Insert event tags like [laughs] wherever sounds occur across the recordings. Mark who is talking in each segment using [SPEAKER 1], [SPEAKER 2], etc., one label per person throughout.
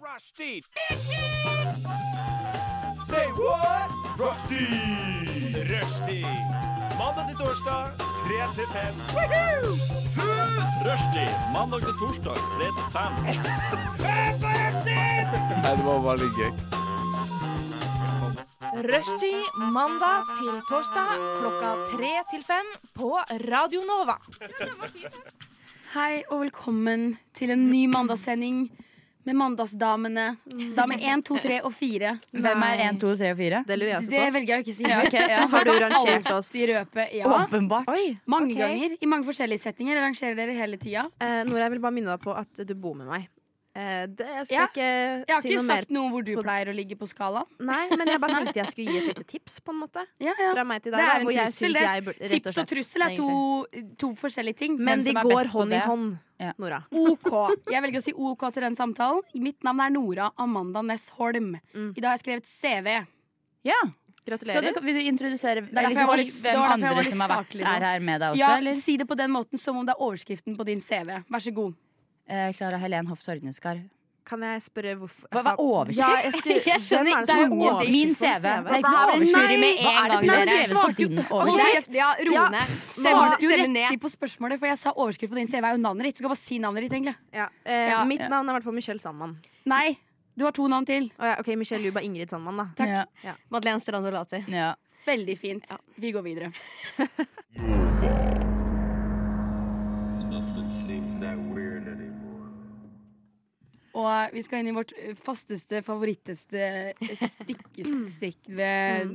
[SPEAKER 1] Rushdie! Say what? Rushdie! Rushdie. Mandag til torsdag, 3 til 5. Rushdie. Mandag til torsdag, 3 til 5.
[SPEAKER 2] Rushtid mandag til torsdag klokka tre til fem på Radio Nova.
[SPEAKER 3] Hei og velkommen til en ny mandagssending med Mandagsdamene. Dame 1, 2, 3 og 4.
[SPEAKER 4] Hvem er 1, 2, 3 og 4?
[SPEAKER 5] Det lurer jeg også
[SPEAKER 3] Det
[SPEAKER 5] altså, på.
[SPEAKER 3] velger jeg å ikke si.
[SPEAKER 4] ok, ja.
[SPEAKER 5] Har du rangert oss?
[SPEAKER 3] De røper, ja.
[SPEAKER 4] Åpenbart.
[SPEAKER 5] Oi,
[SPEAKER 3] Mange
[SPEAKER 5] ok.
[SPEAKER 3] ganger, i mange forskjellige settinger. Jeg rangerer dere hele tida.
[SPEAKER 5] Eh, Nora, jeg vil bare minne deg på at du bor med meg. Eh, det, jeg skal
[SPEAKER 3] Ja. Jeg
[SPEAKER 5] ikke
[SPEAKER 3] har
[SPEAKER 5] si
[SPEAKER 3] ikke
[SPEAKER 5] noe mer.
[SPEAKER 3] sagt noe hvor du pleier å ligge på skalaen.
[SPEAKER 5] Nei, men jeg bare tenkte jeg skulle gi et lite tips, på en måte.
[SPEAKER 3] Ja, ja.
[SPEAKER 5] Fra meg til deg.
[SPEAKER 3] Det er
[SPEAKER 5] da,
[SPEAKER 3] en
[SPEAKER 5] hvor jeg
[SPEAKER 3] trussel,
[SPEAKER 5] synes
[SPEAKER 3] det.
[SPEAKER 5] jeg bur- rett
[SPEAKER 3] Tips og
[SPEAKER 5] slett,
[SPEAKER 3] trussel er to,
[SPEAKER 5] egentlig.
[SPEAKER 3] to forskjellige ting.
[SPEAKER 5] Men
[SPEAKER 4] Hvem
[SPEAKER 5] de
[SPEAKER 4] som er
[SPEAKER 5] går
[SPEAKER 4] best på
[SPEAKER 5] hånd i
[SPEAKER 4] det.
[SPEAKER 5] hånd,
[SPEAKER 4] Ja.
[SPEAKER 5] Nora.
[SPEAKER 3] OK. Jeg velger å si OK til den samtalen. Mitt navn er Nora Amanda Næss Holm.
[SPEAKER 5] Mm.
[SPEAKER 3] I dag har jeg skrevet CV.
[SPEAKER 4] Ja. Skal
[SPEAKER 5] Gratulerer.
[SPEAKER 4] du, vil du introdusere
[SPEAKER 3] derfor
[SPEAKER 4] eller liksom
[SPEAKER 3] jeg var
[SPEAKER 4] si
[SPEAKER 3] litt- det
[SPEAKER 4] hvem
[SPEAKER 3] var derfor jeg var
[SPEAKER 4] andre
[SPEAKER 3] litt
[SPEAKER 4] som har vært,
[SPEAKER 3] saklig nå.
[SPEAKER 4] er her med deg også?
[SPEAKER 3] Ja,
[SPEAKER 4] eller?
[SPEAKER 3] si det på den måten som om det er overskriften på din CV. Vær så god.
[SPEAKER 4] Eh, Klara Helen Hoff Sorgenskar.
[SPEAKER 5] Kan jeg spørre hvorfor
[SPEAKER 4] Hva var
[SPEAKER 5] Ja,
[SPEAKER 4] overskrift?
[SPEAKER 5] jeg
[SPEAKER 4] [laughs]
[SPEAKER 3] [laughs]
[SPEAKER 5] skri-
[SPEAKER 3] Jeg skjønner
[SPEAKER 5] Hvem
[SPEAKER 3] ikke,
[SPEAKER 5] er det
[SPEAKER 3] det er
[SPEAKER 5] som
[SPEAKER 3] jo
[SPEAKER 5] har
[SPEAKER 3] ingenting.
[SPEAKER 5] overskrift
[SPEAKER 4] Min
[SPEAKER 5] på en
[SPEAKER 4] CV. Det er
[SPEAKER 5] CV?
[SPEAKER 4] ikke noe overjury med
[SPEAKER 6] Hva er
[SPEAKER 4] en gang.
[SPEAKER 6] det for noe?
[SPEAKER 4] Dere er
[SPEAKER 3] Jeg
[SPEAKER 4] skrevet på
[SPEAKER 3] svarte jo-
[SPEAKER 4] din
[SPEAKER 3] Hold
[SPEAKER 4] overskrift.
[SPEAKER 6] kjeft, ja, ro
[SPEAKER 5] Ja.
[SPEAKER 6] ned.
[SPEAKER 3] Svarte jo
[SPEAKER 6] Stemme ned.
[SPEAKER 3] riktig på spørsmålet, for jeg sa overskrift på din CV er jo navnet ditt. Så du kan bare si navnet ditt, egentlig.
[SPEAKER 5] Ja. Eh,
[SPEAKER 3] Ja.
[SPEAKER 5] Mitt navn er i hvert fall Michelle Sandmann.
[SPEAKER 3] Nei, du har to navn til.
[SPEAKER 5] Å ja, ok, Michelle Luba Ingrid Sandmann, da.
[SPEAKER 3] Takk.
[SPEAKER 4] Ja,
[SPEAKER 6] Madeleine Strand Olati.
[SPEAKER 4] ja.
[SPEAKER 3] Veldig fint. Vi går videre. Og vi skal inn i vårt eh, fasteste, favoritteste stikkestikk ved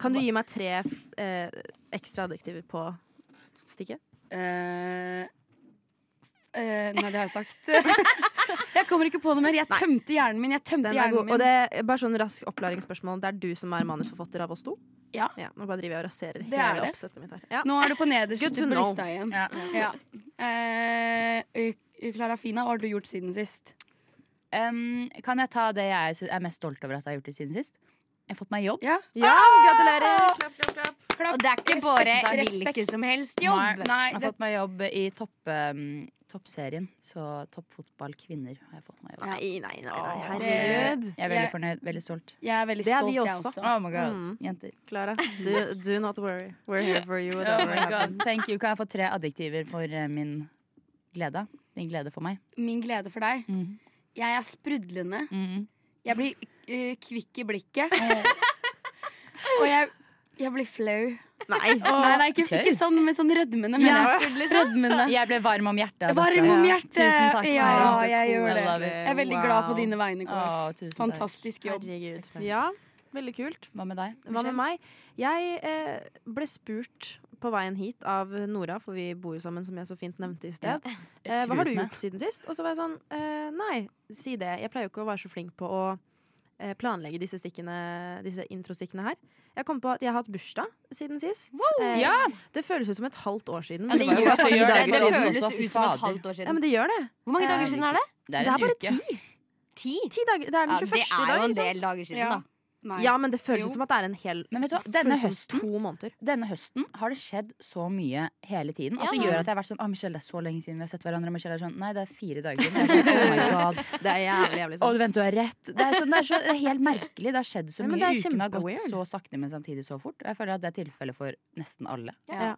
[SPEAKER 5] Kan du gi meg tre eh, ekstra adjektiver på stikket?
[SPEAKER 3] eh, eh, Nei, det har jeg [laughs] sagt. Jeg kommer ikke på noe mer. Jeg tømte hjernen min. Jeg tømte
[SPEAKER 5] Den er
[SPEAKER 3] hjernen
[SPEAKER 5] god.
[SPEAKER 3] Mm, min.
[SPEAKER 5] Og det er bare sånn rask oppklaringsspørsmål. Det er du som er manusforfatter av oss to?
[SPEAKER 3] Ja.
[SPEAKER 5] nå bare driver jeg og raserer
[SPEAKER 3] Det er
[SPEAKER 5] hele
[SPEAKER 3] det.
[SPEAKER 5] oppsettet mitt her. Ja.
[SPEAKER 3] Nå er du på nederst
[SPEAKER 5] Good to
[SPEAKER 3] på
[SPEAKER 5] know.
[SPEAKER 3] lista igjen.
[SPEAKER 4] Ja.
[SPEAKER 3] Ja. Eh, Klara Fina, hva har du gjort siden sist?
[SPEAKER 4] Um, kan jeg ta det jeg sy- er mest stolt over at jeg har gjort det siden sist? Jeg har fått meg jobb.
[SPEAKER 3] Ja.
[SPEAKER 5] Ja,
[SPEAKER 3] Ah!
[SPEAKER 5] gratulerer! Klapp, klapp, klapp.
[SPEAKER 6] Og det er ikke
[SPEAKER 3] Respekt,
[SPEAKER 6] bare
[SPEAKER 3] respekt.
[SPEAKER 6] hvilken som helst jobb.
[SPEAKER 3] Nei,
[SPEAKER 4] jeg har
[SPEAKER 3] det,
[SPEAKER 4] fått meg jobb i topp, um, toppserien. Så toppfotball kvinner har jeg fått meg jobb.
[SPEAKER 5] Nei, nei, nei, nei.
[SPEAKER 3] Åh,
[SPEAKER 5] herregud.
[SPEAKER 4] Jeg er veldig
[SPEAKER 3] Jeg-
[SPEAKER 4] fornøyd. Veldig stolt.
[SPEAKER 3] jeg er veldig
[SPEAKER 5] Det er
[SPEAKER 3] stolt,
[SPEAKER 5] vi
[SPEAKER 3] jeg
[SPEAKER 5] også.
[SPEAKER 3] også.
[SPEAKER 4] Oh my god,
[SPEAKER 5] Mm.
[SPEAKER 4] jenter.
[SPEAKER 5] Klara, do, do not worry. We're here for
[SPEAKER 3] [laughs]
[SPEAKER 5] you.
[SPEAKER 4] Oh
[SPEAKER 5] whatever
[SPEAKER 4] my god,
[SPEAKER 5] happens.
[SPEAKER 4] Thank you. Kan jeg få tre adjektiver for eh, min glede? Din glede for meg.
[SPEAKER 3] Min glede for deg.
[SPEAKER 4] Mhm.
[SPEAKER 3] Jeg er sprudlende.
[SPEAKER 4] Mhm.
[SPEAKER 3] Jeg blir eh, kvikk i blikket. Og jeg, jeg blir flau.
[SPEAKER 5] Nei.
[SPEAKER 3] Nei, nei ikke,
[SPEAKER 4] flau.
[SPEAKER 3] ikke sånn, men sånn rødmende. Men
[SPEAKER 4] Ja.
[SPEAKER 3] rødmende.
[SPEAKER 4] Jeg ble varm om hjertet. av
[SPEAKER 3] Varm
[SPEAKER 4] dette.
[SPEAKER 3] om
[SPEAKER 5] Ja.
[SPEAKER 3] hjertet.
[SPEAKER 4] Tusen takk.
[SPEAKER 3] Ja,
[SPEAKER 4] Klara.
[SPEAKER 3] jeg
[SPEAKER 4] Så cool.
[SPEAKER 3] gjør
[SPEAKER 4] I
[SPEAKER 3] det.
[SPEAKER 4] love it.
[SPEAKER 3] Jeg er veldig glad på dine vegne, Kåre.
[SPEAKER 4] Å, tusen takk.
[SPEAKER 3] Fantastisk jobb.
[SPEAKER 5] Herregud. Ja, veldig kult.
[SPEAKER 4] Hva med deg?
[SPEAKER 5] Hva med meg? Jeg eh, ble spurt på veien hit av Nora, for vi bor jo sammen, som jeg så fint nevnte i sted. [laughs] Eh, hva har du
[SPEAKER 4] Truende.
[SPEAKER 5] gjort siden sist? Og så var jeg sånn eh, Nei, si det. Jeg pleier jo ikke å være så flink på å eh, planlegge disse, stikkene, disse introstikkene her. Jeg kom på at jeg har hatt bursdag siden sist. Eh,
[SPEAKER 4] Ja!
[SPEAKER 5] Det føles ut som et halvt år siden.
[SPEAKER 6] Ja, det,
[SPEAKER 5] var jo
[SPEAKER 6] gjør,
[SPEAKER 5] bare
[SPEAKER 6] det,
[SPEAKER 5] ti
[SPEAKER 6] gjør,
[SPEAKER 5] dager
[SPEAKER 6] det, det
[SPEAKER 5] siden.
[SPEAKER 4] også,
[SPEAKER 6] føles
[SPEAKER 4] fy
[SPEAKER 6] ut som et
[SPEAKER 4] fader.
[SPEAKER 6] halvt år
[SPEAKER 5] Ja,
[SPEAKER 6] siden.
[SPEAKER 5] men det gjør det.
[SPEAKER 6] Hvor mange
[SPEAKER 5] eh,
[SPEAKER 6] dager siden er det?
[SPEAKER 4] Det
[SPEAKER 5] Det
[SPEAKER 4] er
[SPEAKER 5] er
[SPEAKER 4] en
[SPEAKER 5] bare
[SPEAKER 4] uke.
[SPEAKER 5] ti.
[SPEAKER 6] Ti?
[SPEAKER 5] Ti dager. Det er den
[SPEAKER 6] Ja,
[SPEAKER 5] 21.
[SPEAKER 6] det er jo
[SPEAKER 5] dag.
[SPEAKER 6] en
[SPEAKER 5] ikke
[SPEAKER 6] del
[SPEAKER 5] sant?
[SPEAKER 6] dager siden,
[SPEAKER 3] Ja.
[SPEAKER 6] da.
[SPEAKER 3] Nei.
[SPEAKER 5] Ja, men det føles
[SPEAKER 3] Jo.
[SPEAKER 5] ut som at det er en hel
[SPEAKER 4] Men vet du hva, denne
[SPEAKER 5] føles som
[SPEAKER 4] høsten,
[SPEAKER 5] To måneder.
[SPEAKER 4] denne høsten har det skjedd så mye hele tiden at det
[SPEAKER 6] Ja.
[SPEAKER 4] gjør at jeg har vært sånn Å, Michelle, det er så lenge siden vi har sett hverandre. Og Michelle er sånn Nei, det er fire dager siden. Jeg er Sånn, oh my god.
[SPEAKER 5] Det er jævlig,
[SPEAKER 6] [laughs]
[SPEAKER 4] Å,
[SPEAKER 5] jævlig
[SPEAKER 4] du
[SPEAKER 5] sant.
[SPEAKER 4] vent, du har rett. Det er, sånn, det, er så, det er helt merkelig. Det har skjedd så
[SPEAKER 5] Nei, men
[SPEAKER 4] mye.
[SPEAKER 5] det er
[SPEAKER 4] Ukene har gått
[SPEAKER 5] kjempeweird.
[SPEAKER 4] så sakte, men samtidig så fort. Og jeg føler at det er tilfellet for nesten alle.
[SPEAKER 5] Ja.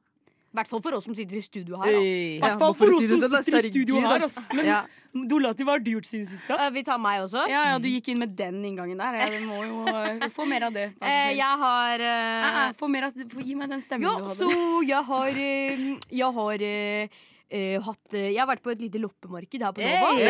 [SPEAKER 6] I hvert fall for oss som sitter i studio her. Da.
[SPEAKER 4] Ja.
[SPEAKER 5] hvert fall for oss som sitter i studio her, ass. Ja.
[SPEAKER 3] Dolati, hva har du gjort siden sist? da?
[SPEAKER 6] Eh, Vi tar meg også.
[SPEAKER 3] Ja, ja, du gikk inn med den inngangen der. Jeg må [laughs] jo eh, få mer av det. vær så
[SPEAKER 6] Eh,
[SPEAKER 3] snill.
[SPEAKER 6] Jeg har
[SPEAKER 3] Eh,
[SPEAKER 6] eh,
[SPEAKER 3] eh, få mer av, få, gi meg den stemmen
[SPEAKER 6] Jo,
[SPEAKER 3] du hadde.
[SPEAKER 6] så jeg har eh, Jeg har eh, eh, hatt eh, Jeg har vært på et lite loppemarked her på Nova.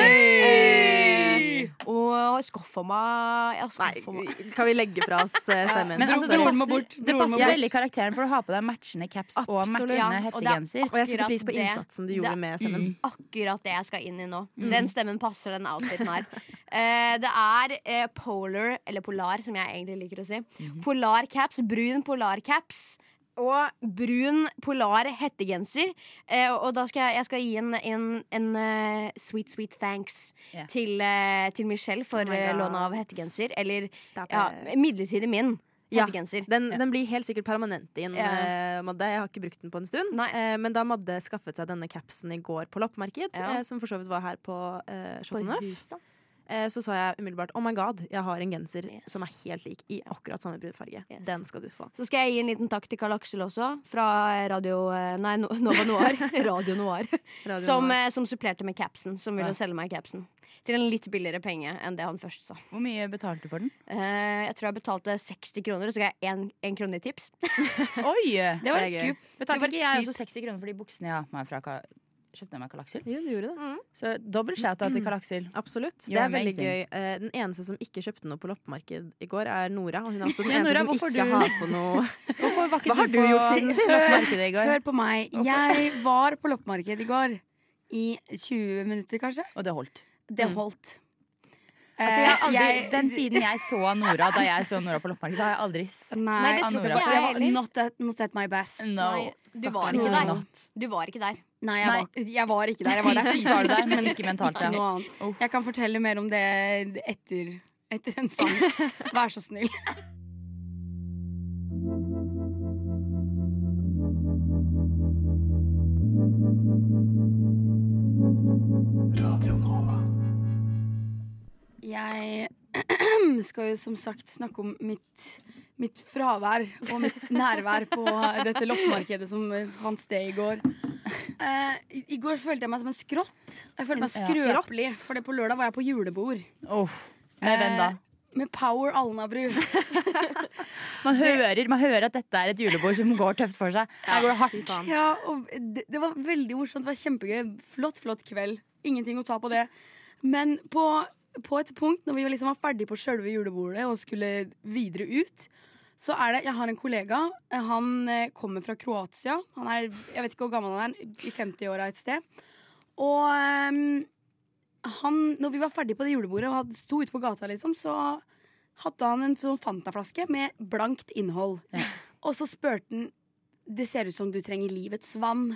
[SPEAKER 6] Eh, og har skaffa meg Jeg har skaffa meg
[SPEAKER 5] Nei, kan vi legge fra oss eh, stemmen?
[SPEAKER 4] Men altså, det
[SPEAKER 3] Broren
[SPEAKER 4] passer,
[SPEAKER 3] må bort.
[SPEAKER 4] det
[SPEAKER 3] Broren må
[SPEAKER 4] passer
[SPEAKER 3] bort.
[SPEAKER 4] veldig i karakteren, for du har på deg matchende caps og
[SPEAKER 5] Absolutt.
[SPEAKER 4] matchende
[SPEAKER 6] Ja, og det er
[SPEAKER 4] hettegenser.
[SPEAKER 5] og jeg setter pris på
[SPEAKER 6] akkurat det.
[SPEAKER 5] innsatsen du gjorde
[SPEAKER 6] Det-
[SPEAKER 4] Mm.
[SPEAKER 5] med stemmen.
[SPEAKER 6] akkurat det jeg skal inn i nå.
[SPEAKER 5] Mm.
[SPEAKER 6] Den stemmen passer den
[SPEAKER 5] [laughs]
[SPEAKER 6] outfiten her. Eh, det er eh, polar, eller polar som jeg egentlig liker å si.
[SPEAKER 5] Mhm.
[SPEAKER 6] Polar caps, brun polar caps. Og brun polar hettegenser. Eh, og da skal jeg, jeg skal gi en, en, en eh, sweet, sweet thanks
[SPEAKER 4] Ja.
[SPEAKER 6] til, eh, til Michelle for
[SPEAKER 5] Oh my
[SPEAKER 6] eh,
[SPEAKER 5] God.
[SPEAKER 6] lånet av hettegenser. Eller
[SPEAKER 5] Stop
[SPEAKER 6] ja,
[SPEAKER 5] it.
[SPEAKER 6] midlertidig min
[SPEAKER 5] Ja.
[SPEAKER 6] hettegenser.
[SPEAKER 5] Den, den blir helt sikkert permanent din,
[SPEAKER 6] Ja.
[SPEAKER 5] eh, Madde. Jeg har ikke brukt den på en stund.
[SPEAKER 6] Nei.
[SPEAKER 5] Eh, men da Madde skaffet seg denne capsen i går på loppemarked,
[SPEAKER 6] Ja.
[SPEAKER 5] eh, som for så vidt var her på eh,
[SPEAKER 6] På
[SPEAKER 5] Chateau Neuf.
[SPEAKER 6] huset.
[SPEAKER 5] eh, så sa jeg umiddelbart oh my god, jeg har en genser
[SPEAKER 6] Yes.
[SPEAKER 5] som er helt lik i akkurat samme brudfarge.
[SPEAKER 6] Yes.
[SPEAKER 5] Den skal du få.
[SPEAKER 6] Så skal jeg gi en liten takk til Karl Aksel også, fra Radio eh, Nei, No- Nova Noir. Radio Noir.
[SPEAKER 5] [laughs] Radio
[SPEAKER 6] Som,
[SPEAKER 5] Nova.
[SPEAKER 6] eh, som supplerte med capsen, som
[SPEAKER 4] Ja.
[SPEAKER 6] ville selge meg capsen. Til en litt billigere penge enn det han først sa.
[SPEAKER 4] Hvor mye betalte du for den?
[SPEAKER 6] Eh, jeg tror jeg betalte 60 kroner, og så ga jeg én- én krone i tips.
[SPEAKER 4] Oi!
[SPEAKER 6] Det var et
[SPEAKER 5] Det er gøy.
[SPEAKER 6] skup. Det
[SPEAKER 4] Betalte
[SPEAKER 6] var
[SPEAKER 4] ikke
[SPEAKER 6] et
[SPEAKER 4] jeg
[SPEAKER 6] skryt.
[SPEAKER 4] også 60 kroner for de buksene jeg har på meg fra Ka- Kjøpte jeg meg Kalaksel?
[SPEAKER 5] Jo, du gjorde det.
[SPEAKER 4] Så dobbel shout-out til
[SPEAKER 5] [laughs]
[SPEAKER 4] Kalaksel.
[SPEAKER 5] Absolutt.
[SPEAKER 4] You're
[SPEAKER 5] det er veldig
[SPEAKER 4] amazing.
[SPEAKER 5] gøy. Eh, Den eneste som ikke kjøpte noe på loppemarked i går, er Nora. Og hun
[SPEAKER 4] [laughs]
[SPEAKER 5] er også den
[SPEAKER 4] Ja,
[SPEAKER 5] eneste
[SPEAKER 4] Nora,
[SPEAKER 5] som
[SPEAKER 4] hvorfor
[SPEAKER 5] ikke
[SPEAKER 4] du-
[SPEAKER 5] har på noe
[SPEAKER 4] Hvorfor var
[SPEAKER 5] Hva har du gjort siden sist?
[SPEAKER 4] Markedet i går?
[SPEAKER 3] Hør på meg. Jeg var på loppemarked i går. I 20 minutter, kanskje.
[SPEAKER 4] Og det holdt.
[SPEAKER 3] Det
[SPEAKER 6] Mm.
[SPEAKER 3] holdt. Eh,
[SPEAKER 4] Altså, jeg har aldri,
[SPEAKER 3] jeg-
[SPEAKER 4] den siden jeg så Nora, da jeg så Nora på loppemarkedet, har jeg aldri sett
[SPEAKER 3] Nei,
[SPEAKER 6] Nei, det
[SPEAKER 4] Anora.
[SPEAKER 6] trodde
[SPEAKER 3] jeg,
[SPEAKER 6] ikke jeg
[SPEAKER 3] var
[SPEAKER 6] heller.
[SPEAKER 3] not at, not at my best.
[SPEAKER 4] No.
[SPEAKER 6] Du var ikke
[SPEAKER 3] Stakkars
[SPEAKER 6] der.
[SPEAKER 3] Not.
[SPEAKER 6] Du var ikke der.
[SPEAKER 3] Nei, jeg,
[SPEAKER 4] Nei.
[SPEAKER 3] Var, jeg var ikke
[SPEAKER 6] [laughs]
[SPEAKER 3] der. Jeg var der
[SPEAKER 4] Fysisk var du der, men ikke mentalt,
[SPEAKER 3] Ikke
[SPEAKER 4] ja.
[SPEAKER 3] noe annet.
[SPEAKER 4] Uff.
[SPEAKER 3] Jeg kan fortelle mer om det etter, etter en [laughs] sang. Vær så snill. Jeg [clears throat] skal jo som sagt snakke om mitt, mitt fravær og mitt nærvær på dette loppemarkedet som fant sted i går. Eh, i, I går følte jeg meg som en skrått. Jeg følte meg
[SPEAKER 4] Ja.
[SPEAKER 3] skrøpelig, for på lørdag var jeg på julebord
[SPEAKER 4] Uff. Med hvem da?
[SPEAKER 3] Eh, med Power Alnabru.
[SPEAKER 4] Man hører, man hører at dette er et julebord som går tøft for seg. [laughs] Her går det hardt.
[SPEAKER 5] faen.
[SPEAKER 3] Ja, og det, det var veldig morsomt. Det var kjempegøy. Flott, flott kveld. Ingenting å ta på det. Men på, på et punkt, når vi liksom var ferdig på sjølve julebordet og skulle videre ut, så er det Jeg har en kollega. eh, Han eh, kommer fra Kroatia. Han er, jeg vet ikke hvor gammel han er, i 50-åra et sted. Og ehm, han, når vi var ferdig på det julebordet og hadde- sto ute på gata, liksom, så hadde han en sånn Fanta-flaske med blankt innhold. Og så spurte han det ser ut som du trenger livets vann.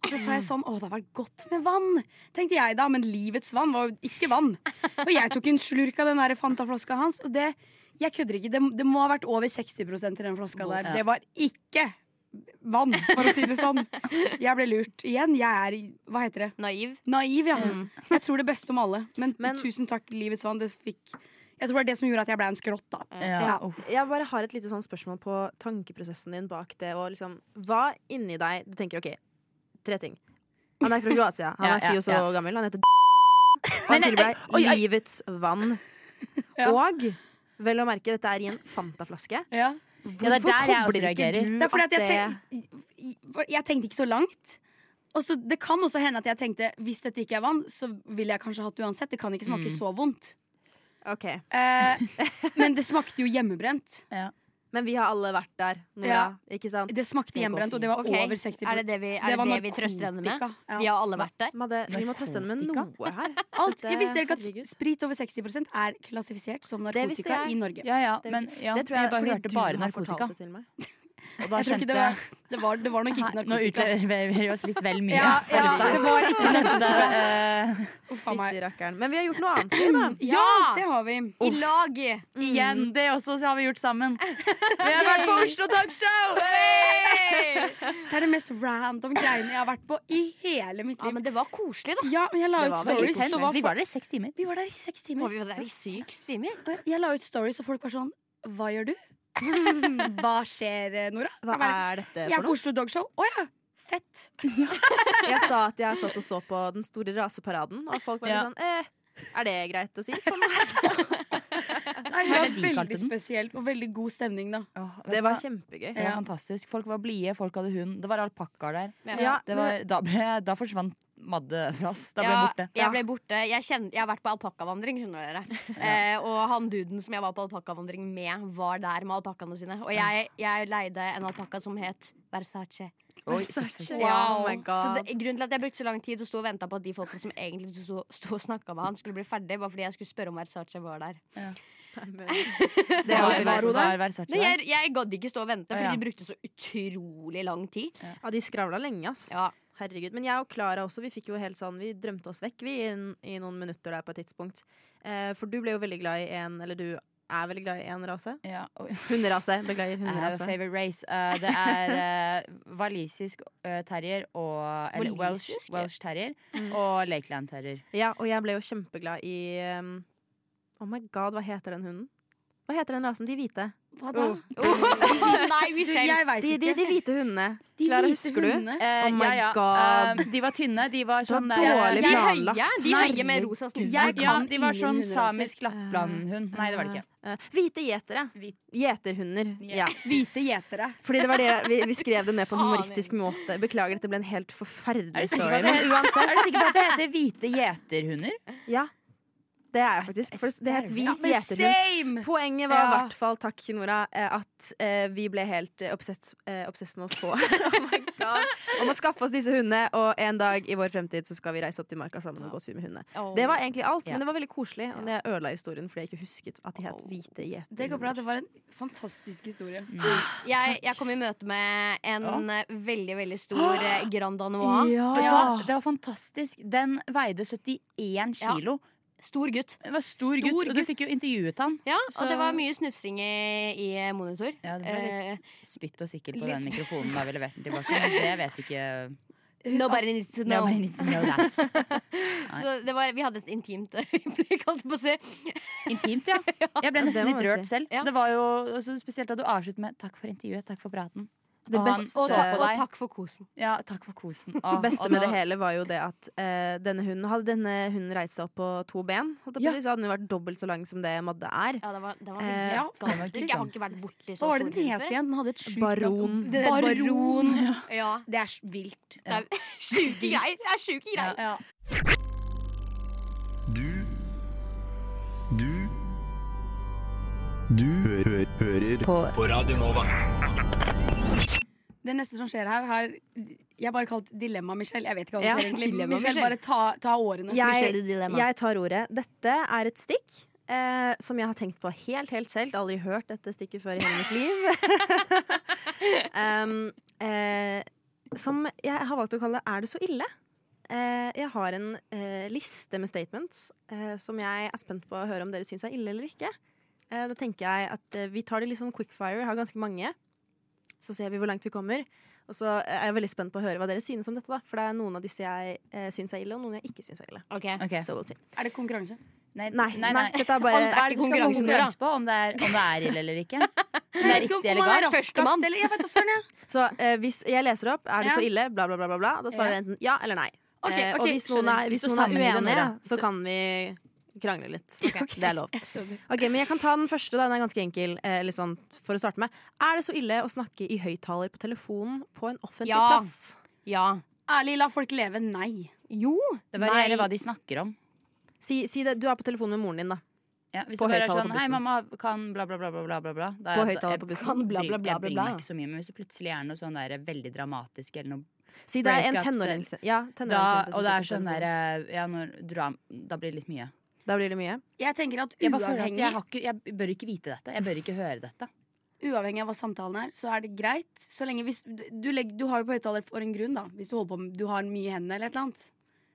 [SPEAKER 3] Og så sa jeg sånn, å det har vært godt med vann Tenkte jeg da, men livets vann var jo ikke vann Og jeg tok en slurk av den der fantaflaska hans Og det, jeg kødder ikke Det, det må ha vært over 60% i den flaska der Det var ikke vann, for å si det sånn Jeg ble lurt igjen, jeg er, i- hva heter det?
[SPEAKER 6] Naiv.
[SPEAKER 3] Naiv, ja [laughs] Jeg tror det beste om alle Men,
[SPEAKER 5] Men-
[SPEAKER 3] tusen takk, livets vann Det fikk, jeg tror det var det som gjorde at jeg ble en skrått da
[SPEAKER 4] Eh, Ja,
[SPEAKER 3] Ja.
[SPEAKER 4] uff.
[SPEAKER 5] Jeg bare har et lite sånn spørsmål på tankeprosessen din bak det. Og liksom, hva inni deg Du tenker OK, tre ting. Han er fra Kroatia. Han
[SPEAKER 4] [laughs] Ja,
[SPEAKER 5] er si
[SPEAKER 4] ja,
[SPEAKER 5] og så
[SPEAKER 4] ja.
[SPEAKER 5] gammel. Han heter Og han tilbyr deg
[SPEAKER 4] oi, oi.
[SPEAKER 5] livets vann.
[SPEAKER 4] [laughs]
[SPEAKER 3] Ja.
[SPEAKER 5] Og vel å merke, dette er i en Fanta-flaske.
[SPEAKER 3] Ja
[SPEAKER 4] Ja, det er der jeg også reagerer.
[SPEAKER 3] Det er fordi at jeg, tenk, jeg tenkte ikke så langt. Og så det kan også hende at jeg tenkte hvis dette ikke er vann, så ville jeg kanskje hatt det uansett. Det kan ikke smake så vondt.
[SPEAKER 5] Ok,
[SPEAKER 3] Eh, men det smakte jo hjemmebrent.
[SPEAKER 5] Men vi har alle vært der. Nora,
[SPEAKER 3] Ja.
[SPEAKER 5] Ikke sant?
[SPEAKER 3] Det smakte
[SPEAKER 5] Det går
[SPEAKER 3] hjemmebrent, og det var
[SPEAKER 6] Ok,
[SPEAKER 3] over 60
[SPEAKER 6] Er det det vi, er
[SPEAKER 3] Det
[SPEAKER 6] det
[SPEAKER 3] var
[SPEAKER 6] det vi trøster henne med?
[SPEAKER 3] narkotika, ja.
[SPEAKER 6] Vi har alle vært der.
[SPEAKER 5] Madde, vi må trøste henne med
[SPEAKER 4] Narkotika?
[SPEAKER 5] noe her.
[SPEAKER 3] Alt, jeg visste ikke at
[SPEAKER 5] Herregud.
[SPEAKER 3] sprit over 60 er klassifisert som
[SPEAKER 5] Det visste
[SPEAKER 3] narkotika
[SPEAKER 5] jeg.
[SPEAKER 3] i Norge.
[SPEAKER 4] ja, ja,
[SPEAKER 5] Det,
[SPEAKER 4] men ja,
[SPEAKER 5] det tror jeg,
[SPEAKER 4] jeg bare
[SPEAKER 5] fordi
[SPEAKER 4] hørte
[SPEAKER 5] du
[SPEAKER 4] bare
[SPEAKER 5] har fortalt
[SPEAKER 4] narkotika.
[SPEAKER 5] det til meg.
[SPEAKER 4] Og da
[SPEAKER 3] Jeg tror ikke
[SPEAKER 4] skjønte
[SPEAKER 3] det, var, det, var, det var nok ikke
[SPEAKER 4] Nei, Nå
[SPEAKER 3] narkotika.
[SPEAKER 4] utleverer vi oss litt vel mye.
[SPEAKER 3] Ja,
[SPEAKER 4] på
[SPEAKER 3] ja,
[SPEAKER 4] lufta.
[SPEAKER 3] det var [laughs] ikke
[SPEAKER 4] Jeg skjønte, eh,
[SPEAKER 3] Uff a meg.
[SPEAKER 5] Fytti rakkeren. Men vi har gjort noe annet. vi, da.
[SPEAKER 3] Ja, det har vi.
[SPEAKER 6] I lag!
[SPEAKER 4] igjen, det også har vi gjort sammen. Vi har vært på Oslo Dogshow!
[SPEAKER 3] Det er det mest random greiene jeg har vært på i hele mitt
[SPEAKER 6] Ja,
[SPEAKER 3] liv.
[SPEAKER 6] men det var koselig, da.
[SPEAKER 3] Ja, men jeg la ut
[SPEAKER 4] Veldig
[SPEAKER 3] stories,
[SPEAKER 4] intenst.
[SPEAKER 3] så var
[SPEAKER 4] Vi
[SPEAKER 3] folk
[SPEAKER 4] var der i seks timer.
[SPEAKER 3] Vi var der i seks
[SPEAKER 6] Var
[SPEAKER 3] timer.
[SPEAKER 6] vi der i seks timer?
[SPEAKER 3] Og jeg- Jeg la ut stories, og folk var sånn Hva gjør du? Hva skjer, eh, Nora?
[SPEAKER 5] Hva
[SPEAKER 3] Jeg bare,
[SPEAKER 5] er dette
[SPEAKER 3] Jeg er
[SPEAKER 5] for
[SPEAKER 3] på
[SPEAKER 5] noe?
[SPEAKER 3] Oslo Dogshow. Å ja! Fett.
[SPEAKER 5] Jeg sa at jeg satt og så på Den store raseparaden, og folk var litt
[SPEAKER 4] Ja.
[SPEAKER 5] sånn eh, Er det greit å si? på en måte?
[SPEAKER 3] Nei,
[SPEAKER 4] Herregud,
[SPEAKER 3] det var
[SPEAKER 4] kalte
[SPEAKER 3] veldig
[SPEAKER 4] den.
[SPEAKER 3] spesielt og veldig god stemning, da.
[SPEAKER 5] [laughs] Det var kjempegøy.
[SPEAKER 4] det var fantastisk. Folk var blide, folk hadde hund. Det var alpakkaer der.
[SPEAKER 5] Ja,
[SPEAKER 4] Det var, da, ble, da forsvant Madde fra oss. Da ble hun
[SPEAKER 6] Ja,
[SPEAKER 4] borte.
[SPEAKER 6] jeg ble borte. Jeg, kjen- jeg har vært på alpakkavandring, skjønner dere. Eh, og han duden som jeg var på alpakkavandring med, var der med alpakkaene sine. Og jeg, jeg leide en alpakka som het Versace.
[SPEAKER 4] Oi,
[SPEAKER 5] Wow.
[SPEAKER 4] selvfølgelig.
[SPEAKER 5] Oh my
[SPEAKER 6] Så
[SPEAKER 5] god.
[SPEAKER 6] det, grunnen til at jeg brukte så lang tid og sto og venta på at de folkene som egentlig sto, sto og snakka med han, skulle bli ferdig, var fordi jeg skulle spørre om Versace var der.
[SPEAKER 5] Det var
[SPEAKER 4] Var-
[SPEAKER 5] veldig-
[SPEAKER 4] var hun der? Var Versace
[SPEAKER 6] Nei,
[SPEAKER 4] der?
[SPEAKER 6] jeg, jeg gadd ikke stå og vente, fordi
[SPEAKER 4] Ja.
[SPEAKER 6] de brukte så utrolig lang tid.
[SPEAKER 5] Ja, de skravla lenge, ass.
[SPEAKER 6] Ja.
[SPEAKER 5] Herregud. Men jeg og Klara også, vi fikk jo helt sånn Vi drømte oss vekk, vi, i, n- i noen minutter der på et tidspunkt. Eh, for du ble jo veldig glad i en Eller du er veldig glad i en rase.
[SPEAKER 4] Ja, oi.
[SPEAKER 5] Hunderase. Beklager.
[SPEAKER 4] I have a
[SPEAKER 5] Hunderase.
[SPEAKER 4] favorite race. Eh, det er eh, walisisk eh, terrier og eller Welsh,
[SPEAKER 6] Walisisk, ja.
[SPEAKER 5] Mm.
[SPEAKER 4] Welsh terrier og Lakeland terrier.
[SPEAKER 5] Ja, og jeg ble jo kjempeglad i um, Oh my god, hva heter den hunden? Hva heter den rasen? De hvite.
[SPEAKER 3] Hva da?
[SPEAKER 6] Nei,
[SPEAKER 3] Du,
[SPEAKER 6] Michelle.
[SPEAKER 3] jeg veit
[SPEAKER 5] De, de,
[SPEAKER 3] ikke.
[SPEAKER 5] de hvite hundene.
[SPEAKER 3] De
[SPEAKER 5] Clara,
[SPEAKER 3] hvite
[SPEAKER 5] husker du?
[SPEAKER 3] hundene.
[SPEAKER 4] Eh,
[SPEAKER 5] Oh my
[SPEAKER 4] ja, ja.
[SPEAKER 5] God.
[SPEAKER 4] Eh, de var tynne. De var sånn
[SPEAKER 5] Det var
[SPEAKER 4] eh,
[SPEAKER 5] dårlig
[SPEAKER 6] De
[SPEAKER 4] ja,
[SPEAKER 5] planlagt.
[SPEAKER 6] høye de høye med rosa
[SPEAKER 3] Jeg
[SPEAKER 6] snusbånd.
[SPEAKER 4] ja,
[SPEAKER 3] kan
[SPEAKER 4] de var
[SPEAKER 3] ingen
[SPEAKER 4] sånn
[SPEAKER 3] hunderaser.
[SPEAKER 4] samisk lapplandhund. [laughs] Nei, det var det ikke.
[SPEAKER 5] Eh, hvite gjetere.
[SPEAKER 4] Hvit-
[SPEAKER 5] Gjeterhunder.
[SPEAKER 4] Ja.
[SPEAKER 5] Ja.
[SPEAKER 3] Hvite gjetere.
[SPEAKER 5] Fordi det var det vi, vi skrev det
[SPEAKER 4] [laughs]
[SPEAKER 5] ned på en humoristisk måte. Beklager, dette ble en helt
[SPEAKER 4] Er
[SPEAKER 5] forferdelig
[SPEAKER 4] du sikker på
[SPEAKER 5] story.
[SPEAKER 4] at det,
[SPEAKER 5] Men [laughs] uansett,
[SPEAKER 4] er du sikker på at det heter hvite gjeterhunder?
[SPEAKER 5] ja. Det er jeg faktisk. For det het hvit
[SPEAKER 3] Men
[SPEAKER 5] gjeterhund.
[SPEAKER 3] same!
[SPEAKER 5] Poenget var i
[SPEAKER 3] Ja.
[SPEAKER 5] hvert fall, takk Nora, eh, at eh, vi ble helt eh, obsess, eh, obsess med å få [laughs] oh my God, Om å skaffe oss disse hundene, og en dag i vår fremtid så skal vi reise opp til marka sammen og gå tur med hundene. Det var egentlig alt,
[SPEAKER 4] Ja.
[SPEAKER 5] men det var veldig koselig. Og det ødela historien fordi jeg ikke husket at de het hvite gjeter.
[SPEAKER 3] Det går bra. Det var en fantastisk historie.
[SPEAKER 6] Jeg, jeg kom i møte med en eh, veldig, veldig stor eh, Grand Danois.
[SPEAKER 4] Vet du hva? Det var fantastisk. Den veide 71 kilo.
[SPEAKER 6] Stor gutt.
[SPEAKER 4] Det var stor, gutt, og du fikk jo intervjuet han.
[SPEAKER 6] Ja,
[SPEAKER 4] Så-
[SPEAKER 6] Og det var mye snufsing i, i eh, monitor.
[SPEAKER 4] Ja, det ble litt
[SPEAKER 6] Eh,
[SPEAKER 4] spytt og sikker på
[SPEAKER 6] litt-
[SPEAKER 4] den mikrofonen da vi leverte den tilbake. Men det vet ikke
[SPEAKER 6] nobody needs to know.
[SPEAKER 4] Nobody needs to know that.
[SPEAKER 6] Så det var, vi hadde et intimt [laughs] øyeblikk, holdt jeg på å si.
[SPEAKER 4] Intimt, ja. Jeg ble
[SPEAKER 5] det
[SPEAKER 4] nesten
[SPEAKER 5] må
[SPEAKER 4] litt
[SPEAKER 5] jeg
[SPEAKER 4] rørt
[SPEAKER 5] si.
[SPEAKER 4] selv.
[SPEAKER 6] Ja.
[SPEAKER 4] Det var jo også spesielt da du avsluttet med 'takk for intervjuet, takk for praten'.
[SPEAKER 5] Det
[SPEAKER 4] Og han
[SPEAKER 5] beste-
[SPEAKER 4] så
[SPEAKER 6] Og, takk-
[SPEAKER 4] på
[SPEAKER 6] og
[SPEAKER 4] deg.
[SPEAKER 6] takk for kosen.
[SPEAKER 4] Ja, takk for kosen.
[SPEAKER 5] Det beste med det hele var jo det at eh, denne hunden hadde denne hunden reist seg opp på to ben. holdt jeg på å
[SPEAKER 4] Ja.
[SPEAKER 5] si, Så hadde den jo vært dobbelt så lang som det Madde er.
[SPEAKER 6] Ja, det var, det var
[SPEAKER 5] Eh,
[SPEAKER 6] helt
[SPEAKER 5] ja,
[SPEAKER 6] gigantisk. Jeg har ikke vært borti så
[SPEAKER 3] Hva var det
[SPEAKER 6] stor
[SPEAKER 3] den
[SPEAKER 6] hund
[SPEAKER 3] het
[SPEAKER 6] før.
[SPEAKER 3] igjen? Den hadde et sjukt
[SPEAKER 5] Baron.
[SPEAKER 3] navn. Det er Baron.
[SPEAKER 6] Ja.
[SPEAKER 3] Det er vilt.
[SPEAKER 6] Det er sjuke greier. Det er sjuke greier.
[SPEAKER 3] Ja.
[SPEAKER 7] Du Du Du hø hø hører på. Radio Nova.
[SPEAKER 3] Det neste som skjer her, har jeg bare kalt dilemma Michelle. Jeg vet ikke hva det
[SPEAKER 5] Ja,
[SPEAKER 3] skjer egentlig.
[SPEAKER 5] dilemma,
[SPEAKER 3] Michelle, bare
[SPEAKER 5] Michelle.
[SPEAKER 3] ta, ta årene.
[SPEAKER 5] Jeg,
[SPEAKER 6] Michelle Dilemma.
[SPEAKER 5] jeg tar ordet. Dette er et stikk eh, som jeg har tenkt på helt, helt selv. Aldri hørt dette stikket før i hele mitt liv. um, eh, som jeg har valgt å kalle 'Er det så ille?' Eh, jeg har en eh, liste med statements eh, som jeg er spent på å høre om dere syns er ille eller ikke. Eh, da tenker jeg at eh, vi tar det litt sånn quickfire. Jeg har ganske mange. Så ser vi hvor langt vi kommer. Og så eh, er jeg veldig spent på å høre hva dere synes om dette. da For det er noen av disse jeg eh, syns er ille, og noen jeg ikke syns er ille.
[SPEAKER 6] Ok.
[SPEAKER 4] Ok.
[SPEAKER 5] Så we'll see.
[SPEAKER 3] Er det konkurranse?
[SPEAKER 4] Nei,
[SPEAKER 5] Nei, nei, dette er
[SPEAKER 4] Alt
[SPEAKER 5] bare
[SPEAKER 4] er ikke konkurransen
[SPEAKER 6] konkurransen, da.
[SPEAKER 4] på om det, er, om det er ille eller ikke. Om det er
[SPEAKER 3] Ikke
[SPEAKER 4] riktig
[SPEAKER 3] om- om
[SPEAKER 4] eller
[SPEAKER 3] han er
[SPEAKER 4] galt.
[SPEAKER 3] raskest,
[SPEAKER 6] Førstemann.
[SPEAKER 3] eller jeg vet da søren, jeg.
[SPEAKER 5] Så eh, hvis jeg leser opp 'er det så
[SPEAKER 3] Ja.
[SPEAKER 5] ille', bla, bla, bla, bla, bla da svarer
[SPEAKER 3] Ja.
[SPEAKER 5] jeg enten ja eller nei.
[SPEAKER 3] Ok,
[SPEAKER 5] Eh, og
[SPEAKER 3] ok,
[SPEAKER 5] hvis noen
[SPEAKER 3] skjønner.
[SPEAKER 5] er, hvis
[SPEAKER 4] Så
[SPEAKER 5] noen er
[SPEAKER 4] sammenligner dere,
[SPEAKER 5] uenige,
[SPEAKER 4] da.
[SPEAKER 5] så
[SPEAKER 4] Så-
[SPEAKER 5] kan vi krangle litt. Det er lov. Ok, men Jeg kan ta den første. da, Den er ganske enkel. Eh, litt sånn, for å starte med Er det så ille å snakke i høyttaler på telefonen på en offentlig
[SPEAKER 6] Ja.
[SPEAKER 5] plass?
[SPEAKER 6] Ja.
[SPEAKER 3] Ærlig, la folk leve. Nei.
[SPEAKER 6] Jo.
[SPEAKER 4] Det varierer
[SPEAKER 6] Nei.
[SPEAKER 4] hva de snakker om.
[SPEAKER 5] Si, si det, Du er på telefonen med moren din, da.
[SPEAKER 4] Ja, hvis
[SPEAKER 5] På
[SPEAKER 4] du bare er
[SPEAKER 5] høyttaler
[SPEAKER 4] sånn 'hei,
[SPEAKER 5] på bussen.
[SPEAKER 4] mamma kan bla, bla, bla', bla, bla, bla, bla da er
[SPEAKER 5] På
[SPEAKER 4] jeg-
[SPEAKER 5] høyttaler
[SPEAKER 4] jeg-
[SPEAKER 5] på bussen.
[SPEAKER 6] Kan bla,
[SPEAKER 4] bry-
[SPEAKER 6] bla, bla,
[SPEAKER 4] Jeg
[SPEAKER 6] bla,
[SPEAKER 4] bryr
[SPEAKER 6] bla.
[SPEAKER 4] meg ikke så mye, men hvis det plutselig er noe sånn der veldig dramatisk eller noe
[SPEAKER 5] Si det er en
[SPEAKER 4] Breakups,
[SPEAKER 5] tenåringsjente. Ja,
[SPEAKER 4] da,
[SPEAKER 5] tenåringsjente som
[SPEAKER 4] Og det er
[SPEAKER 5] sitter på
[SPEAKER 4] sånn
[SPEAKER 5] telefonen.
[SPEAKER 4] der eh, ja, når, dra, Da blir det litt mye.
[SPEAKER 5] Da blir det mye.
[SPEAKER 3] Jeg tenker at
[SPEAKER 4] Jeg bare føler at
[SPEAKER 3] uavhengig,
[SPEAKER 4] jeg, har ikke, jeg bør ikke vite dette. Jeg bør ikke høre dette.
[SPEAKER 3] uavhengig av hva samtalen er, så er det greit. Så lenge hvis, du, legger, du har jo på høyttaler for en grunn, da. Hvis du, holder på med, du har mye i hendene eller et eller annet.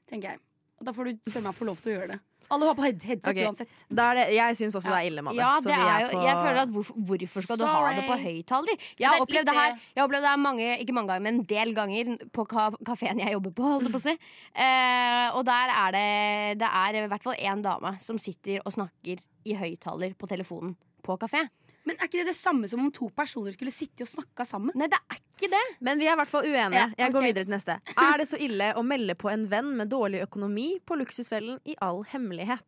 [SPEAKER 3] Tenker jeg. Og da får du søren meg få lov til å gjøre det. Alle har på head headset
[SPEAKER 5] Ok.
[SPEAKER 3] uansett.
[SPEAKER 5] Da er det, jeg syns også det er ille, Madde.
[SPEAKER 6] Ja,
[SPEAKER 5] Så
[SPEAKER 6] det
[SPEAKER 5] vi
[SPEAKER 6] er jo,
[SPEAKER 5] på-
[SPEAKER 6] jeg føler at hvorfor, hvorfor skal du ha det på
[SPEAKER 3] Sorry.
[SPEAKER 6] høyttaler? Jeg
[SPEAKER 4] Ja, det
[SPEAKER 6] har
[SPEAKER 4] er
[SPEAKER 6] opplevd
[SPEAKER 4] litt
[SPEAKER 6] det her
[SPEAKER 4] det.
[SPEAKER 6] Jeg har opplevd det her mange, ikke mange ganger, men en del ganger på ka kafeen jeg jobber på. Holdt jeg på å si. eh, og der er det Det er i hvert fall én dame som sitter og snakker i høyttaler på telefonen på kafé.
[SPEAKER 3] Men er ikke det det samme som om to personer skulle sitte og snakka sammen?
[SPEAKER 6] Nei, det er ikke det.
[SPEAKER 5] Men vi er i hvert fall uenige.
[SPEAKER 3] Ja,
[SPEAKER 5] Jeg går
[SPEAKER 3] ok.
[SPEAKER 5] videre til neste. Er det så ille å melde på en venn med dårlig økonomi på luksusfellen i all hemmelighet?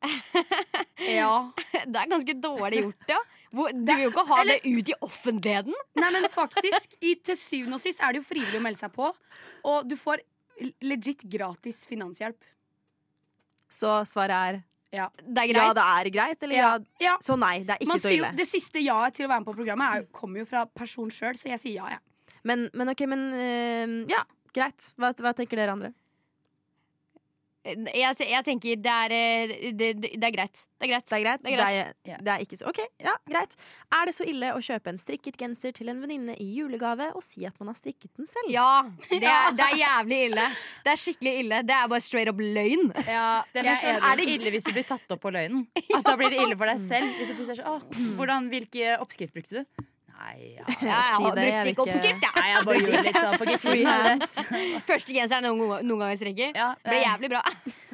[SPEAKER 3] Ja.
[SPEAKER 6] [laughs] Det er ganske dårlig gjort, ja. Hvor- Du vil jo ikke ha det ut i offentligheten.
[SPEAKER 3] Nei, men faktisk, i, til syvende og sist er det jo frivillig å melde seg på. Og du får legit gratis finanshjelp.
[SPEAKER 5] Så svaret er
[SPEAKER 3] Ja.
[SPEAKER 6] Det er greit.
[SPEAKER 5] ja, det er greit, eller ja,
[SPEAKER 3] Ja. Ja.
[SPEAKER 5] Så nei, det er ikke
[SPEAKER 3] Man
[SPEAKER 5] så
[SPEAKER 3] sier jo,
[SPEAKER 5] ille.
[SPEAKER 3] det siste jaet til å være med på programmet er, jo- kommer jo fra person sjøl, så jeg sier ja, jeg.
[SPEAKER 5] Men, men ok, men eh, ja, greit. Hva, hva tenker dere andre?
[SPEAKER 6] Jeg, jeg tenker det er, eh, det, det, det er greit. Det er greit.
[SPEAKER 5] Det er greit?
[SPEAKER 6] Det er greit.
[SPEAKER 5] Det er, det er ikke så Ok, ja, greit. Er det så ille å kjøpe en strikket genser til en venninne i julegave og si at man har strikket den selv?
[SPEAKER 6] Ja, det er, det er jævlig ille. Det er skikkelig ille. Det er bare straight up løgn.
[SPEAKER 4] Det
[SPEAKER 3] Jeg
[SPEAKER 4] blir
[SPEAKER 3] er
[SPEAKER 4] sånn, er det ille hvis du blir tatt opp på løgnen? At da blir det ille for deg selv? Hvis du plutselig er sånn, «Åh, hvordan, Hvilke oppskrift brukte du? Nei, ja.
[SPEAKER 6] Jeg
[SPEAKER 5] si
[SPEAKER 6] har
[SPEAKER 5] det, jeg
[SPEAKER 6] brukt
[SPEAKER 5] vet
[SPEAKER 6] ikke
[SPEAKER 5] ikke.
[SPEAKER 6] oppskrift, jeg.
[SPEAKER 4] Nei, jeg bare gjorde litt sånn på gefühlen. har du rett.
[SPEAKER 6] Første genseren noen, noen ganger strikker.
[SPEAKER 4] Ja,
[SPEAKER 6] Ble jævlig bra.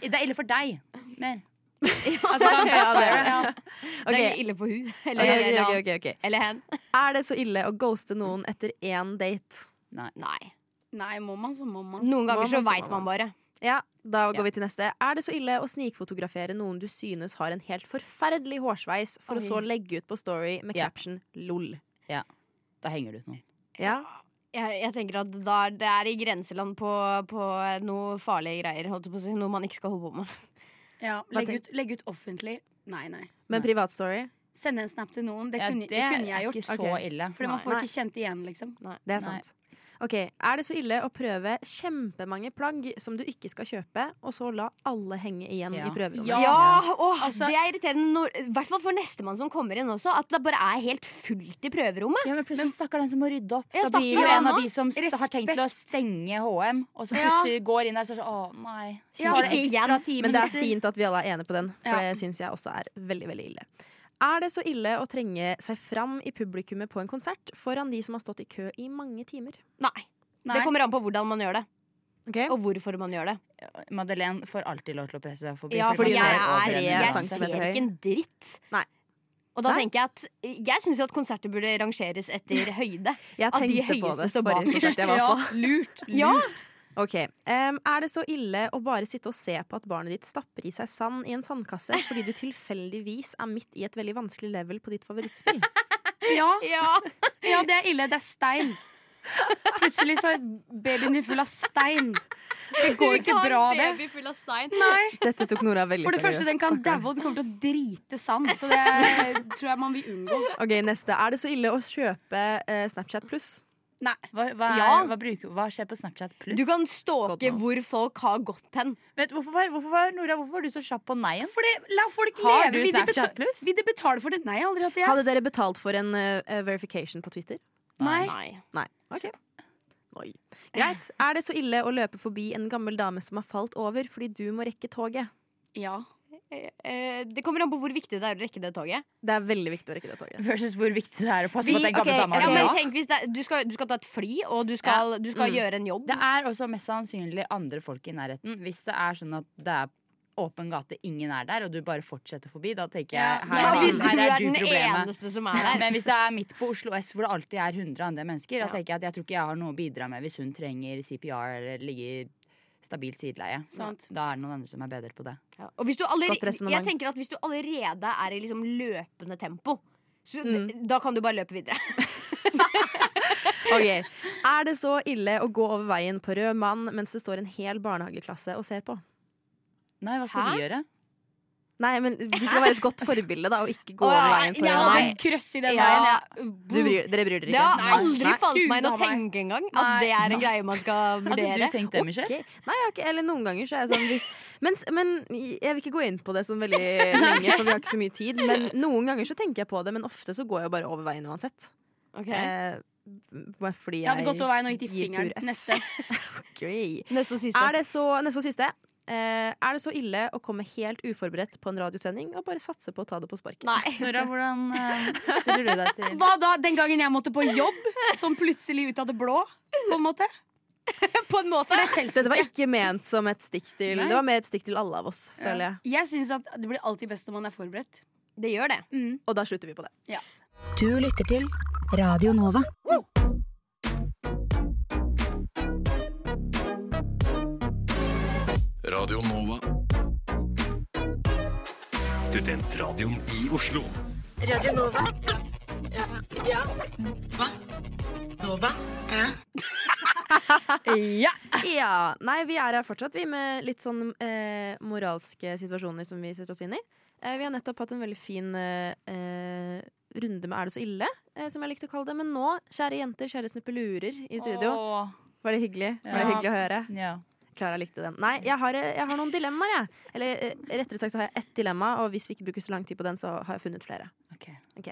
[SPEAKER 4] Det er ille for deg. Mer. At det var en
[SPEAKER 5] [laughs] Ja, det er
[SPEAKER 4] backfire.
[SPEAKER 5] det.
[SPEAKER 6] Det er
[SPEAKER 5] Ok,
[SPEAKER 6] ille for hun. Eller,
[SPEAKER 5] ok, ok,
[SPEAKER 6] eller,
[SPEAKER 5] ok, ok.
[SPEAKER 6] eller hen.
[SPEAKER 5] Er det så ille å ghoste noen etter én date?
[SPEAKER 6] Nei.
[SPEAKER 3] Nei, må man, så må man.
[SPEAKER 6] Noen ganger
[SPEAKER 5] Mamma,
[SPEAKER 6] så
[SPEAKER 5] så
[SPEAKER 6] veit
[SPEAKER 5] mamma.
[SPEAKER 6] man bare.
[SPEAKER 5] Ja, da går
[SPEAKER 6] Ja.
[SPEAKER 5] vi til neste. Er det så ille å snikfotografere noen du synes har en helt forferdelig hårsveis, for å
[SPEAKER 6] Oi.
[SPEAKER 5] så legge ut på Story med
[SPEAKER 4] Ja.
[SPEAKER 5] caption 'lol'?
[SPEAKER 4] Da henger du ut noen.
[SPEAKER 5] Ja.
[SPEAKER 6] Jeg, jeg tenker at da, er- Det er i grenseland på, på noe farlige greier. Holdt jeg på å si, noe man ikke skal holde på med.
[SPEAKER 3] Ja,
[SPEAKER 5] Hva
[SPEAKER 3] legge, ut, legge ut offentlig. Nei, nei.
[SPEAKER 5] Men
[SPEAKER 4] Nei.
[SPEAKER 5] privatstory?
[SPEAKER 3] Sende en snap til noen. Det
[SPEAKER 4] Ja,
[SPEAKER 3] kunne, det kunne jeg
[SPEAKER 4] er
[SPEAKER 3] gjort.
[SPEAKER 4] ikke så
[SPEAKER 5] Ok.
[SPEAKER 4] ille.
[SPEAKER 3] Fordi man
[SPEAKER 6] Nei.
[SPEAKER 3] får
[SPEAKER 5] Nei.
[SPEAKER 3] ikke kjent igjen, liksom.
[SPEAKER 5] Det er
[SPEAKER 4] Nei.
[SPEAKER 5] sant. Ok, Er det så ille å prøve kjempemange plagg som du ikke skal kjøpe, og så la alle henge igjen
[SPEAKER 4] Ja.
[SPEAKER 5] i prøverommet?
[SPEAKER 3] Ja.
[SPEAKER 6] Ja, åh,
[SPEAKER 3] Altså-
[SPEAKER 6] Det er irriterende, når- i hvert fall for nestemann som kommer inn også, at det bare er helt fullt i prøverommet.
[SPEAKER 4] Ja, men plutselig stakkar den som må rydde opp.
[SPEAKER 6] Ja,
[SPEAKER 4] Da blir
[SPEAKER 6] stakkar
[SPEAKER 4] jo
[SPEAKER 6] han
[SPEAKER 4] en av
[SPEAKER 6] også.
[SPEAKER 4] de som st- har tenkt til å stenge HM, og så
[SPEAKER 6] Ja.
[SPEAKER 4] plutselig går inn der og så er det sånn Å, nei. Så
[SPEAKER 6] Ja,
[SPEAKER 4] tar det
[SPEAKER 6] ikke
[SPEAKER 4] ekstra
[SPEAKER 6] igjen.
[SPEAKER 4] ti
[SPEAKER 5] Men det er
[SPEAKER 4] minutter.
[SPEAKER 5] fint at vi alle er enige på den, for
[SPEAKER 3] Ja.
[SPEAKER 5] det syns jeg også er veldig veldig ille. Er det så ille å trenge seg fram i publikummet på en konsert foran de som har stått i kø i mange timer?
[SPEAKER 6] Nei.
[SPEAKER 3] Nei.
[SPEAKER 6] Det kommer an på hvordan man gjør det,
[SPEAKER 5] Ok?
[SPEAKER 6] og hvorfor man gjør det.
[SPEAKER 4] Madeleine får alltid lov til å presse seg forbi.
[SPEAKER 6] Ja,
[SPEAKER 5] fordi
[SPEAKER 6] fordi jeg,
[SPEAKER 5] man
[SPEAKER 6] er,
[SPEAKER 5] ser
[SPEAKER 6] jeg,
[SPEAKER 5] tre
[SPEAKER 6] ser
[SPEAKER 5] centimeter høy.
[SPEAKER 6] ikke en dritt.
[SPEAKER 5] Nei.
[SPEAKER 6] Og da
[SPEAKER 5] Nei.
[SPEAKER 6] tenker jeg at Jeg syns jo at konserter burde rangeres etter høyde.
[SPEAKER 5] Jeg
[SPEAKER 6] At de
[SPEAKER 5] tenkte på
[SPEAKER 6] høyeste
[SPEAKER 5] det
[SPEAKER 6] står
[SPEAKER 5] forrige
[SPEAKER 6] bakerst.
[SPEAKER 5] konsert
[SPEAKER 6] [laughs]
[SPEAKER 5] jeg var på.
[SPEAKER 3] lurt.
[SPEAKER 6] Ja.
[SPEAKER 5] Ok, em, Er det så ille å bare sitte og se på at barnet ditt stapper i seg sand i en sandkasse fordi du tilfeldigvis er midt i et veldig vanskelig level på ditt favorittspill?
[SPEAKER 3] Ja,
[SPEAKER 6] Ja.
[SPEAKER 3] ja, det er ille. Det er stein. Plutselig så er babyen din full av stein. Det går ikke bra, det.
[SPEAKER 6] full av stein.
[SPEAKER 3] Nei.
[SPEAKER 5] [laughs] Dette tok Nora veldig
[SPEAKER 3] For det første, den kan daue, og den kommer til å drite sand. Så det tror jeg man vil unngå.
[SPEAKER 5] Ok, neste. Er det så ille å kjøpe eh, Snapchat pluss?
[SPEAKER 4] Hva, hva, er,
[SPEAKER 6] Ja.
[SPEAKER 4] hva, bruker, hva skjer på Snapchat pluss?
[SPEAKER 6] Du kan stalke
[SPEAKER 5] Godt nå.
[SPEAKER 6] hvor folk har gått hen.
[SPEAKER 4] Vet, hvorfor, var, hvorfor, var, Nora, hvorfor var du så kjapp på nei-en?
[SPEAKER 3] Fordi, la folk
[SPEAKER 4] Har
[SPEAKER 3] leve.
[SPEAKER 4] du
[SPEAKER 3] Vil de
[SPEAKER 4] Snapchat
[SPEAKER 3] beta-
[SPEAKER 4] pluss?
[SPEAKER 3] Vil de betale for det? Nei, jeg har aldri hatt det. jeg.
[SPEAKER 5] Hadde dere betalt for en eh, eh, verification på Twitter?
[SPEAKER 3] Nei.
[SPEAKER 5] Nei. Ok. Oi. Greit. Er det så ille å løpe forbi en gammel dame som har falt over fordi du må rekke toget?
[SPEAKER 3] Ja.
[SPEAKER 6] Eh, Det kommer an på hvor viktig det er å rekke det toget.
[SPEAKER 5] Det er veldig viktig å rekke det toget.
[SPEAKER 4] Versus hvor viktig det er å passe
[SPEAKER 5] Vi-
[SPEAKER 4] på at den gamle
[SPEAKER 5] ok,
[SPEAKER 4] dama
[SPEAKER 5] Er
[SPEAKER 6] Ja,
[SPEAKER 4] har
[SPEAKER 5] det
[SPEAKER 6] men
[SPEAKER 5] bra?
[SPEAKER 6] tenk hvis det er, du, skal, du skal ta et fly, og du skal, du skal
[SPEAKER 5] Mm.
[SPEAKER 6] gjøre en jobb.
[SPEAKER 4] Det er også mest sannsynlig andre folk i nærheten. Hvis det er sånn at det er åpen gate, ingen er der, og du bare fortsetter forbi, da tenker jeg her,
[SPEAKER 6] Ja,
[SPEAKER 4] er-
[SPEAKER 6] hvis du
[SPEAKER 4] her
[SPEAKER 6] er
[SPEAKER 4] er du
[SPEAKER 6] den
[SPEAKER 4] problemet.
[SPEAKER 6] eneste som er der.
[SPEAKER 4] Men hvis det er midt på Oslo S, hvor det alltid er 100 andre mennesker, da tenker jeg at jeg tror ikke jeg har noe å bidra med hvis hun trenger CPR eller ligge i stabilt sideleie.
[SPEAKER 3] Sant.
[SPEAKER 4] Da er det noen andre som er bedre på det.
[SPEAKER 6] Ja, Og hvis du allerede,
[SPEAKER 5] Godt resonemang.
[SPEAKER 6] jeg tenker at hvis du allerede er i liksom løpende tempo, så
[SPEAKER 5] Mm.
[SPEAKER 6] d- da kan du bare løpe videre.
[SPEAKER 5] Ok. Er det så ille å gå over veien på rød mann mens det står en hel barnehageklasse og ser på?
[SPEAKER 4] Nei, hva skal
[SPEAKER 6] Hæ?
[SPEAKER 4] vi gjøre?
[SPEAKER 5] Nei, men du skal være et godt forbilde, da, og ikke gå
[SPEAKER 6] Å, ja,
[SPEAKER 5] over veien på
[SPEAKER 6] ja,
[SPEAKER 5] rød
[SPEAKER 6] nei.
[SPEAKER 5] mann.
[SPEAKER 3] Krøss i den veien.
[SPEAKER 6] Ja.
[SPEAKER 3] jeg.
[SPEAKER 5] Du bryr, dere bryr dere
[SPEAKER 6] Det
[SPEAKER 5] ikke?
[SPEAKER 6] har
[SPEAKER 5] Nei.
[SPEAKER 6] aldri
[SPEAKER 5] Nei.
[SPEAKER 6] falt
[SPEAKER 3] Gud
[SPEAKER 6] meg Altså, inn å
[SPEAKER 3] a meg.
[SPEAKER 6] tenke engang at det er en greie man skal
[SPEAKER 4] Hadde du
[SPEAKER 6] vurdere.
[SPEAKER 4] tenkt det, Michelle?
[SPEAKER 5] Ok. Nei, jeg har ikke, eller noen ganger så er jeg sånn hvis, mens, Men jeg vil ikke gå inn på det
[SPEAKER 3] [laughs]
[SPEAKER 5] sånn veldig lenge, for vi har ikke så mye tid. Men noen ganger så tenker jeg på det, men ofte så går jeg jo bare over veien uansett.
[SPEAKER 6] Ok.
[SPEAKER 5] Eh, bare fordi jeg
[SPEAKER 3] Jeg hadde gått over veien og gitt i
[SPEAKER 5] gir
[SPEAKER 3] fingeren.
[SPEAKER 5] pur F.
[SPEAKER 3] Neste.
[SPEAKER 5] Ok.
[SPEAKER 6] Neste og siste.
[SPEAKER 5] Er det så, neste og siste. Eh, er det så ille å komme helt uforberedt på en radiosending og bare satse på å ta det på sparket?
[SPEAKER 6] Nei.
[SPEAKER 4] Nora, hvordan eh, stiller du deg til
[SPEAKER 3] [laughs] Hva da? Den gangen jeg måtte på jobb, sånn plutselig ut av det blå? På en måte.
[SPEAKER 6] På en måte.
[SPEAKER 5] Dette var ikke ment som et stikk til
[SPEAKER 4] Nei.
[SPEAKER 5] Det var mer et stikk til alle av oss, føler jeg.
[SPEAKER 3] Jeg syns at det blir alltid best når man er forberedt.
[SPEAKER 6] Det gjør det.
[SPEAKER 3] Mm.
[SPEAKER 5] Og da slutter vi på det.
[SPEAKER 8] Du lytter til Radio Nova.
[SPEAKER 7] Radio Nova. Studentradioen i Oslo.
[SPEAKER 5] Ja, nei, vi er her fortsatt, vi, med litt sånn eh, moralske situasjoner som vi setter oss inn i. Eh, vi har nettopp hatt en veldig fin eh, eh, runde med Er det så ille? Eh, som jeg likte å kalle det. Men nå, kjære jenter, kjære snuppelurer i studio.
[SPEAKER 4] Åh,
[SPEAKER 5] Var det hyggelig? Var det
[SPEAKER 4] Ja.
[SPEAKER 5] hyggelig å høre?
[SPEAKER 4] ja.
[SPEAKER 5] Klara likte den. Nei, jeg har, eh, jeg har noen dilemmaer, jeg. Eller eh, rettere sagt så har jeg ett dilemma, og hvis vi ikke bruker så lang tid på den, så har jeg funnet flere.
[SPEAKER 4] Ok.
[SPEAKER 5] Ok.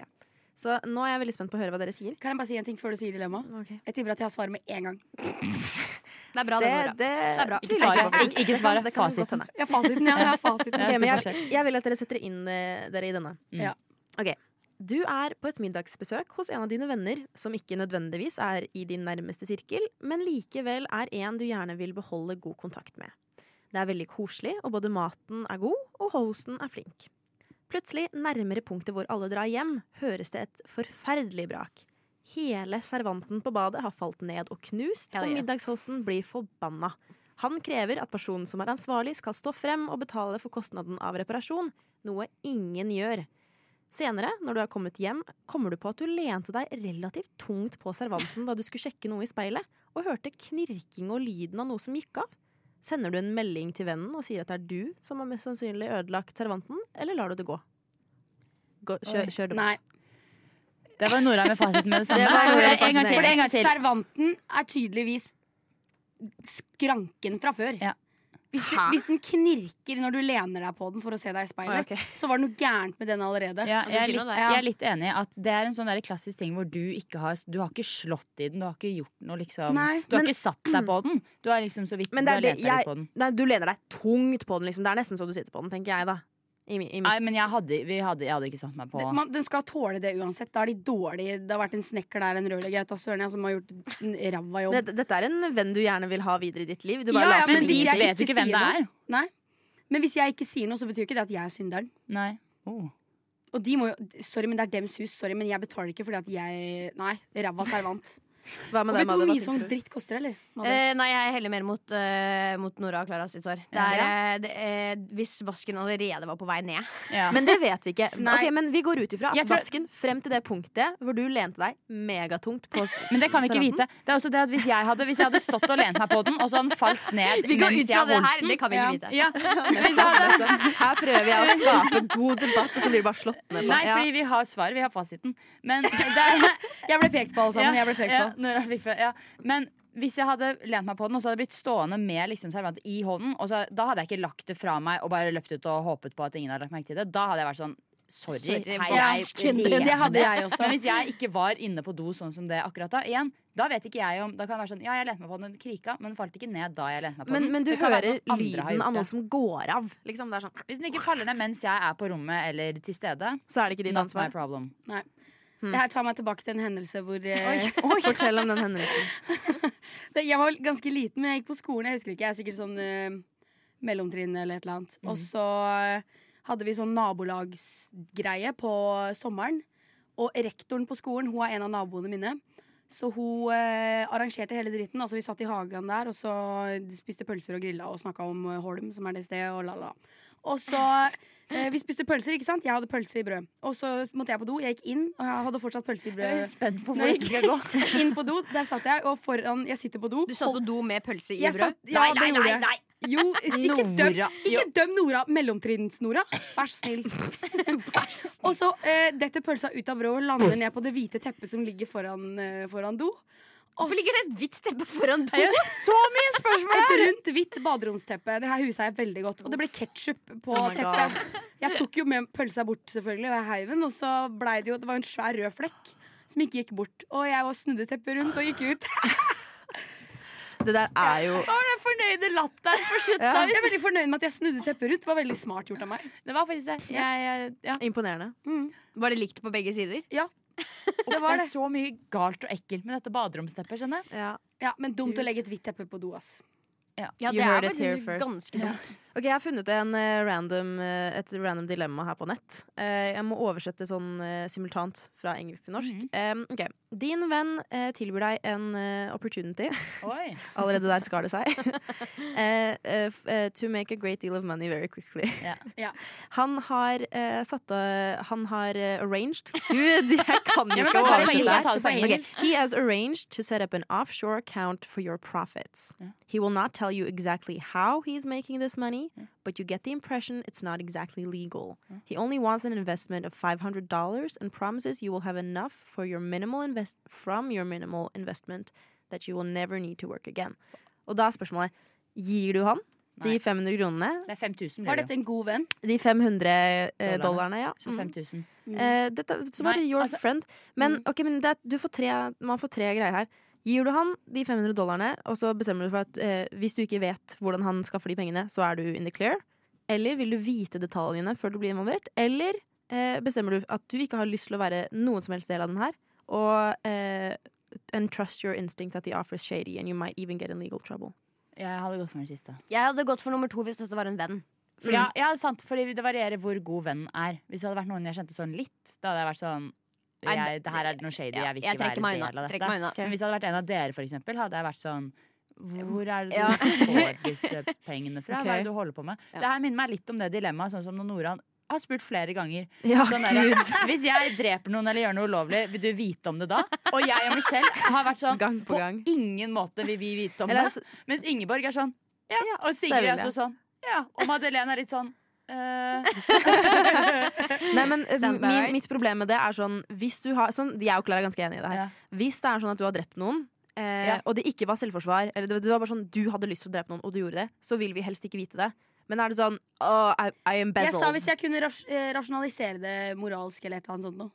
[SPEAKER 5] Så nå er jeg veldig spent på å høre hva dere sier.
[SPEAKER 3] Kan jeg bare si en ting før du sier dilemma? Jeg tipper at jeg har svaret med en gang.
[SPEAKER 6] Det er bra,
[SPEAKER 5] Det,
[SPEAKER 6] det, Nora.
[SPEAKER 5] det,
[SPEAKER 6] er bra.
[SPEAKER 4] Ikke svaret. Ikke, ikke svaret.
[SPEAKER 5] Det kan godt
[SPEAKER 4] Fasiten.
[SPEAKER 5] hende.
[SPEAKER 3] Jeg har fasiten, [laughs] ja. Jeg har fasiten.
[SPEAKER 4] Det
[SPEAKER 5] Ok,
[SPEAKER 4] er
[SPEAKER 5] men
[SPEAKER 4] stor
[SPEAKER 5] jeg, jeg vil at dere setter inn eh, dere i denne.
[SPEAKER 4] Mm.
[SPEAKER 3] Ja.
[SPEAKER 5] Ok. Du er på et middagsbesøk hos en av dine venner som ikke nødvendigvis er i din nærmeste sirkel, men likevel er en du gjerne vil beholde god kontakt med. Det er veldig koselig, og både maten er god, og hosten er flink. Plutselig, nærmere punktet hvor alle drar hjem, høres det et forferdelig brak. Hele servanten på badet har falt ned og knust,
[SPEAKER 6] Hell
[SPEAKER 5] og
[SPEAKER 6] yeah.
[SPEAKER 5] middagshosten blir forbanna. Han krever at personen som er ansvarlig, skal stå frem og betale for kostnaden av reparasjon, noe ingen gjør. Senere, når du har kommet hjem, kommer du på at du lente deg relativt tungt på servanten da du skulle sjekke noe i speilet, og hørte knirking og lyden av noe som gikk av. Sender du en melding til vennen og sier at det er du som har mest sannsynlig ødelagt servanten, eller lar du det gå? gå kjør, kjør det bort.
[SPEAKER 3] Nei.
[SPEAKER 4] Det var Nora med fasiten med det samme.
[SPEAKER 5] Det var Nora med
[SPEAKER 4] en gang til.
[SPEAKER 5] fasiten.
[SPEAKER 4] En gang til.
[SPEAKER 3] Servanten er tydeligvis skranken fra før.
[SPEAKER 4] Ja.
[SPEAKER 3] Hvis, det, hvis den knirker når du lener deg på den for å se deg i
[SPEAKER 5] Oi,
[SPEAKER 3] speilet,
[SPEAKER 5] ok.
[SPEAKER 3] så var det noe gærent med den allerede.
[SPEAKER 4] Ja, jeg, er
[SPEAKER 6] sier noe
[SPEAKER 4] litt,
[SPEAKER 6] der.
[SPEAKER 4] jeg er litt enig i at det er en sånn der klassisk ting hvor du ikke har Du har ikke slått i den, du har ikke gjort noe liksom
[SPEAKER 3] Nei,
[SPEAKER 4] Du har
[SPEAKER 5] men-
[SPEAKER 4] ikke satt deg på den. Du har liksom så vidt
[SPEAKER 5] Men
[SPEAKER 4] du
[SPEAKER 5] det
[SPEAKER 4] har
[SPEAKER 5] er det
[SPEAKER 4] lent deg litt på
[SPEAKER 5] jeg
[SPEAKER 4] den.
[SPEAKER 5] Nei, du lener deg tungt på den, liksom. Det er nesten så du sitter på den, tenker jeg, da. I, mi- i mitt-
[SPEAKER 4] Nei, men jeg hadde, vi hadde, jeg hadde ikke satt meg på
[SPEAKER 3] Det, man, den skal tåle det uansett. Da er de dårlige. Det har vært en snekker der, en rørlegger, jeg vet da søren jeg, som har gjort en ræva jobb.
[SPEAKER 5] Dette, dette er en venn du gjerne vil ha videre i ditt liv. Du
[SPEAKER 3] Ja,
[SPEAKER 5] bare
[SPEAKER 3] ja,
[SPEAKER 5] later som
[SPEAKER 3] men hvis
[SPEAKER 4] de
[SPEAKER 5] ingenting.
[SPEAKER 3] jeg
[SPEAKER 4] vet jo
[SPEAKER 3] ikke
[SPEAKER 4] ikke hvem det
[SPEAKER 3] sier
[SPEAKER 4] er.
[SPEAKER 3] Nei. Men hvis jeg ikke sier noe, så betyr jo ikke det at jeg er synderen.
[SPEAKER 4] Nei. Oh.
[SPEAKER 3] Og de må jo Sorry, men det er dems hus. Sorry, men jeg betaler ikke fordi at jeg Nei, ræva servant.
[SPEAKER 4] [laughs]
[SPEAKER 5] Hva
[SPEAKER 3] Og
[SPEAKER 5] med
[SPEAKER 3] vet du
[SPEAKER 5] deg, Madde?
[SPEAKER 3] hvor
[SPEAKER 5] Hva
[SPEAKER 3] mye
[SPEAKER 5] tenker
[SPEAKER 3] sånn
[SPEAKER 5] du?
[SPEAKER 3] dritt koster, eller? Madde?
[SPEAKER 6] Eh, nei, jeg heller mer mot, eh, mot Nora og Klara sitt svar. Det er, eh, det, eh, hvis vasken allerede var på vei ned.
[SPEAKER 4] Ja.
[SPEAKER 5] Men det vet vi ikke.
[SPEAKER 3] Nei.
[SPEAKER 5] Ok, men vi går ut ifra
[SPEAKER 4] Jeg
[SPEAKER 5] at
[SPEAKER 4] tror-
[SPEAKER 5] vasken frem til det punktet hvor du lente deg megatungt på
[SPEAKER 4] Men det kan vi ikke
[SPEAKER 5] servanten.
[SPEAKER 4] vite. Det er også det at Hvis jeg hadde, hvis jeg hadde stått og lent meg på den, og så hadde den falt ned
[SPEAKER 6] Vi går ut
[SPEAKER 4] mens jeg
[SPEAKER 6] fra
[SPEAKER 4] har
[SPEAKER 6] det
[SPEAKER 4] vondt
[SPEAKER 6] her, det kan vi ikke vite.
[SPEAKER 4] ja. Hvis jeg hadde,
[SPEAKER 5] Her prøver jeg å skape god debatt, og så blir det bare slått ned på.
[SPEAKER 4] Nei,
[SPEAKER 5] [laughs] Ja.
[SPEAKER 4] fordi vi har svaret, vi har fasiten. Men [laughs] det er
[SPEAKER 3] Jeg ble pekt på, alle sammen.
[SPEAKER 4] Ja,
[SPEAKER 3] Sånn Jeg ble pekt
[SPEAKER 4] ja,
[SPEAKER 3] på.
[SPEAKER 4] når jeg fikk fe- ja. Men hvis jeg hadde lent meg på den, og så hadde jeg blitt stående med liksom, servantet i hånden, og så, da hadde jeg ikke lagt det fra meg og bare løpt ut og håpet på at ingen hadde lagt merke til det. Da hadde jeg vært sånn Sorry.
[SPEAKER 6] Sorry,
[SPEAKER 4] hei,
[SPEAKER 6] hva-
[SPEAKER 4] jeg
[SPEAKER 3] Ja,
[SPEAKER 4] lener.
[SPEAKER 3] det hadde jeg også.
[SPEAKER 4] Men hvis jeg ikke var inne på do sånn som det akkurat da, igjen, da vet ikke jeg om Da kan det være sånn Ja, jeg lente meg på den, den krika, men den falt ikke ned da jeg lente meg på
[SPEAKER 5] Men,
[SPEAKER 4] den.
[SPEAKER 5] men du
[SPEAKER 4] Det kan være
[SPEAKER 5] hører
[SPEAKER 4] noen andre har
[SPEAKER 5] lyden
[SPEAKER 4] gjort
[SPEAKER 5] av noe
[SPEAKER 4] det.
[SPEAKER 5] som går av. Liksom, det er sånn,
[SPEAKER 4] Hvis den ikke faller ned mens jeg er på rommet eller til stede,
[SPEAKER 5] så er det ikke ditt
[SPEAKER 4] not my
[SPEAKER 5] ansvar.
[SPEAKER 4] problem.
[SPEAKER 3] Det her tar meg tilbake til en hendelse hvor eh,
[SPEAKER 5] Fortell om den hendelsen.
[SPEAKER 3] [laughs] det, Jeg var ganske liten, men jeg gikk på skolen. Jeg husker ikke, jeg er sikkert sånn eh, mellomtrinn eller et eller annet. Og så eh, hadde vi sånn nabolagsgreie på sommeren. Og rektoren på skolen, hun er en av naboene mine. Så hun eh, arrangerte hele dritten. Altså Vi satt i hagen der og så spiste pølser og grilla og snakka om eh, Holm, som er det stedet, og la-la. Og så eh, Vi spiste pølser, ikke sant? Jeg hadde pølse i brød. Og så måtte jeg på do. Jeg gikk inn, og jeg hadde fortsatt pølse i
[SPEAKER 4] Jeg er
[SPEAKER 3] brød.
[SPEAKER 4] spent på
[SPEAKER 3] Nå
[SPEAKER 4] hvor
[SPEAKER 3] gikk
[SPEAKER 4] dette skal [laughs] gå.
[SPEAKER 3] jeg inn på do, der satt jeg, og foran Jeg sitter på do.
[SPEAKER 6] Du satt på do med pølse i
[SPEAKER 3] Jeg
[SPEAKER 6] brød?
[SPEAKER 3] satt- ja,
[SPEAKER 6] nei,
[SPEAKER 3] det
[SPEAKER 6] nei, nei,
[SPEAKER 3] gjorde jeg.
[SPEAKER 6] nei!
[SPEAKER 3] Jo, ikke døm,
[SPEAKER 4] Nora.
[SPEAKER 3] ikke døm Nora. Mellomtrinns-Nora. Vær så
[SPEAKER 6] [laughs]
[SPEAKER 3] snill. Og så eh, detter pølsa ut av brødet og lander ned på det hvite teppet som ligger foran, eh, foran do. Og
[SPEAKER 6] Hvorfor ligger det et hvitt teppe foran [laughs] do?
[SPEAKER 4] Så mye spørsmål!
[SPEAKER 3] et rundt hvitt baderomsteppe. Det her huset er veldig godt. Og det ble ketsjup på
[SPEAKER 5] Oh my
[SPEAKER 3] teppet. Jeg tok jo med pølsa bort, selvfølgelig, og jeg heiv den. Og så blei det jo Det var jo en svær rød flekk som ikke gikk bort. Og jeg var snudde teppet rundt og gikk ut.
[SPEAKER 5] Det der er jo
[SPEAKER 4] Å, den fornøyde latteren på
[SPEAKER 5] Ja.
[SPEAKER 4] slutten.
[SPEAKER 3] Jeg er veldig fornøyd med at jeg snudde teppet rundt. Det var veldig smart gjort av meg.
[SPEAKER 4] Det var faktisk det. Jeg, jeg, ja.
[SPEAKER 5] imponerende.
[SPEAKER 6] Var det likt på begge sider?
[SPEAKER 4] Uff, det,
[SPEAKER 3] var
[SPEAKER 4] er
[SPEAKER 3] det.
[SPEAKER 4] så mye galt og ekkelt med dette baderomsteppet. skjønner jeg
[SPEAKER 5] Ja.
[SPEAKER 3] Ja, Men dumt å legge et hvitt teppe på do, ass.
[SPEAKER 6] Ja,
[SPEAKER 5] You
[SPEAKER 6] det er
[SPEAKER 5] heard it here
[SPEAKER 6] faktisk
[SPEAKER 5] first.
[SPEAKER 6] ganske dumt.
[SPEAKER 5] Ok, Jeg har funnet en, eh, random, eh, et random dilemma her på nett. Eh, jeg må oversette sånn eh, simultant fra engelsk til norsk.
[SPEAKER 4] Mhm.
[SPEAKER 5] Eh, ok. Din venn eh, tilbyr deg en eh, opportunity.
[SPEAKER 4] Oi.
[SPEAKER 5] Allerede der skar
[SPEAKER 4] [laughs]
[SPEAKER 5] det seg. Eh, eh, f- eh, to make a great deal of money very quickly.
[SPEAKER 4] Ja.
[SPEAKER 3] Ja.
[SPEAKER 5] Han har eh, satt av Han har eh, arranged Gud, jeg kan
[SPEAKER 4] men
[SPEAKER 5] ikke
[SPEAKER 4] kan du
[SPEAKER 5] oversette det
[SPEAKER 4] ikke
[SPEAKER 5] her.
[SPEAKER 4] ta det på
[SPEAKER 5] Ok.
[SPEAKER 4] engelsk?
[SPEAKER 5] [laughs] He has arranged to set up an offshore account for your profits. He will not tell you exactly how he is making this money, but you get the impression it's not exactly legal. He only wants an investment of $500 and promises you will have enough for your minimal invest from your minimal investment that you will never need to work again. Og da er spørsmålet Gir du han de 500 kronene?
[SPEAKER 4] Det er 5000,
[SPEAKER 3] Var
[SPEAKER 4] blir det
[SPEAKER 3] dette en god venn?
[SPEAKER 5] De 500 eh,
[SPEAKER 4] Dollarene.
[SPEAKER 5] dollarne, ja.
[SPEAKER 4] jo. Så 5000.
[SPEAKER 5] Eh, dette, så bare
[SPEAKER 4] Mm. Nei,
[SPEAKER 5] your
[SPEAKER 4] altså-
[SPEAKER 5] friend. Men, ok, men det, er- du får tre, man får tre greier her. Gir du han de 500 dollarene, og så bestemmer du for at eh, hvis du ikke vet hvordan han skaffer de pengene, så er du in the clear? Eller vil du vite detaljene før du blir involvert? Eller eh, bestemmer du at du ikke har lyst til å være noen som helst del av den her? Og eh, and trust your instinct that the offer is shady and you might even get in legal trouble.
[SPEAKER 4] Jeg hadde gått for den siste.
[SPEAKER 6] Jeg hadde gått for nummer to hvis dette var en venn.
[SPEAKER 4] Fordi, ja, ja, sant, fordi det varierer hvor god vennen er. Hvis det hadde vært noen jeg kjente sånn litt, da hadde jeg vært sånn
[SPEAKER 6] Nei,
[SPEAKER 4] jeg, Det her er noe shady. Jeg vil
[SPEAKER 6] jeg
[SPEAKER 4] ikke
[SPEAKER 6] trekker
[SPEAKER 4] være
[SPEAKER 6] meg
[SPEAKER 4] en
[SPEAKER 6] unna.
[SPEAKER 4] del av
[SPEAKER 6] trekker
[SPEAKER 4] dette.
[SPEAKER 6] meg unna.
[SPEAKER 4] Men hvis det hadde vært en av dere, for eksempel, hadde jeg vært sånn hvor er det du
[SPEAKER 6] Ja.
[SPEAKER 4] får disse pengene fra? Hva er
[SPEAKER 5] Ok.
[SPEAKER 4] det du holder på med?
[SPEAKER 6] Ja.
[SPEAKER 4] Det her minner meg litt om det dilemmaet, sånn som når Noran har spurt flere ganger.
[SPEAKER 5] [laughs] Ja,
[SPEAKER 4] Sånn der, hvis jeg dreper noen eller gjør noe ulovlig, vil du vite om det da? Og jeg og Michelle har vært sånn
[SPEAKER 5] Gang på gang.
[SPEAKER 4] ingen måte vil vi vite om
[SPEAKER 5] Eller, altså-
[SPEAKER 4] det. Mens Ingeborg er sånn ja,
[SPEAKER 5] Ja,
[SPEAKER 4] og
[SPEAKER 5] det
[SPEAKER 4] Sigrid
[SPEAKER 5] vil
[SPEAKER 4] er
[SPEAKER 5] jeg.
[SPEAKER 4] også sånn ja, og Madeleine er litt sånn eh,
[SPEAKER 5] Nei, men
[SPEAKER 3] [laughs]
[SPEAKER 5] eh,
[SPEAKER 6] Sounds about
[SPEAKER 5] min,
[SPEAKER 6] right.
[SPEAKER 5] mitt problem med det er sånn Hvis du har sånn, Jeg og Clara er ganske enige i det her.
[SPEAKER 4] Ja.
[SPEAKER 5] Hvis det er sånn at du har drept noen, eh,
[SPEAKER 4] Ja.
[SPEAKER 5] og det ikke var selvforsvar, eller det, det var bare sånn du hadde lyst til å drepe noen, og du gjorde det, så vil vi helst ikke vite det. Men er det sånn «Åh, I, I am
[SPEAKER 3] Jeg
[SPEAKER 5] bezel.
[SPEAKER 3] sa hvis jeg kunne ras eh, rasjonalisere det moralsk eller et eller annet sånt noe.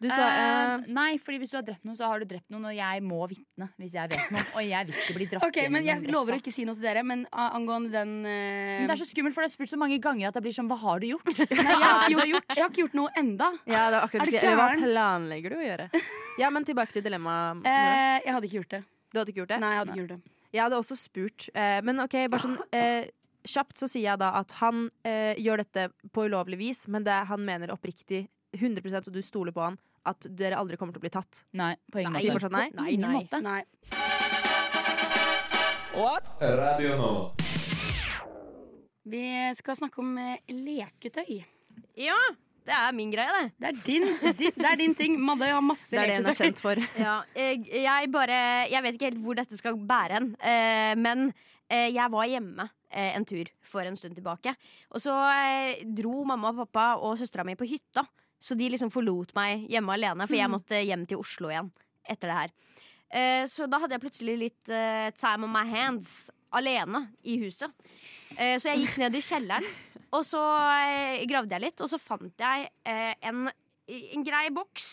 [SPEAKER 5] Du sa eh,
[SPEAKER 4] eh, Nei, fordi hvis du har drept noen, så har du drept noen, og jeg må vitne hvis jeg vet noe. Og jeg vil ikke bli dratt
[SPEAKER 3] Ok,
[SPEAKER 4] gjennom
[SPEAKER 3] men Jeg
[SPEAKER 4] en
[SPEAKER 3] lover å
[SPEAKER 4] rettssak.
[SPEAKER 3] ikke si noe til dere, men ah, angående den eh,
[SPEAKER 4] Men Det er så skummelt, for det er spurt så mange ganger at jeg blir sånn Hva har du gjort?
[SPEAKER 5] [laughs]
[SPEAKER 3] Nei, jeg har, ikke gjort, jeg har ikke gjort noe enda.
[SPEAKER 5] ja, det var akkurat,
[SPEAKER 3] Er du
[SPEAKER 5] det jeg skulle- eller
[SPEAKER 3] gæren?
[SPEAKER 5] Hva planlegger du å gjøre? Ja, men tilbake til dilemmaet. Nora.
[SPEAKER 3] [laughs] Eh, jeg hadde ikke gjort det.
[SPEAKER 5] Du hadde ikke gjort det?
[SPEAKER 3] Nei, jeg hadde ikke gjort det.
[SPEAKER 5] Jeg hadde også spurt, eh, men ok, bare [laughs] sånn eh, kjapt så sier jeg da at han eh, gjør dette på ulovlig vis, men det han mener oppriktig 100 og du stoler på han, at dere aldri kommer til å bli tatt.
[SPEAKER 4] Nei, på ingen
[SPEAKER 5] Nei. Sier
[SPEAKER 4] måte.
[SPEAKER 5] fortsatt nei?
[SPEAKER 4] På ingen måte.
[SPEAKER 3] Nei.
[SPEAKER 1] Radio Nova.
[SPEAKER 3] Vi skal snakke om eh, leketøy.
[SPEAKER 6] Ja, det er min greie, det.
[SPEAKER 3] Det er din, din, det er din ting. Madde har masse
[SPEAKER 5] Det er det hun er
[SPEAKER 3] leketøy.
[SPEAKER 5] kjent for.
[SPEAKER 6] Ja, jeg, jeg bare Jeg vet ikke helt hvor dette skal bære hen. eh, men eh, jeg var hjemme eh, en tur for en stund tilbake. Og så eh, dro mamma og pappa og søstera mi på hytta. Så de liksom forlot meg hjemme alene, for jeg måtte hjem til Oslo igjen etter det her. Eh, så da hadde jeg plutselig litt eh, time on my hands alene i huset. Eh, så jeg gikk ned i kjelleren, og så eh, gravde jeg litt, og så fant jeg eh, en, en grei boks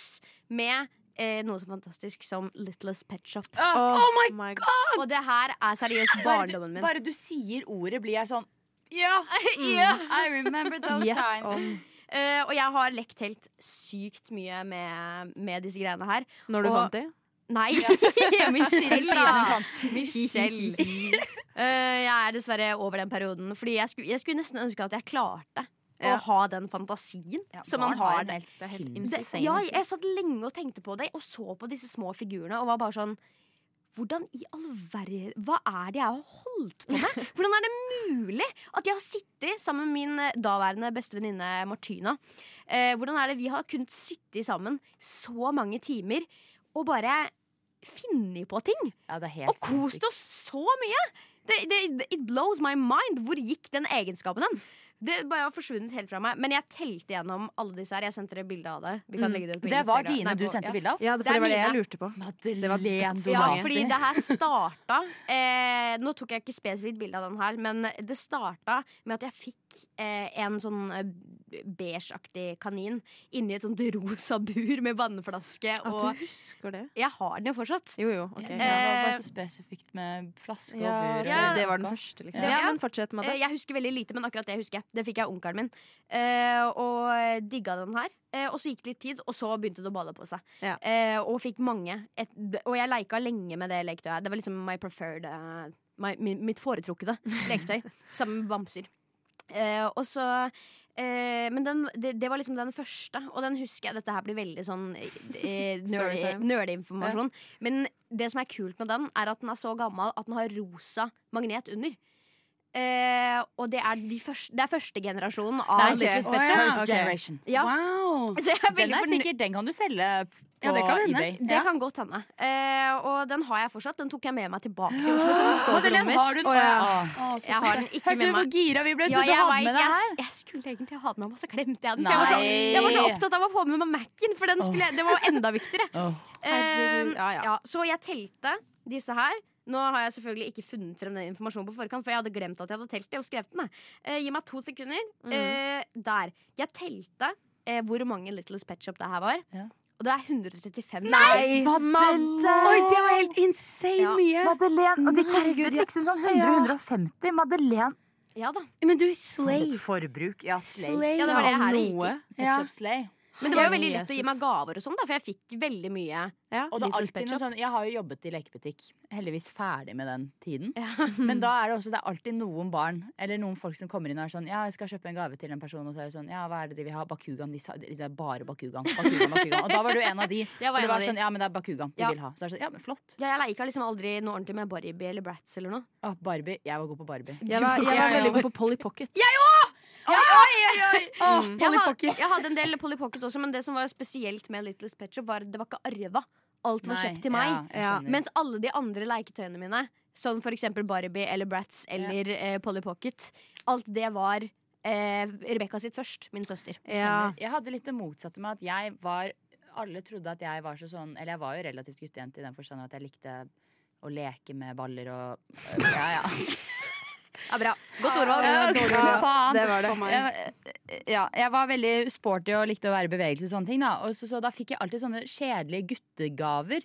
[SPEAKER 6] med eh, noe så fantastisk som Littlest Pet Shop.
[SPEAKER 5] [laughs] Oh, my, god!
[SPEAKER 6] Og det her er
[SPEAKER 4] [laughs]
[SPEAKER 6] seriøst
[SPEAKER 4] Ah, Bare du,
[SPEAKER 6] barndommen min.
[SPEAKER 4] bare du sier ordet, blir jeg sånn
[SPEAKER 5] [laughs]
[SPEAKER 4] Ja! I remember those
[SPEAKER 5] Gjett
[SPEAKER 4] times.
[SPEAKER 5] om
[SPEAKER 6] Eh, og jeg har lekt helt sykt mye med, med disse greiene her.
[SPEAKER 5] når du
[SPEAKER 6] Og-
[SPEAKER 5] fant de.
[SPEAKER 6] Nei, [laughs] Michelle, da! Michelle. [laughs] Eh, jeg er dessverre over den perioden. Fordi jeg skulle, jeg skulle nesten ønske at jeg klarte å ha den fantasien som man har.
[SPEAKER 4] det.
[SPEAKER 6] der.
[SPEAKER 4] Helt sinnssykt.
[SPEAKER 6] Det,
[SPEAKER 5] Insane.
[SPEAKER 6] ja, jeg satt lenge og tenkte på det, og så på disse små figurene og var bare sånn hvordan i all verden Hva er det jeg har holdt på med? Hvordan er det mulig at jeg har sittet sammen med min eh, daværende beste venninne Martina? Eh, hvordan er det vi har kunnet sitte sammen så mange timer og bare finne på ting?
[SPEAKER 4] Ja, det er helt
[SPEAKER 6] og kost
[SPEAKER 4] sinnssykt.
[SPEAKER 6] oss så mye! Det, det, it blows my mind. Hvor gikk den egenskapen hen? Det bare har forsvunnet helt fra meg. Men jeg telte gjennom alle disse her. Jeg sendte dere bilde av det. Vi kan legge det ut på
[SPEAKER 4] Mm. Det var
[SPEAKER 6] Instagram.
[SPEAKER 4] dine
[SPEAKER 6] Nei,
[SPEAKER 4] du
[SPEAKER 6] på-
[SPEAKER 4] sendte
[SPEAKER 6] ja.
[SPEAKER 4] bilde av?
[SPEAKER 5] Ja, det, for
[SPEAKER 6] Det er
[SPEAKER 5] det var det jeg
[SPEAKER 6] mine.
[SPEAKER 5] lurte på.
[SPEAKER 4] Madeleine.
[SPEAKER 5] dødsmange.
[SPEAKER 6] Ja, fordi det her starta eh, Nå tok jeg ikke spesifikt bilde av den her, men det starta med at jeg fikk eh, en sånn eh, beigeaktig kanin inni et sånt rosa bur med vannflaske
[SPEAKER 5] At
[SPEAKER 6] og
[SPEAKER 5] du husker det.
[SPEAKER 6] Jeg har den jo fortsatt.
[SPEAKER 5] Jo, jo. ok.
[SPEAKER 4] Det var
[SPEAKER 6] Eh,
[SPEAKER 4] bare så spesifikt med flaske og
[SPEAKER 5] Ja,
[SPEAKER 4] bur.
[SPEAKER 5] det,
[SPEAKER 6] Ja.
[SPEAKER 5] det var den første, liksom.
[SPEAKER 6] Ja.
[SPEAKER 5] Ja, men fortsett med
[SPEAKER 6] Eh,
[SPEAKER 5] det.
[SPEAKER 6] Jeg husker veldig lite, men akkurat det husker jeg. Det fikk jeg av onkelen min. Eh, og digga den her. Eh, og så gikk det litt tid, og så begynte det å balle på seg.
[SPEAKER 5] Ja.
[SPEAKER 6] Eh, og fikk mange. Et, og jeg leika lenge med det leketøyet. Det var liksom my preferred eh, my, mi- Mitt
[SPEAKER 5] [laughs]
[SPEAKER 6] foretrukne leketøy. sammen med bamser. Eh, og så eh, Men den, det, det var liksom den første, og den husker jeg. Dette her blir veldig sånn
[SPEAKER 5] [laughs]
[SPEAKER 6] eh, nerdy-
[SPEAKER 5] Storytime.
[SPEAKER 6] nerdeinformasjon. Men det som er kult med den, er at den er så gammel at den har rosa magnet under. Eh, og det er, de første, det er første generasjonen av
[SPEAKER 4] Nei,
[SPEAKER 6] Little
[SPEAKER 4] ok.
[SPEAKER 3] Å,
[SPEAKER 6] Spet
[SPEAKER 3] ja.
[SPEAKER 6] Shop.
[SPEAKER 4] First
[SPEAKER 5] Ok.
[SPEAKER 4] generation.
[SPEAKER 6] Ja.
[SPEAKER 3] Wow!
[SPEAKER 6] Så jeg er
[SPEAKER 4] Den
[SPEAKER 6] veldig
[SPEAKER 4] er
[SPEAKER 6] fornøyd.
[SPEAKER 4] sikkert, den kan du selge på
[SPEAKER 3] Ja, det kan hende.
[SPEAKER 4] eBay.
[SPEAKER 6] Det kan godt hende. Eh, og den har jeg fortsatt. Den tok jeg med meg tilbake til Oslo. Så den står på rommet
[SPEAKER 4] Madeleine,
[SPEAKER 6] mitt.
[SPEAKER 4] har du den?
[SPEAKER 5] Å, ja.
[SPEAKER 4] Åh.
[SPEAKER 6] Jeg har den ikke
[SPEAKER 4] Hørte du
[SPEAKER 6] med
[SPEAKER 4] hvor
[SPEAKER 6] meg.
[SPEAKER 4] gira vi ble?
[SPEAKER 6] Ja,
[SPEAKER 4] Trodde du
[SPEAKER 6] jeg,
[SPEAKER 4] hadde
[SPEAKER 6] vet,
[SPEAKER 4] med deg
[SPEAKER 6] jeg,
[SPEAKER 4] her?
[SPEAKER 6] jeg skulle egentlig ha den med meg, så glemte jeg den. For jeg var, så, jeg var så
[SPEAKER 4] Nei.
[SPEAKER 6] opptatt av å få med meg Mac-en, for den skulle, jeg- det var jo enda viktigere.
[SPEAKER 5] Herregud.
[SPEAKER 6] Eh,
[SPEAKER 5] Ja, ja.
[SPEAKER 6] ja, så jeg telte disse her. Nå har jeg selvfølgelig ikke funnet frem den informasjonen på forkant, for jeg hadde glemt at jeg hadde telt det og skrevet den. jeg. Eh, gi meg to sekunder. Eh, der. Jeg telte eh, hvor mange Little Pet Shop det her var.
[SPEAKER 4] Ja.
[SPEAKER 6] Og det er 135.
[SPEAKER 3] Oi, det var helt insane
[SPEAKER 6] Ja.
[SPEAKER 3] mye!
[SPEAKER 4] Madeleine, og de kostet liksom sånn 100-150. Madeleine
[SPEAKER 6] Ja da.
[SPEAKER 3] Men du, Slay.
[SPEAKER 4] Forbruk. Ja, slay.
[SPEAKER 3] Slay
[SPEAKER 6] Ja, det var det
[SPEAKER 3] ja.
[SPEAKER 6] her det gikk i.
[SPEAKER 5] Noe.
[SPEAKER 4] Ketchup slay.
[SPEAKER 6] Men det var jo
[SPEAKER 5] Herre
[SPEAKER 6] veldig lett å gi
[SPEAKER 5] Jesus.
[SPEAKER 6] meg gaver og sånn, da, for jeg fikk veldig mye.
[SPEAKER 4] Og det er
[SPEAKER 6] Litt hos
[SPEAKER 4] alltid
[SPEAKER 6] Pet
[SPEAKER 4] noe
[SPEAKER 6] Shop.
[SPEAKER 4] sånn, jeg har jo jobbet i lekebutikk, heldigvis ferdig med den tiden.
[SPEAKER 6] Ja.
[SPEAKER 4] [laughs] Men da er det også det er alltid noen barn eller noen folk som kommer inn og er sånn Ja, jeg skal kjøpe en gave til en person, og så er det sånn Ja, hva er det de vil ha? Bakugan. De, sa, de det er bare bakugan. bakugan, bakugan. Og da var du en av de.
[SPEAKER 6] Jeg var
[SPEAKER 4] Og
[SPEAKER 6] en
[SPEAKER 4] det
[SPEAKER 6] av
[SPEAKER 4] var
[SPEAKER 6] de.
[SPEAKER 4] sånn, ja, men det er bakugan de
[SPEAKER 6] Ja.
[SPEAKER 4] vil ha. Så er det sånn, ja, men flott.
[SPEAKER 6] Ja, jeg leika liksom aldri noe ordentlig med Barbie eller Bratz eller noe.
[SPEAKER 4] Å, Barbie. Jeg var god på Barbie.
[SPEAKER 5] Jeg var, jeg var veldig god på Polly Pocket. Mm.
[SPEAKER 6] Jeg,
[SPEAKER 3] Polly
[SPEAKER 6] had,
[SPEAKER 3] Pocket.
[SPEAKER 6] jeg hadde en del Polly Pocket også, men det som var spesielt med Little Pet Shop, var at det var ikke arva. Alt var
[SPEAKER 4] Nei,
[SPEAKER 6] kjøpt til meg.
[SPEAKER 4] ja, jeg skjønner.
[SPEAKER 6] Mens alle de andre leketøyene mine, som for eksempel Barbie eller Bratz eller eh, Polly Pocket, alt det var eh, Rebekka sitt først. Min søster.
[SPEAKER 5] Ja.
[SPEAKER 4] Jeg hadde litt det motsatte med at jeg var Alle trodde at jeg var så sånn Eller jeg var jo relativt guttejente i den forstand at jeg likte å leke med baller
[SPEAKER 6] [laughs]
[SPEAKER 4] og Ja, ja.
[SPEAKER 6] Ja, bra. Godt ordvalg.
[SPEAKER 4] Ja,
[SPEAKER 6] Dårlig
[SPEAKER 4] ja,
[SPEAKER 6] ordvalg.
[SPEAKER 4] faen.
[SPEAKER 5] Det var det.
[SPEAKER 4] Jeg, eh, ja, jeg var veldig sporty og likte å være i bevegelse og sånne ting. Da. Og så, så da fikk jeg alltid sånne kjedelige guttegaver.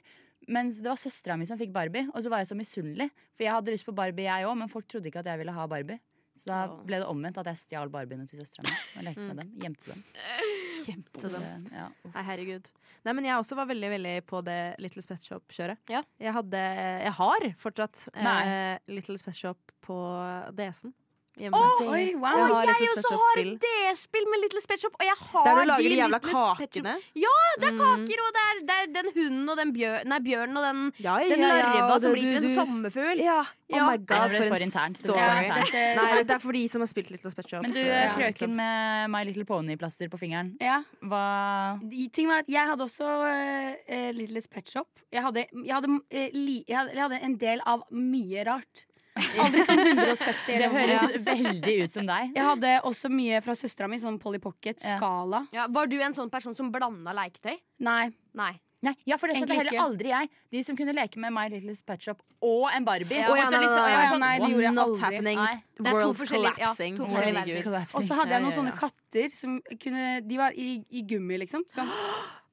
[SPEAKER 4] Mens det var søstera mi som fikk Barbie, og så var jeg så misunnelig. For jeg hadde lyst på Barbie, jeg òg, men folk trodde ikke at jeg ville ha Barbie. Så da ble det omvendt at jeg stjal Barbiene til søstera mi og lekte med dem. Gjemte dem.
[SPEAKER 5] Så det-
[SPEAKER 4] Ja.
[SPEAKER 5] Nei, herregud. Nei, men jeg også var veldig veldig på det Little Pet Shop-kjøret.
[SPEAKER 6] Ja.
[SPEAKER 5] Jeg hadde Jeg har fortsatt eh,
[SPEAKER 4] Nei.
[SPEAKER 5] Little Pet Shop på DS-en. Hjemme.
[SPEAKER 3] Oi,
[SPEAKER 5] Jeg
[SPEAKER 3] wow.
[SPEAKER 5] har
[SPEAKER 6] Jeg
[SPEAKER 5] Little Pet
[SPEAKER 6] også har
[SPEAKER 5] Shop-spill.
[SPEAKER 6] DS-spill med Little Pet Shop, og jeg har
[SPEAKER 5] Der du lager de
[SPEAKER 6] de
[SPEAKER 5] jævla
[SPEAKER 6] Little Pet Shop-
[SPEAKER 5] kakene. Mm.
[SPEAKER 6] Ja, det er kaker, og det er, det er den hunden og den bjør, nei, bjørnen og den,
[SPEAKER 5] Ja, ja,
[SPEAKER 6] den
[SPEAKER 5] ja,
[SPEAKER 6] larva
[SPEAKER 5] og
[SPEAKER 6] som
[SPEAKER 5] det-
[SPEAKER 6] blir
[SPEAKER 5] du-
[SPEAKER 6] til en
[SPEAKER 5] du-
[SPEAKER 6] sommerfugl.
[SPEAKER 5] Ja.
[SPEAKER 6] Ja.
[SPEAKER 5] Oh
[SPEAKER 4] Nei,
[SPEAKER 5] my god,
[SPEAKER 4] det
[SPEAKER 5] for
[SPEAKER 4] ble for
[SPEAKER 5] en
[SPEAKER 4] internt. Det ble
[SPEAKER 5] story.
[SPEAKER 4] for
[SPEAKER 5] Nei,
[SPEAKER 4] internt.
[SPEAKER 5] det er for de som har spilt Little Pet Shop.
[SPEAKER 4] Men du, eh,
[SPEAKER 5] Ja.
[SPEAKER 4] frøken med My Little Pony plaster på fingeren,
[SPEAKER 3] Ja.
[SPEAKER 4] hva
[SPEAKER 3] De ting var at Jeg hadde også uh, Littles Pet Shop. Jeg hadde, jeg, hadde, eh, li, jeg, hadde, jeg hadde en del av mye rart. Aldri sånn 170
[SPEAKER 4] Det
[SPEAKER 3] eller noe.
[SPEAKER 4] høres veldig ut som deg.
[SPEAKER 3] Jeg hadde også mye fra søstera mi, sånn Polly
[SPEAKER 4] Ja.
[SPEAKER 3] Pocket-skala.
[SPEAKER 6] Ja, var du en sånn person som blanda leketøy?
[SPEAKER 3] Nei.
[SPEAKER 6] Nei.
[SPEAKER 4] Nei, ja, for det skjønte
[SPEAKER 3] Egentlig
[SPEAKER 4] heller aldri jeg. De som kunne leke med My Little Pet Shop og en Barbie.
[SPEAKER 5] Å,
[SPEAKER 4] Og
[SPEAKER 5] ja,
[SPEAKER 4] så
[SPEAKER 5] nei,
[SPEAKER 4] litt sånn-
[SPEAKER 5] nei,
[SPEAKER 4] og jeg var
[SPEAKER 3] nei,
[SPEAKER 4] sånn,
[SPEAKER 3] nei, det
[SPEAKER 4] what?
[SPEAKER 3] gjorde jeg
[SPEAKER 5] Not
[SPEAKER 3] aldri.
[SPEAKER 5] happening.
[SPEAKER 4] Nei.
[SPEAKER 6] Det er to
[SPEAKER 5] World's
[SPEAKER 6] forskjellige- ja, to
[SPEAKER 5] collapsing.
[SPEAKER 6] forskjellige
[SPEAKER 5] World's
[SPEAKER 6] verdener.
[SPEAKER 5] collapsing.
[SPEAKER 3] Og så hadde jeg
[SPEAKER 5] Ja,
[SPEAKER 3] noen
[SPEAKER 5] ja,
[SPEAKER 3] sånne
[SPEAKER 5] ja.
[SPEAKER 3] katter som kunne De var i, i gummi, liksom. Kan-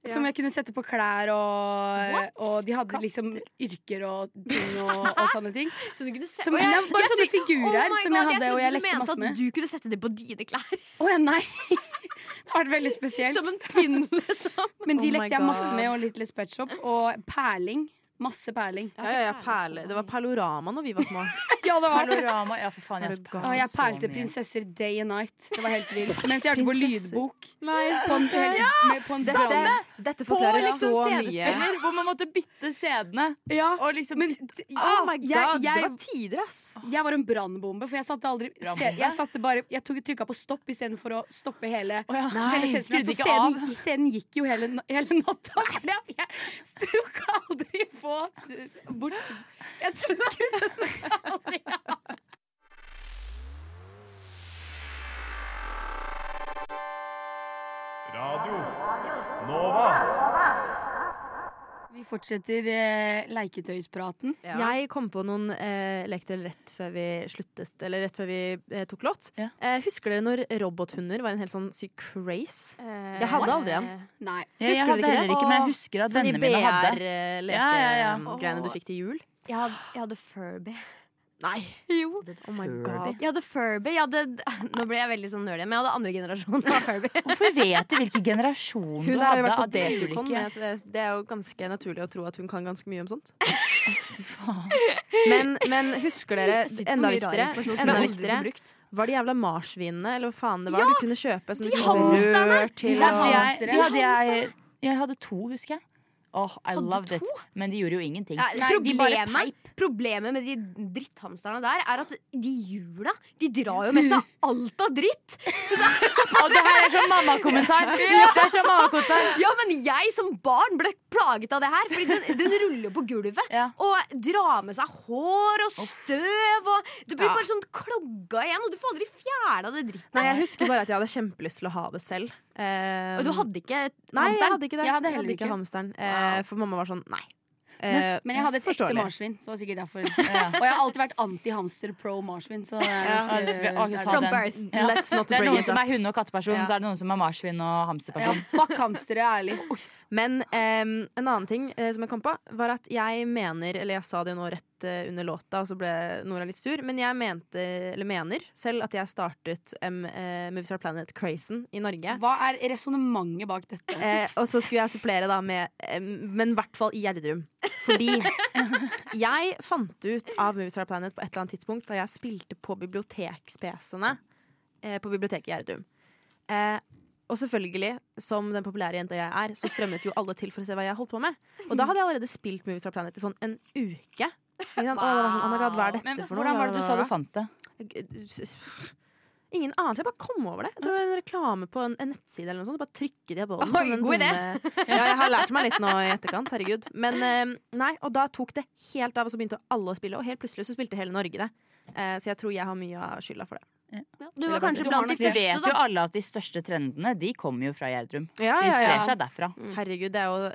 [SPEAKER 3] Som jeg kunne sette på klær, og,
[SPEAKER 4] What?
[SPEAKER 3] og de hadde liksom yrker og ting og, og sånne ting.
[SPEAKER 6] Så du kunne se
[SPEAKER 3] Som,
[SPEAKER 6] Å, jeg-
[SPEAKER 3] ja, bare
[SPEAKER 6] jeg
[SPEAKER 3] sånne
[SPEAKER 6] tenkte-
[SPEAKER 3] figurer
[SPEAKER 6] Oh my
[SPEAKER 3] som jeg hadde,
[SPEAKER 6] God,
[SPEAKER 3] og
[SPEAKER 6] trodde
[SPEAKER 3] jeg
[SPEAKER 6] du
[SPEAKER 3] lekte
[SPEAKER 6] mente
[SPEAKER 3] masse
[SPEAKER 6] at
[SPEAKER 3] med.
[SPEAKER 6] du kunne sette det på dine [laughs] klær.
[SPEAKER 3] Å ja, nei! [laughs] Det har vært veldig spesielt.
[SPEAKER 6] Som en pinn, [laughs] liksom.
[SPEAKER 3] Men de
[SPEAKER 5] Oh my
[SPEAKER 3] lekte jeg masse
[SPEAKER 5] God.
[SPEAKER 3] med, og Little Pet Shop. Og perling. Masse perling.
[SPEAKER 5] Ja, ja, ja, perle. Det var Perlorama når vi var små.
[SPEAKER 3] Ja, det var
[SPEAKER 4] Panorama. Ja, for faen. Jeg,
[SPEAKER 5] Er du
[SPEAKER 4] sparer
[SPEAKER 5] gal?
[SPEAKER 3] Og jeg
[SPEAKER 4] så
[SPEAKER 3] perlte
[SPEAKER 4] mye.
[SPEAKER 3] prinsesser day and night. Det var helt vilt. Mens jeg hørte på
[SPEAKER 5] Prinsesser.
[SPEAKER 3] lydbok.
[SPEAKER 5] Nei,
[SPEAKER 3] På en, helt, med, på en
[SPEAKER 5] dette, dette
[SPEAKER 4] På
[SPEAKER 5] forklarer
[SPEAKER 4] liksom
[SPEAKER 5] så mye.
[SPEAKER 4] CD-spiller, hvor man måtte bytte CD-ene.
[SPEAKER 3] Ja,
[SPEAKER 4] Og liksom
[SPEAKER 3] men
[SPEAKER 4] bytte-
[SPEAKER 5] Oh my god,
[SPEAKER 3] jeg,
[SPEAKER 5] det
[SPEAKER 3] jeg,
[SPEAKER 5] var tider, ass.
[SPEAKER 3] jeg var en brannbombe, for jeg satte aldri se,
[SPEAKER 4] Brannbombe?
[SPEAKER 3] Jeg, satte bare, jeg tok trykka på stopp istedenfor å stoppe hele
[SPEAKER 4] Å ja.
[SPEAKER 3] Hele
[SPEAKER 4] Nei,
[SPEAKER 3] scenen,
[SPEAKER 4] skrudde
[SPEAKER 3] så
[SPEAKER 4] ikke av.
[SPEAKER 3] scenen, scenen gikk jo hele, na- hele natta. [laughs] Fordi at jeg tok aldri på bort Jeg
[SPEAKER 4] [laughs]
[SPEAKER 3] tok skrudde den aldri av.
[SPEAKER 1] Radio Nova.
[SPEAKER 3] Vi fortsetter eh, leketøyspraten.
[SPEAKER 5] Jeg kom på noen eh, leketøy rett før vi sluttet, eller rett før vi eh, tok låt.
[SPEAKER 4] Ja.
[SPEAKER 5] Eh, husker dere når robothunder var en helt sånn syk craze?
[SPEAKER 6] Jeg
[SPEAKER 4] Eh,
[SPEAKER 5] Jeg hadde aldri en.
[SPEAKER 3] Nei.
[SPEAKER 4] Jeg, jeg hadde
[SPEAKER 5] Husker du ikke
[SPEAKER 4] heller
[SPEAKER 5] det?
[SPEAKER 4] ikke, men jeg
[SPEAKER 5] Åh,
[SPEAKER 4] husker at
[SPEAKER 5] Sånn de
[SPEAKER 4] vennene mine hadde.
[SPEAKER 5] BR-lekegreiene
[SPEAKER 4] Ja, ja, ja.
[SPEAKER 5] du fikk til jul?
[SPEAKER 6] Jeg hadde, jeg hadde Furby.
[SPEAKER 5] Nei!
[SPEAKER 6] Jo.
[SPEAKER 5] Oh my
[SPEAKER 4] Furby.
[SPEAKER 5] god.
[SPEAKER 6] Jeg hadde Furby. Jeg hadde, [laughs] nå ble jeg veldig sånn nerdy, men jeg hadde andre generasjon av [laughs] Furby.
[SPEAKER 4] Hvorfor vet du hvilken generasjon
[SPEAKER 5] Hun
[SPEAKER 4] du
[SPEAKER 5] der har jo
[SPEAKER 4] hadde
[SPEAKER 5] vært på
[SPEAKER 4] av de
[SPEAKER 5] Desicon.
[SPEAKER 4] ulike?
[SPEAKER 5] men jeg- Det er jo ganske naturlig å tro at hun kan ganske mye om
[SPEAKER 4] [laughs]
[SPEAKER 5] sånt. Men, men husker dere, enda viktigere, enda viktigere var de jævla marsvinene, eller hva faen det var, du kunne kjøpe som du kunne
[SPEAKER 6] hamsterne!
[SPEAKER 5] rør
[SPEAKER 3] De
[SPEAKER 5] til og
[SPEAKER 4] hadde jeg,
[SPEAKER 3] hamstere.
[SPEAKER 4] de hadde jeg, jeg hadde to, husker jeg. Åh, I loved it. Men de gjorde jo ingenting.
[SPEAKER 6] Ja,
[SPEAKER 3] Nei, de bare
[SPEAKER 6] problemet, problemet med de dritthamsterne der er at de hjula De drar jo med
[SPEAKER 4] [laughs]
[SPEAKER 6] seg alt av dritt. Så det er,
[SPEAKER 4] Og det her er sånn
[SPEAKER 6] [laughs]
[SPEAKER 4] mammakommentar! Det er sånn mammakommentar.
[SPEAKER 6] ja, men jeg som barn ble plaget av det her, Fordi den, den ruller jo på gulvet.
[SPEAKER 4] Ja.
[SPEAKER 6] Og drar med seg hår og støv, og det blir bare sånn klogga igjen. Og du får aldri fjerna det
[SPEAKER 5] Nei, jeg
[SPEAKER 6] drittet.
[SPEAKER 5] husker bare at jeg hadde kjempelyst til å ha det selv. Eh,
[SPEAKER 6] Og du hadde ikke
[SPEAKER 5] Nei, jeg
[SPEAKER 6] hamsteren?
[SPEAKER 5] hadde ikke det.
[SPEAKER 3] Jeg hadde heller ikke.
[SPEAKER 5] hamsteren. Eh, For mamma var sånn, nei. Eh,
[SPEAKER 3] Men jeg hadde et ekte
[SPEAKER 5] forståelig.
[SPEAKER 3] marsvin. Så det var sikkert
[SPEAKER 4] [laughs]
[SPEAKER 3] derfor Og jeg har alltid vært anti-hamster, pro marsvin. Så det er nok,
[SPEAKER 4] Ja, det-
[SPEAKER 3] eh,
[SPEAKER 4] å, ta
[SPEAKER 3] derfor.
[SPEAKER 6] From
[SPEAKER 4] den.
[SPEAKER 6] birth.
[SPEAKER 4] Ja.
[SPEAKER 5] Let's not
[SPEAKER 4] Det er
[SPEAKER 5] bring
[SPEAKER 4] noen
[SPEAKER 5] it
[SPEAKER 4] som
[SPEAKER 5] up.
[SPEAKER 4] er hunde- og katteperson,
[SPEAKER 5] Ja.
[SPEAKER 4] så er det noen som er marsvin og
[SPEAKER 3] ja,
[SPEAKER 4] hamsterperson.
[SPEAKER 3] Fuck hamstere, ærlig.
[SPEAKER 5] ehm, Men eh, en annen ting eh, som jeg kom på, var at jeg mener, eller jeg sa det nå rett ute under låta, og så ble Nora litt sur. Men jeg mente, eller mener selv at jeg startet um, eh, Movies Are Planet Crazen i Norge.
[SPEAKER 3] Hva er resonnementet bak dette?
[SPEAKER 5] Eh, og så skulle jeg supplere da med eh, Men i hvert fall i Gjerdrum. Fordi
[SPEAKER 4] [laughs]
[SPEAKER 5] jeg fant ut av Moviestar Planet på et eller annet tidspunkt da jeg spilte på biblioteks-PC-ene eh, på biblioteket i Gjerdrum. Eh, og selvfølgelig, som den populære jenta jeg er, så strømmet jo alle til for å se hva jeg holdt på med. Og da hadde jeg allerede spilt Moviestar Planet i sånn en uke. Ikke sant? Og det var sånn, oh my God, hva er dette
[SPEAKER 4] Men
[SPEAKER 5] for noe?
[SPEAKER 4] hvordan var det du sa du fant det?
[SPEAKER 5] Ingen anelse. Jeg bare kom over det. Jeg tror det var en reklame på en, en nettside eller noe sånt. Så bare trykket jeg på den.
[SPEAKER 6] Oi,
[SPEAKER 5] som den
[SPEAKER 6] god
[SPEAKER 5] dumme- ja, jeg har lært meg litt nå i etterkant. Herregud. Men eh, nei, og da tok det helt av, og så begynte alle å spille. Og helt plutselig så spilte hele Norge det. Eh, så jeg tror jeg har mye av skylda for det.
[SPEAKER 6] Du var kanskje
[SPEAKER 4] Du
[SPEAKER 6] blant de første,
[SPEAKER 4] vet jo
[SPEAKER 6] da.
[SPEAKER 4] alle at de største trendene De kommer jo fra Gjerdrum.
[SPEAKER 5] Ja,
[SPEAKER 4] De sprer seg derfra.
[SPEAKER 5] Mm. Herregud, det er jo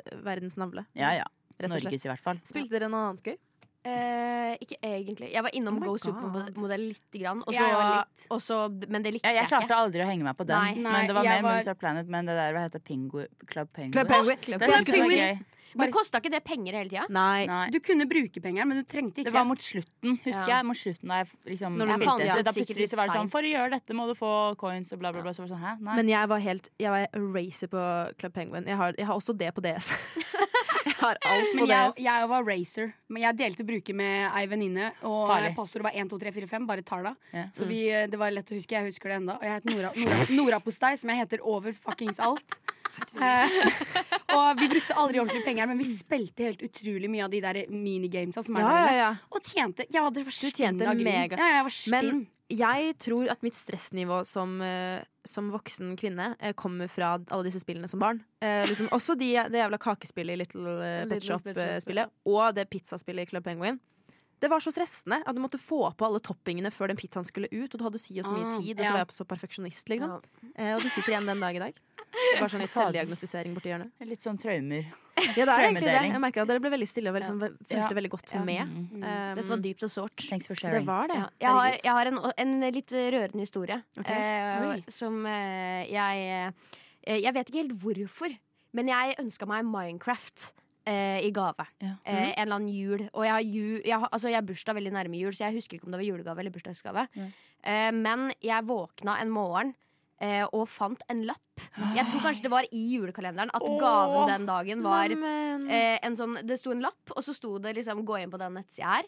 [SPEAKER 5] eh, verdens navle.
[SPEAKER 4] Ja, ja.
[SPEAKER 5] Rett og slett.
[SPEAKER 4] Norges, i hvert fall.
[SPEAKER 5] Spilte dere noe annet gøy?
[SPEAKER 6] Eh, ikke egentlig. Jeg var innom
[SPEAKER 5] Oh my
[SPEAKER 6] Go
[SPEAKER 5] God.
[SPEAKER 6] Supermodell lite grann. Og så,
[SPEAKER 3] Jeg var litt.
[SPEAKER 6] og så, men det likte
[SPEAKER 4] Ja, jeg
[SPEAKER 6] jeg
[SPEAKER 4] klarte
[SPEAKER 6] ikke.
[SPEAKER 4] aldri å henge meg på den.
[SPEAKER 6] Nei.
[SPEAKER 3] Nei,
[SPEAKER 4] men det var
[SPEAKER 3] jeg
[SPEAKER 4] mer
[SPEAKER 3] var-
[SPEAKER 4] Moves Are Planet. Men det der hva heter Pingu, Club Penguin.
[SPEAKER 5] Penguin.
[SPEAKER 4] Det, synes jeg var gøy.
[SPEAKER 6] Men kosta ikke det penger hele tida?
[SPEAKER 5] Nei.
[SPEAKER 4] Nei.
[SPEAKER 3] Du kunne bruke penger, men du
[SPEAKER 4] Det
[SPEAKER 3] trengte ikke.
[SPEAKER 4] var mot slutten, Mm, husker
[SPEAKER 6] Ja.
[SPEAKER 4] jeg. Mot slutten Da jeg liksom
[SPEAKER 5] Når du
[SPEAKER 4] spilte
[SPEAKER 6] spilte,
[SPEAKER 4] det.
[SPEAKER 6] ja.
[SPEAKER 4] Så da plutselig så var det
[SPEAKER 6] Sikkert
[SPEAKER 4] sånn For å
[SPEAKER 6] litt
[SPEAKER 4] gjøre dette må du få coins og bla, bla, bla. Så var det sånn, hæ? Nei.
[SPEAKER 5] Men jeg var helt Jeg var racer på Club Penguin. Jeg har, jeg har også det på DS. [laughs] jeg har alt på
[SPEAKER 3] Men jeg,
[SPEAKER 5] DS.
[SPEAKER 3] jeg var racer. Men jeg delte bruker med ei venninne. Og
[SPEAKER 4] Farlig.
[SPEAKER 3] passordet var 1, 2, 3, 4, 5. Bare talla.
[SPEAKER 4] Ja. Mm.
[SPEAKER 3] Så vi, eh, det var lett å huske. Jeg husker det enda Og jeg het Nora, Nora, Nora Postei, som jeg heter over fuckings alt. Eh, og vi brukte aldri ordentlige penger, men vi spilte helt utrolig mye av de der minigamesa som er
[SPEAKER 5] Ja,
[SPEAKER 3] der
[SPEAKER 5] ja,
[SPEAKER 3] inne.
[SPEAKER 5] ja.
[SPEAKER 3] Og tjente. Jeg hadde for stinn
[SPEAKER 5] tjente
[SPEAKER 3] av grunn.
[SPEAKER 5] mega.
[SPEAKER 3] Ja, jeg var stinn.
[SPEAKER 5] Men jeg tror at mitt stressnivå som, eh, som voksen kvinne eh, kommer fra alle disse spillene som barn. Eh, liksom, også de, det jævla kakespillet i Little eh,
[SPEAKER 6] Little
[SPEAKER 5] Pet
[SPEAKER 6] Pet Shop,
[SPEAKER 5] Shop-spillet. Og det pizzaspillet i Club Penguin. Det var så stressende at du måtte få på alle toppingene før den pizzaen skulle ut. Og du hadde si og så mye
[SPEAKER 3] Ah,
[SPEAKER 5] tid, og så
[SPEAKER 3] ja.
[SPEAKER 5] var jeg så perfeksjonist, liksom. Eh, og de sitter igjen den dag i dag. Bare sånn litt selvdiagnostisering borti
[SPEAKER 6] [laughs]
[SPEAKER 5] hjørnet.
[SPEAKER 4] Litt sånn traumer.
[SPEAKER 5] [laughs] Ja, det er egentlig det.
[SPEAKER 4] Traumedeling.
[SPEAKER 5] Jeg merket at dere ble veldig stille og veldig, sånn, fulgte
[SPEAKER 4] Ja.
[SPEAKER 5] veldig godt
[SPEAKER 6] Ja.
[SPEAKER 5] med.
[SPEAKER 4] Mm.
[SPEAKER 5] Um,
[SPEAKER 6] Dette var dypt og sårt.
[SPEAKER 4] Thanks for
[SPEAKER 5] det
[SPEAKER 4] sharing.
[SPEAKER 5] var det.
[SPEAKER 6] Ja. Jeg har,
[SPEAKER 5] Herregud.
[SPEAKER 6] jeg har en, en litt rørende historie.
[SPEAKER 5] Ok.
[SPEAKER 6] eh,
[SPEAKER 5] Oi.
[SPEAKER 6] som eh, jeg eh, Jeg vet ikke helt hvorfor, men jeg ønska meg Minecraft. eh, I gave.
[SPEAKER 4] Ja.
[SPEAKER 6] Eh, en eller annen jul. Og jeg har, ju, jeg, har, altså jeg har bursdag veldig nærme jul, så jeg husker ikke om det var julegave eller bursdagsgave.
[SPEAKER 4] Ja.
[SPEAKER 6] Eh, men jeg våkna en morgen eh, og fant en lapp. Jeg tror kanskje det var i julekalenderen at gaven den dagen var
[SPEAKER 5] Neimen.
[SPEAKER 6] eh, en sånn, Det sto en lapp, og så sto det liksom 'gå inn på den nettsida her'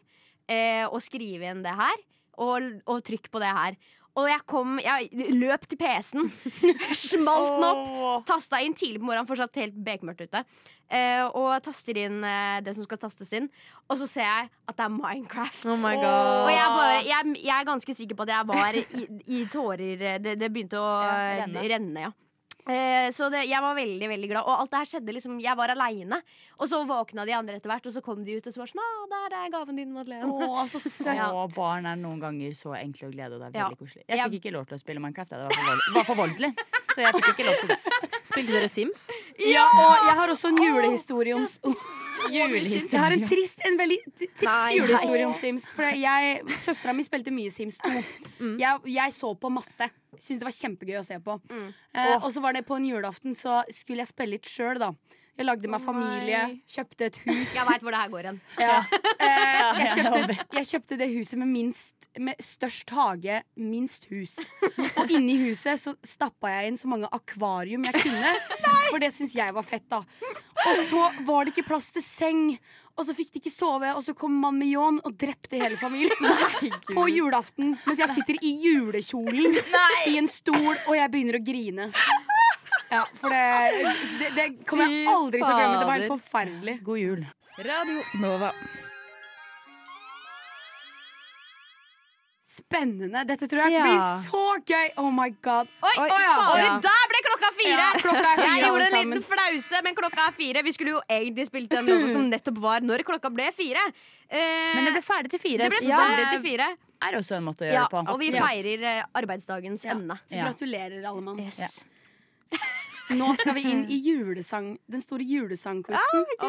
[SPEAKER 6] eh, og skrive inn det her. Og, og trykk på det her. Og jeg kom Jeg løp til PC-en, [laughs] smalt den opp. Tasta inn tidlig på morgenen, fortsatt helt bekmørkt ute. Eh, og taster inn eh, det som skal tastes inn. Og så ser jeg at det er Minecraft.
[SPEAKER 5] Oh my god.
[SPEAKER 6] Og jeg, bare, jeg, jeg er ganske sikker på at jeg var i, i tårer eh, Det, det begynte å
[SPEAKER 4] Ja,
[SPEAKER 6] eh,
[SPEAKER 4] renne.
[SPEAKER 6] renne, ja. Eh, så det, jeg var veldig veldig glad. Og alt det her skjedde liksom Jeg var aleine. Og så våkna de andre etter hvert, og så kom de ut og så var sånn «Ah, Der er gaven din, Madeleine.
[SPEAKER 3] Å, så søtt.
[SPEAKER 6] Ja.
[SPEAKER 4] Og barn er noen ganger så enkle å glede, og det er
[SPEAKER 6] Ja.
[SPEAKER 4] veldig koselig. Jeg
[SPEAKER 6] Jeg-
[SPEAKER 4] fikk ikke lov til å spille Minecraft. jeg. Det var for vold- var for voldelig. Så jeg fikk ikke lov til det.
[SPEAKER 5] Spilte dere Sims?
[SPEAKER 3] Ja, og jeg har også en julehistorie om
[SPEAKER 4] Julehistorie.
[SPEAKER 3] Jeg har en trist, en veldig t- trist
[SPEAKER 5] Nei.
[SPEAKER 3] julehistorie om Sims. For jeg, Søstera mi spilte mye Sims 2.
[SPEAKER 5] Mm.
[SPEAKER 3] Jeg, jeg så på masse. Syntes det var kjempegøy å se på.
[SPEAKER 5] Mm.
[SPEAKER 3] Eh, og så var det på en julaften så skulle jeg spille litt sjøl, da. Jeg lagde meg familie, kjøpte et hus.
[SPEAKER 6] Jeg veit hvor det her går hen.
[SPEAKER 3] Ja. Eh, jeg, kjøpte, jeg kjøpte det huset med, minst, med størst hage, minst hus. Og inni huset så stappa jeg inn så mange akvarium jeg kunne, for det syns jeg var fett. da Og så var det ikke plass til seng, og så fikk de ikke sove, og så kom mannen med ljåen og drepte hele familien. På julaften, mens jeg sitter i julekjolen i en stol, og jeg begynner å grine. Ja, for det, det, det kommer jeg
[SPEAKER 5] Fy
[SPEAKER 3] aldri til å glemme. Det var
[SPEAKER 5] fader.
[SPEAKER 3] helt forferdelig.
[SPEAKER 4] God jul.
[SPEAKER 5] Radio Nova.
[SPEAKER 3] Spennende. Dette tror jeg
[SPEAKER 5] Ja.
[SPEAKER 3] blir så gøy! Oh my god.
[SPEAKER 6] Oi,
[SPEAKER 5] Oi,
[SPEAKER 6] oi, fader,
[SPEAKER 5] ja.
[SPEAKER 6] der ble klokka fire!
[SPEAKER 3] Ja, klokka er fire,
[SPEAKER 6] jeg gjorde
[SPEAKER 3] alle
[SPEAKER 6] en liten
[SPEAKER 3] sammen.
[SPEAKER 6] flause, men klokka er fire. Vi skulle jo egentlig spilt den låten som nettopp var når klokka ble fire. Eh,
[SPEAKER 4] Men det ble ferdig til fire.
[SPEAKER 6] det ble
[SPEAKER 4] så
[SPEAKER 6] ferdig til fire.
[SPEAKER 4] er også en måte å gjøre
[SPEAKER 6] Ja,
[SPEAKER 4] det på.
[SPEAKER 6] og vi
[SPEAKER 4] Absolutt.
[SPEAKER 6] feirer eh, arbeidsdagens ende.
[SPEAKER 3] Så gratulerer, alle mann.
[SPEAKER 6] Yes.
[SPEAKER 3] Nå skal vi inn i julesang, den store
[SPEAKER 5] Ah,
[SPEAKER 3] julesangquizen.
[SPEAKER 4] Dette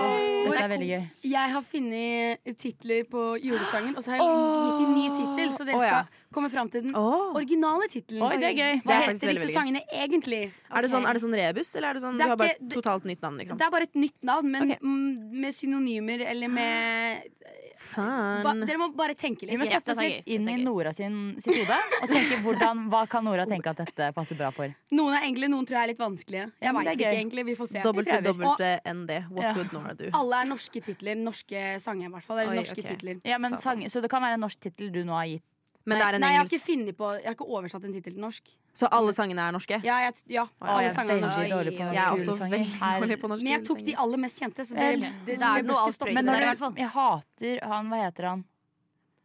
[SPEAKER 4] er veldig gøy.
[SPEAKER 3] Jeg har funnet titler på julesangen, og så har jeg gitt en ny tittel. Så dere
[SPEAKER 5] Å, ja.
[SPEAKER 3] skal komme fram til den
[SPEAKER 5] Åh.
[SPEAKER 3] originale tittelen.
[SPEAKER 4] Oi, det er gøy.
[SPEAKER 5] Det
[SPEAKER 3] Hva
[SPEAKER 5] er faktisk
[SPEAKER 3] heter
[SPEAKER 5] veldig,
[SPEAKER 3] disse
[SPEAKER 5] veldig gøy.
[SPEAKER 3] sangene egentlig?
[SPEAKER 5] Er, det sånn, er det sånn rebus, eller er det sånn
[SPEAKER 3] Det er
[SPEAKER 5] du har bare
[SPEAKER 3] ikke- det-
[SPEAKER 5] totalt nytt navn? liksom?
[SPEAKER 3] Det er bare et nytt navn, men
[SPEAKER 5] Ok.
[SPEAKER 3] mm, med synonymer eller med ba,
[SPEAKER 5] Faen.
[SPEAKER 3] Dere må bare tenke
[SPEAKER 4] Vi
[SPEAKER 3] litt.
[SPEAKER 4] må
[SPEAKER 6] Yes,
[SPEAKER 4] sette oss
[SPEAKER 6] dette er
[SPEAKER 4] litt
[SPEAKER 6] gøy,
[SPEAKER 4] inn i
[SPEAKER 6] dette er gøy.
[SPEAKER 4] Nora sin, sitt hode og tenke hvordan, hva kan Nora tenke at dette passer bra for.
[SPEAKER 3] Noen er enkle, noen tror jeg er litt vanskelige. Jeg
[SPEAKER 4] men
[SPEAKER 3] vet
[SPEAKER 4] det er
[SPEAKER 3] ikke
[SPEAKER 4] gøy.
[SPEAKER 3] egentlig, vi får se.
[SPEAKER 5] Dobbelt
[SPEAKER 4] prøver.
[SPEAKER 5] dobbelt ND. What
[SPEAKER 4] Ja.
[SPEAKER 5] would Nora do?
[SPEAKER 3] Alle er norske titler. Norske sanger, i hvert fall. Eller
[SPEAKER 5] Oi,
[SPEAKER 3] norske
[SPEAKER 5] ok.
[SPEAKER 3] titler.
[SPEAKER 4] Ja, men sang,
[SPEAKER 5] Satan.
[SPEAKER 4] så det kan være en norsk tittel du nå har gitt.
[SPEAKER 5] Men det er en
[SPEAKER 3] Nei, jeg har
[SPEAKER 5] engelsk.
[SPEAKER 3] ikke funnet på Jeg har ikke oversatt en tittel til norsk.
[SPEAKER 5] Så alle sangene er norske?
[SPEAKER 3] Ja, jeg, ja
[SPEAKER 4] Å,
[SPEAKER 3] alle
[SPEAKER 4] jeg er
[SPEAKER 3] sangene
[SPEAKER 4] veldig dårlig på
[SPEAKER 6] Oi, oi, oi.
[SPEAKER 4] norske
[SPEAKER 5] Jeg er også
[SPEAKER 4] julesanger.
[SPEAKER 5] veldig
[SPEAKER 4] Her-
[SPEAKER 5] dårlig på norske
[SPEAKER 3] Men jeg tok de
[SPEAKER 5] julesanger.
[SPEAKER 3] aller mest kjente, så
[SPEAKER 4] Vel,
[SPEAKER 3] dere, det, det,
[SPEAKER 6] da er det
[SPEAKER 3] burde
[SPEAKER 6] noe
[SPEAKER 3] ikke
[SPEAKER 6] Alf
[SPEAKER 3] stoppe
[SPEAKER 4] Men
[SPEAKER 6] Prøysen
[SPEAKER 3] dere.
[SPEAKER 6] der, i
[SPEAKER 4] når
[SPEAKER 6] hvert
[SPEAKER 4] du,
[SPEAKER 6] fall.
[SPEAKER 4] jeg hater han Hva heter han?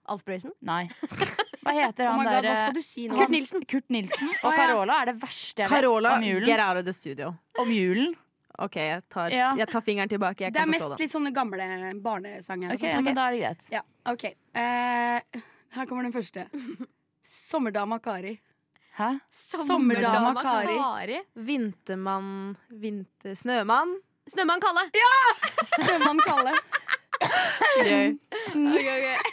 [SPEAKER 6] Alf Prøysen?
[SPEAKER 4] Nei. Hva heter
[SPEAKER 3] Oh
[SPEAKER 4] han
[SPEAKER 3] my God,
[SPEAKER 4] derre
[SPEAKER 3] hva skal du si nå?
[SPEAKER 4] Kurt Nilsen. Kurt Nilsen og
[SPEAKER 3] Å, ja.
[SPEAKER 4] Carola er det verste jeg vet
[SPEAKER 5] Carola,
[SPEAKER 4] om
[SPEAKER 5] get
[SPEAKER 4] julen.
[SPEAKER 5] out of the studio.
[SPEAKER 4] Om julen.
[SPEAKER 5] OK, jeg tar,
[SPEAKER 4] Ja.
[SPEAKER 5] jeg tar fingeren tilbake. Jeg
[SPEAKER 3] Det er
[SPEAKER 5] kan
[SPEAKER 3] mest
[SPEAKER 5] forstå det.
[SPEAKER 3] litt sånne gamle barnesanger.
[SPEAKER 4] Ok, ja, men da er det greit.
[SPEAKER 3] Ja, ok Eh, Her kommer den første. Sommerdama Kari.
[SPEAKER 4] Hæ?
[SPEAKER 3] Sommerdama Kari.
[SPEAKER 5] Vintermann vinter, Snømann.
[SPEAKER 3] [laughs]
[SPEAKER 6] Snømann Kalle.
[SPEAKER 3] Snømann Kalle.
[SPEAKER 5] Gøy.
[SPEAKER 3] [laughs]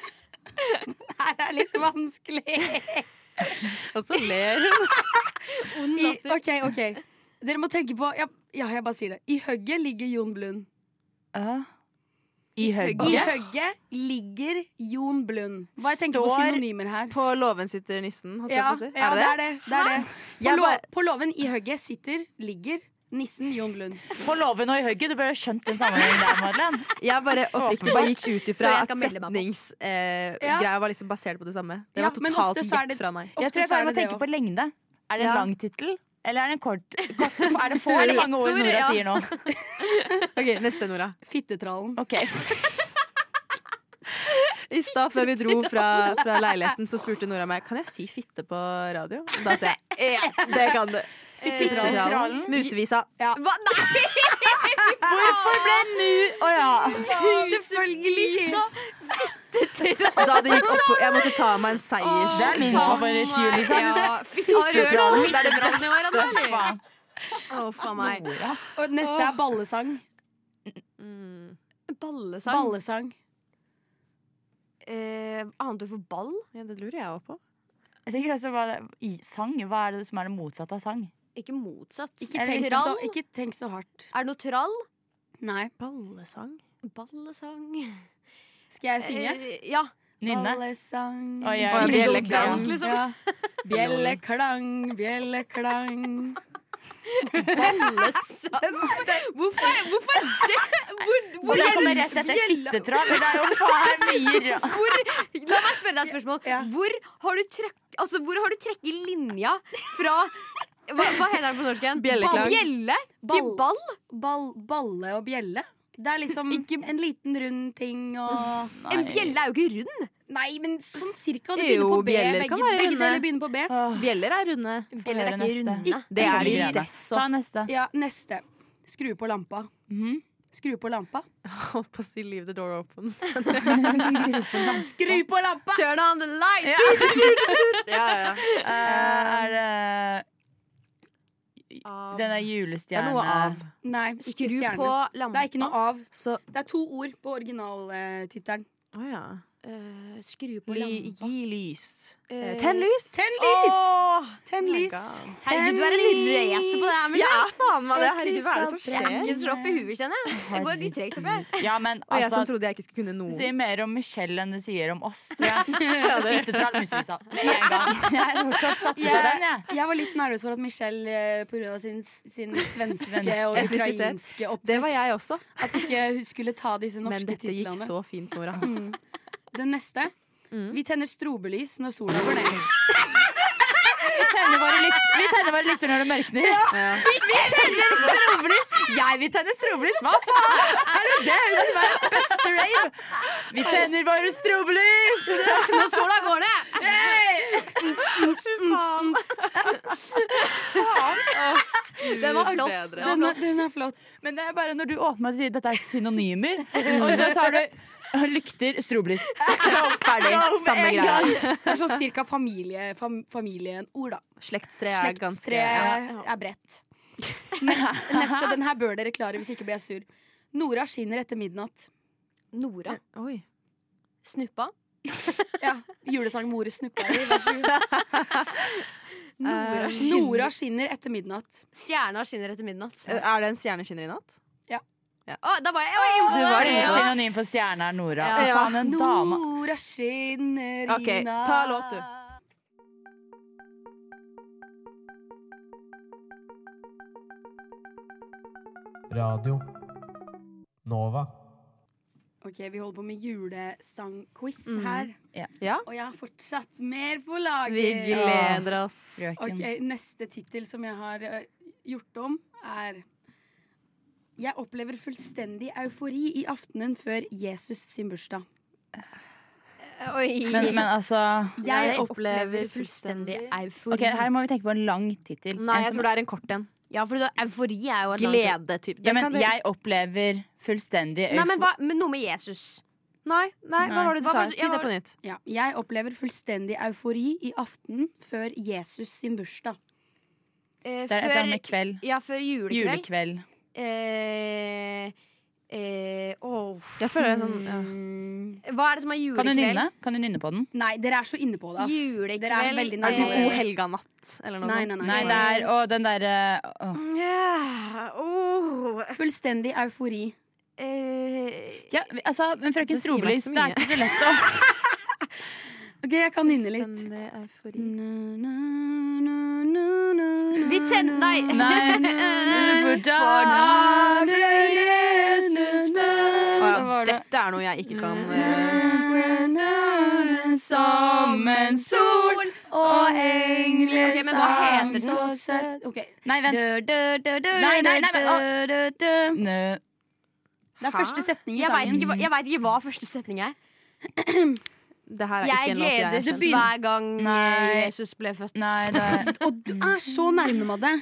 [SPEAKER 3] Her er litt vanskelig.
[SPEAKER 5] Og så ler
[SPEAKER 3] [laughs]
[SPEAKER 5] hun.
[SPEAKER 3] I, ok, ok Dere må tenke på ja, ja, jeg bare sier det. I høgget ligger Jon Blund.
[SPEAKER 4] Ja. I
[SPEAKER 3] I
[SPEAKER 4] høgget?
[SPEAKER 3] høgget ligger Jon Blund. Hva jeg tenker på
[SPEAKER 4] Står
[SPEAKER 3] synonymer her?
[SPEAKER 5] På låven sitter nissen, holdt jeg
[SPEAKER 3] ja,
[SPEAKER 5] på å si.
[SPEAKER 3] ja,
[SPEAKER 5] Er
[SPEAKER 3] det
[SPEAKER 5] det
[SPEAKER 3] er
[SPEAKER 5] det?
[SPEAKER 3] det. det, er det. På,
[SPEAKER 5] Jeg
[SPEAKER 3] lo
[SPEAKER 5] bare-
[SPEAKER 3] på låven i høgget sitter, ligger, nissen Jon Blund.
[SPEAKER 4] På låven og i høgget? Du burde ha skjønt den sammenhengen der, Madeleine.
[SPEAKER 5] Jeg bare oppriktig bare gikk ut ifra
[SPEAKER 6] Så jeg
[SPEAKER 5] at
[SPEAKER 6] skal melde meg på.
[SPEAKER 5] setningsgreia eh,
[SPEAKER 3] Ja.
[SPEAKER 5] greia var liksom basert på det samme. Det
[SPEAKER 3] Ja,
[SPEAKER 5] var
[SPEAKER 3] men
[SPEAKER 5] totalt
[SPEAKER 3] ofte så er
[SPEAKER 5] gjett
[SPEAKER 3] det-
[SPEAKER 5] fra meg.
[SPEAKER 4] Jeg
[SPEAKER 3] Ofte
[SPEAKER 4] tror jeg
[SPEAKER 3] så er
[SPEAKER 4] bare må
[SPEAKER 3] det det
[SPEAKER 4] tenke
[SPEAKER 3] også.
[SPEAKER 4] på lengde. Er det en
[SPEAKER 5] Ja.
[SPEAKER 4] lang tittel, eller er det en kort? kort er det få eller mange ord Nora
[SPEAKER 6] ja.
[SPEAKER 4] sier nå?
[SPEAKER 5] Ok, Neste, Nora.
[SPEAKER 3] Fittetrallen.
[SPEAKER 4] Ok,
[SPEAKER 5] I stad før vi dro fra, fra leiligheten, så spurte Nora meg Kan jeg si fitte på radio. Da sa jeg ja, det kan du. Fittetrallen. Musevisa.
[SPEAKER 6] Eh, Hva? Nei!
[SPEAKER 4] Hvorfor ble nu Å ja.
[SPEAKER 6] Selvfølgelig!
[SPEAKER 5] Da det gikk opp på Jeg måtte ta meg en
[SPEAKER 4] Det
[SPEAKER 5] seier.
[SPEAKER 4] er min favorittjul, liksom.
[SPEAKER 6] Ja, fy faen. Har du hørt
[SPEAKER 5] Fittetrallen. Det er det
[SPEAKER 6] fittetrallen i år, da, eller?
[SPEAKER 4] Faen.
[SPEAKER 6] Å, faen meg.
[SPEAKER 4] Nora.
[SPEAKER 3] Og neste er ballesang.
[SPEAKER 5] Mm.
[SPEAKER 6] Ballesang.
[SPEAKER 3] Ballesang.
[SPEAKER 6] Eh, Annet ord for ball?
[SPEAKER 5] Ja, det lurer jeg òg på.
[SPEAKER 4] Jeg tenker også hva det, i sang, hva er det som er det motsatte av sang?
[SPEAKER 6] Ikke motsatt.
[SPEAKER 3] Ikke
[SPEAKER 4] Er det
[SPEAKER 3] tenk, så,
[SPEAKER 6] trall?
[SPEAKER 3] ikke tenk så hardt.
[SPEAKER 6] Er det noe trall?
[SPEAKER 3] Nei.
[SPEAKER 5] Ballesang?
[SPEAKER 6] Ballesang
[SPEAKER 3] Skal jeg synge?
[SPEAKER 6] Eh, Ja.
[SPEAKER 4] Nynne?
[SPEAKER 3] Ballesang.
[SPEAKER 4] Å, jeg-
[SPEAKER 5] Jingle
[SPEAKER 3] Bjelleklang.
[SPEAKER 5] bells,
[SPEAKER 6] liksom.
[SPEAKER 3] Ja. Bjelleklang, bjelleklang.
[SPEAKER 6] [laughs] Ballesang. Hvorfor, hvorfor er det hvor, hvor,
[SPEAKER 4] Og da kommer rett etter fittetroll. Det er jo faen mye ra-
[SPEAKER 6] hvor, La meg spørre deg et spørsmål.
[SPEAKER 3] Ja.
[SPEAKER 6] Hvor har du trøkk Altså, hvor har du trekket linja fra hva, hva heter den på norsk igjen?
[SPEAKER 5] Bjelleklang.
[SPEAKER 6] Bjelle til
[SPEAKER 3] Ball.
[SPEAKER 6] ball?
[SPEAKER 3] Ball, balle og bjelle. Det er liksom en liten rund ting og
[SPEAKER 6] En
[SPEAKER 4] Nei.
[SPEAKER 6] bjelle er jo ikke rund.
[SPEAKER 3] Nei, men sånn cirka. Det begynner
[SPEAKER 5] Jo,
[SPEAKER 3] på B.
[SPEAKER 5] bjeller
[SPEAKER 3] Begge,
[SPEAKER 5] kan være
[SPEAKER 3] begge
[SPEAKER 5] runde.
[SPEAKER 3] deler begynner på B.
[SPEAKER 4] Åh,
[SPEAKER 5] Bjeller er runde.
[SPEAKER 6] Bjeller er
[SPEAKER 4] Få høre
[SPEAKER 6] ikke
[SPEAKER 4] neste.
[SPEAKER 6] runde.
[SPEAKER 5] Det er de
[SPEAKER 4] Veldig greit.
[SPEAKER 5] også.
[SPEAKER 4] Ta neste.
[SPEAKER 3] Ja, neste. Skru på lampa.
[SPEAKER 4] Mhm.
[SPEAKER 3] Skru på lampa.
[SPEAKER 5] Holdt på å si 'leave the door open'.
[SPEAKER 3] Skru på lampa!
[SPEAKER 6] Turn on the lights!
[SPEAKER 5] Ja, ja.
[SPEAKER 4] Eh, er det den der
[SPEAKER 5] Det er
[SPEAKER 4] julestjerne
[SPEAKER 5] noe av.
[SPEAKER 3] Nei, ikke
[SPEAKER 6] Skru
[SPEAKER 3] stjerne.
[SPEAKER 6] på
[SPEAKER 3] Det
[SPEAKER 6] lampa.
[SPEAKER 3] er ikke noe av.
[SPEAKER 5] Så
[SPEAKER 3] Det er to ord på originaltittelen.
[SPEAKER 5] Å ja.
[SPEAKER 6] Eh, skru på
[SPEAKER 5] Ly,
[SPEAKER 6] lampa.
[SPEAKER 5] gi lys. Eh,
[SPEAKER 6] Eh,
[SPEAKER 5] Tenn lys!
[SPEAKER 3] Tenn lys! Tenn
[SPEAKER 5] Oh my
[SPEAKER 3] lys.
[SPEAKER 5] God.
[SPEAKER 6] Herregud, du er en racer på det her. Men
[SPEAKER 5] Jeg er faen meg det. Herregud, hva er det som
[SPEAKER 6] jeg
[SPEAKER 5] skjer?
[SPEAKER 6] ikke så opp i huet, kjenner jeg. Det går litt tregt oppi her.
[SPEAKER 4] Ja, men
[SPEAKER 5] Og jeg
[SPEAKER 4] altså
[SPEAKER 5] som trodde jeg ikke skulle kunne
[SPEAKER 4] Det
[SPEAKER 5] noe.
[SPEAKER 4] sier mer om Michelle enn det sier om oss, tror jeg.
[SPEAKER 5] Ja, det-
[SPEAKER 4] Fittetroll musevisa. Med en gang. [laughs] Jeg er fortsatt satt ut av den, jeg.
[SPEAKER 3] Jeg var litt nervøs for at Michelle, eh, pga. sin,
[SPEAKER 5] [laughs]
[SPEAKER 3] sin svenske
[SPEAKER 4] Svenske.
[SPEAKER 3] og ukrainske oppvekst,
[SPEAKER 5] Det var jeg også.
[SPEAKER 3] at ikke hun skulle ta disse
[SPEAKER 5] Men
[SPEAKER 3] norske
[SPEAKER 5] dette gikk
[SPEAKER 3] titlene.
[SPEAKER 5] så fint, Nora.
[SPEAKER 3] Den neste.
[SPEAKER 5] Mm.
[SPEAKER 3] Vi tenner strobelys når sola går ned.
[SPEAKER 4] Vi tenner våre lykt- vi tenner våre lykter når det mørkner.
[SPEAKER 5] Ja.
[SPEAKER 4] Strobelys! Jeg vil tenne strobelys! Hva faen? Er det det? Høres ut som verdens beste rave. Vi tenner våre strobelys!
[SPEAKER 6] Når sola går ned!
[SPEAKER 3] Mm,
[SPEAKER 6] Den var flott.
[SPEAKER 5] Bedre.
[SPEAKER 3] Den, er- den er flott.
[SPEAKER 4] Men det er bare når du åpner og sier dette er synonymer, og så tar du lykter, strobelys.
[SPEAKER 5] Ferdig. Samme greia.
[SPEAKER 3] Det er sånn cirka familie, fam, familieord, da.
[SPEAKER 5] Slektstre er ganske
[SPEAKER 3] Slektstre
[SPEAKER 5] ja.
[SPEAKER 3] er bredt. Neste, neste den her bør dere klare, hvis ikke blir jeg sur. Nora skinner etter midnatt.
[SPEAKER 6] Nora.
[SPEAKER 5] Oi.
[SPEAKER 6] Eh, Snuppa.
[SPEAKER 3] Ja, Julesang med ordet 'snuppa' i. Vær så god.
[SPEAKER 5] Nora
[SPEAKER 3] Nora skinner etter midnatt.
[SPEAKER 6] Stjerna skinner etter midnatt. Eh,
[SPEAKER 5] Er det en stjerneskinner i natt?
[SPEAKER 6] Å, da var jeg, jeg var
[SPEAKER 5] Du var
[SPEAKER 6] inne
[SPEAKER 5] inne.
[SPEAKER 6] på det.
[SPEAKER 4] Synonym for stjerne er Nora.
[SPEAKER 5] Ja.
[SPEAKER 4] Fy Faen, en dame.
[SPEAKER 3] Nora skinner i
[SPEAKER 5] Ok,
[SPEAKER 3] natt.
[SPEAKER 5] ta låt, du.
[SPEAKER 9] Radio Nova.
[SPEAKER 3] Ok, Vi holder på med julesangquiz her.
[SPEAKER 4] Ja.
[SPEAKER 5] Mhm. Ja.
[SPEAKER 3] Og jeg har fortsatt mer på lager.
[SPEAKER 5] Vi gleder oss.
[SPEAKER 4] Frøken.
[SPEAKER 3] Ok, Neste tittel som jeg har ø, gjort om, er Jeg opplever fullstendig eufori i aftenen før Jesus sin bursdag.
[SPEAKER 6] Oi.
[SPEAKER 4] Men, men altså
[SPEAKER 3] Jeg
[SPEAKER 6] Jeg
[SPEAKER 5] opplever
[SPEAKER 6] opplever fullstendig eufori.
[SPEAKER 4] Ok, Her må vi tenke på en lang tittel.
[SPEAKER 5] Nei,
[SPEAKER 4] En
[SPEAKER 5] jeg
[SPEAKER 4] som-
[SPEAKER 5] tror det er en kort en.
[SPEAKER 6] Ja, for da, eufori er jo et eller annet-
[SPEAKER 5] Glede, typ.
[SPEAKER 4] ja, men,
[SPEAKER 5] Kan dere-
[SPEAKER 4] Jeg opplever fullstendig
[SPEAKER 6] Nei, men,
[SPEAKER 4] eufo...
[SPEAKER 6] hva, men noe med Jesus.
[SPEAKER 5] Nei, nei,
[SPEAKER 4] Nei.
[SPEAKER 5] hva var det du
[SPEAKER 6] Hva
[SPEAKER 5] sa?
[SPEAKER 6] var det-
[SPEAKER 5] Si
[SPEAKER 6] ja,
[SPEAKER 5] det
[SPEAKER 6] hva-
[SPEAKER 5] på nytt.
[SPEAKER 3] Ja, jeg opplever fullstendig eufori i aften før Jesus sin bursdag.
[SPEAKER 6] Eh,
[SPEAKER 4] Det er et eller annet med kveld.
[SPEAKER 6] ja, før julekveld.
[SPEAKER 4] Julekveld.
[SPEAKER 6] Eh, eh, åh.
[SPEAKER 5] Jeg føler det er sånn
[SPEAKER 3] Mm.
[SPEAKER 5] ja.
[SPEAKER 6] Hva er det som er
[SPEAKER 4] Kan
[SPEAKER 6] julekveld?
[SPEAKER 4] du nynne? Kan du nynne på den?
[SPEAKER 3] Nei, dere er så inne på det. Ass.
[SPEAKER 6] Julekveld,
[SPEAKER 3] Dere er veldig
[SPEAKER 5] Er det
[SPEAKER 3] nærme.
[SPEAKER 5] typ O helga natt, eller noe
[SPEAKER 3] Nei,
[SPEAKER 5] sånt?
[SPEAKER 3] nei, nei.
[SPEAKER 4] Nei, det er Å, den derre åh.
[SPEAKER 6] Ja, åh.
[SPEAKER 3] Fullstendig eufori.
[SPEAKER 6] Eh,
[SPEAKER 4] ja, vi- altså, Men frøken
[SPEAKER 5] Det sier meg
[SPEAKER 4] Strobelys,
[SPEAKER 5] ikke så
[SPEAKER 4] det er
[SPEAKER 5] mye.
[SPEAKER 4] ikke så lett å
[SPEAKER 3] Ok, jeg kan nynne litt.
[SPEAKER 5] Fullstendig eufori.
[SPEAKER 6] vi tenner Nei.
[SPEAKER 4] Nei, for da ble Jesus født.
[SPEAKER 5] Å
[SPEAKER 4] Så
[SPEAKER 5] ja,
[SPEAKER 4] var det Mm.
[SPEAKER 5] dette er noe jeg ikke kan eh,
[SPEAKER 4] som en sol og engler
[SPEAKER 6] Ok, men hva sang heter den?
[SPEAKER 3] Så søtt. Ok,
[SPEAKER 4] Nei, vent. Nei, nei,
[SPEAKER 6] [laughs]
[SPEAKER 4] nei, men, å. Nø.
[SPEAKER 3] Det er første setning i
[SPEAKER 6] Jeg veit
[SPEAKER 3] sangen.
[SPEAKER 6] ikke, hva- jeg vet ikke hva første setning er.
[SPEAKER 5] Det her er ikke
[SPEAKER 6] Jeg
[SPEAKER 5] en låt jeg
[SPEAKER 6] gledes
[SPEAKER 5] kjenner.
[SPEAKER 6] hver gang eh,
[SPEAKER 4] Nei.
[SPEAKER 6] Jesus ble
[SPEAKER 4] [laughs]
[SPEAKER 6] født.
[SPEAKER 4] Nei, det
[SPEAKER 3] Og du er så nærme med det.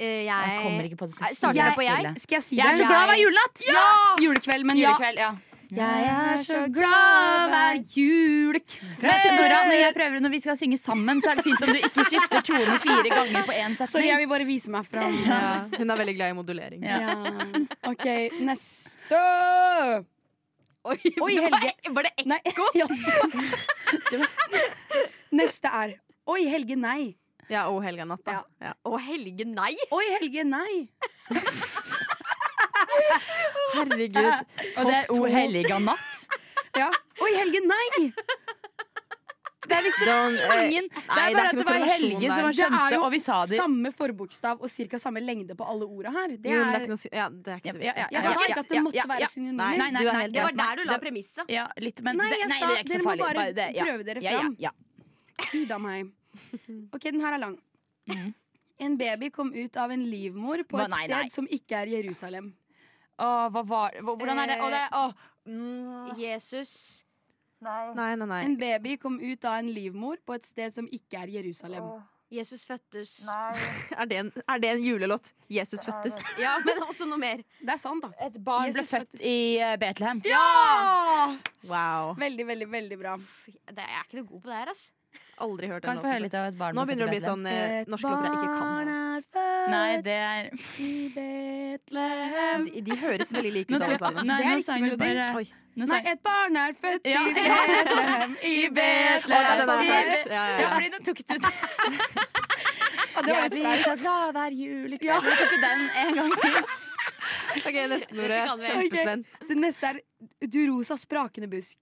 [SPEAKER 6] Eh, jeg,
[SPEAKER 4] Jeg kommer ikke på det.
[SPEAKER 6] Nei, starter det på jeg?
[SPEAKER 3] Skal jeg si
[SPEAKER 4] Jeg er så
[SPEAKER 3] det?
[SPEAKER 4] glad det er julenatt! Ja!
[SPEAKER 3] Julekveld, men ja.
[SPEAKER 4] Julekveld, ja.
[SPEAKER 3] Jeg er så glad hver
[SPEAKER 4] Men
[SPEAKER 3] julekveld.
[SPEAKER 4] Nora, når jeg prøver når vi skal synge sammen, så er det fint om du ikke skifter tone fire ganger på én
[SPEAKER 3] Sorry, jeg
[SPEAKER 4] setning.
[SPEAKER 3] vil bare vise meg fram.
[SPEAKER 5] [laughs] Ja, hun er veldig glad i modulering.
[SPEAKER 4] Ja.
[SPEAKER 3] Ja. OK, neste
[SPEAKER 6] Oi,
[SPEAKER 3] Oi,
[SPEAKER 6] det var-
[SPEAKER 3] Helge.
[SPEAKER 6] Var det ek
[SPEAKER 3] Nei. [laughs] Ja. Det var- Neste er Oi, Helge, nei.
[SPEAKER 5] Ja, O helga natt, da. Ja.
[SPEAKER 6] Å, Helge, nei!
[SPEAKER 3] Oi, Helge, nei.
[SPEAKER 4] [laughs]
[SPEAKER 5] Herregud.
[SPEAKER 4] Og det er O helliga natt.
[SPEAKER 3] Ja. Oi, Helge, nei!
[SPEAKER 5] Don't, eh,
[SPEAKER 4] liksom Ingen. Det
[SPEAKER 5] Nei,
[SPEAKER 4] er
[SPEAKER 5] det er
[SPEAKER 4] bare at
[SPEAKER 5] ikke
[SPEAKER 4] det var
[SPEAKER 5] noe korrelasjon
[SPEAKER 4] Helge som
[SPEAKER 5] der.
[SPEAKER 4] var
[SPEAKER 3] Det er
[SPEAKER 4] skjønte,
[SPEAKER 3] jo
[SPEAKER 4] og vi sa det.
[SPEAKER 3] Samme forbokstav og ca. samme lengde på alle orda her. Det
[SPEAKER 5] jo, men det er
[SPEAKER 3] er
[SPEAKER 5] ikke noe sy- ja, det er ikke
[SPEAKER 4] Ja,
[SPEAKER 5] så
[SPEAKER 4] ja, ja,
[SPEAKER 5] viktig.
[SPEAKER 3] Jeg
[SPEAKER 4] ja,
[SPEAKER 3] sa
[SPEAKER 4] ja,
[SPEAKER 3] ikke at det
[SPEAKER 4] ja,
[SPEAKER 3] måtte
[SPEAKER 4] ja, ja.
[SPEAKER 3] være synonymer.
[SPEAKER 5] Nei,
[SPEAKER 4] nei,
[SPEAKER 5] du er
[SPEAKER 4] nei,
[SPEAKER 5] helt
[SPEAKER 6] Det var
[SPEAKER 5] rett.
[SPEAKER 6] der du la
[SPEAKER 4] Det-
[SPEAKER 6] premisset.
[SPEAKER 4] Ja, litt, men
[SPEAKER 3] Nei,
[SPEAKER 4] det,
[SPEAKER 3] jeg
[SPEAKER 4] nei,
[SPEAKER 3] sa
[SPEAKER 4] det er ikke
[SPEAKER 3] dere
[SPEAKER 4] så
[SPEAKER 3] må
[SPEAKER 4] farlig.
[SPEAKER 3] bare
[SPEAKER 4] Bare det, ja.
[SPEAKER 3] prøve dere
[SPEAKER 4] Ja, ja,
[SPEAKER 3] fram.
[SPEAKER 4] ja.
[SPEAKER 3] Gud av
[SPEAKER 4] [laughs]
[SPEAKER 3] meg. Ok, den her er lang. En baby kom ut av en livmor
[SPEAKER 4] Mhm.
[SPEAKER 3] på
[SPEAKER 4] Hva-
[SPEAKER 3] et
[SPEAKER 4] nei, nei.
[SPEAKER 3] sted som ikke er Jerusalem.
[SPEAKER 4] Åh, hva var hvor- Hvordan er det? Åh, det er, åh.
[SPEAKER 6] Jesus
[SPEAKER 5] Nei, nei, nei.
[SPEAKER 3] En baby kom ut av en livmor på et sted som ikke er Jerusalem.
[SPEAKER 6] Jesus fødtes.
[SPEAKER 5] Er det en, er det en julelåt? Jesus fødtes.
[SPEAKER 6] Ja, men også noe mer.
[SPEAKER 3] Det er sant, da.
[SPEAKER 4] Et barn ble
[SPEAKER 3] Jesus
[SPEAKER 4] født i eh, Betlehem.
[SPEAKER 5] Wow.
[SPEAKER 3] Veldig, veldig, veldig bra.
[SPEAKER 6] Fy, det- Jeg er ikke noe god på det her, ass.
[SPEAKER 5] Aldri hørt
[SPEAKER 4] Kan
[SPEAKER 5] den
[SPEAKER 4] vi få høre litt
[SPEAKER 5] låten.
[SPEAKER 4] av et barn
[SPEAKER 5] Nå
[SPEAKER 4] ble født i
[SPEAKER 5] begynner det å bli
[SPEAKER 4] Betlehem?
[SPEAKER 5] sånn eh, norske låter jeg ikke kan.
[SPEAKER 3] er født
[SPEAKER 4] Nei, det er
[SPEAKER 3] i Betlehem
[SPEAKER 5] De, de høres veldig like
[SPEAKER 4] Nå tror
[SPEAKER 5] ut, alle
[SPEAKER 4] jeg-
[SPEAKER 5] sammen.
[SPEAKER 4] Nei,
[SPEAKER 3] Det er
[SPEAKER 4] nå
[SPEAKER 3] riktig
[SPEAKER 4] sang vi
[SPEAKER 3] melodi.
[SPEAKER 4] bare
[SPEAKER 5] Oi.
[SPEAKER 4] nå
[SPEAKER 3] Nei,
[SPEAKER 4] sang-
[SPEAKER 3] et barn er født
[SPEAKER 4] [laughs] Ja.
[SPEAKER 3] i Betlehem, i
[SPEAKER 5] Å, ja, den
[SPEAKER 3] Betlehem
[SPEAKER 5] er
[SPEAKER 3] i-
[SPEAKER 5] der. Ja, ja,
[SPEAKER 4] Ja,
[SPEAKER 5] ja.
[SPEAKER 4] fordi nå tok du den.
[SPEAKER 3] det var
[SPEAKER 4] Jeg
[SPEAKER 3] litt
[SPEAKER 4] blir
[SPEAKER 3] flaut.
[SPEAKER 4] så glad hver jul. ikke sant? Jeg tok den en gang til.
[SPEAKER 5] Ok, nesten, Nora. Jeg
[SPEAKER 6] kan vi.
[SPEAKER 5] er
[SPEAKER 3] [laughs]
[SPEAKER 5] kjempespent.
[SPEAKER 3] Det neste er Du rosa sprakende busk.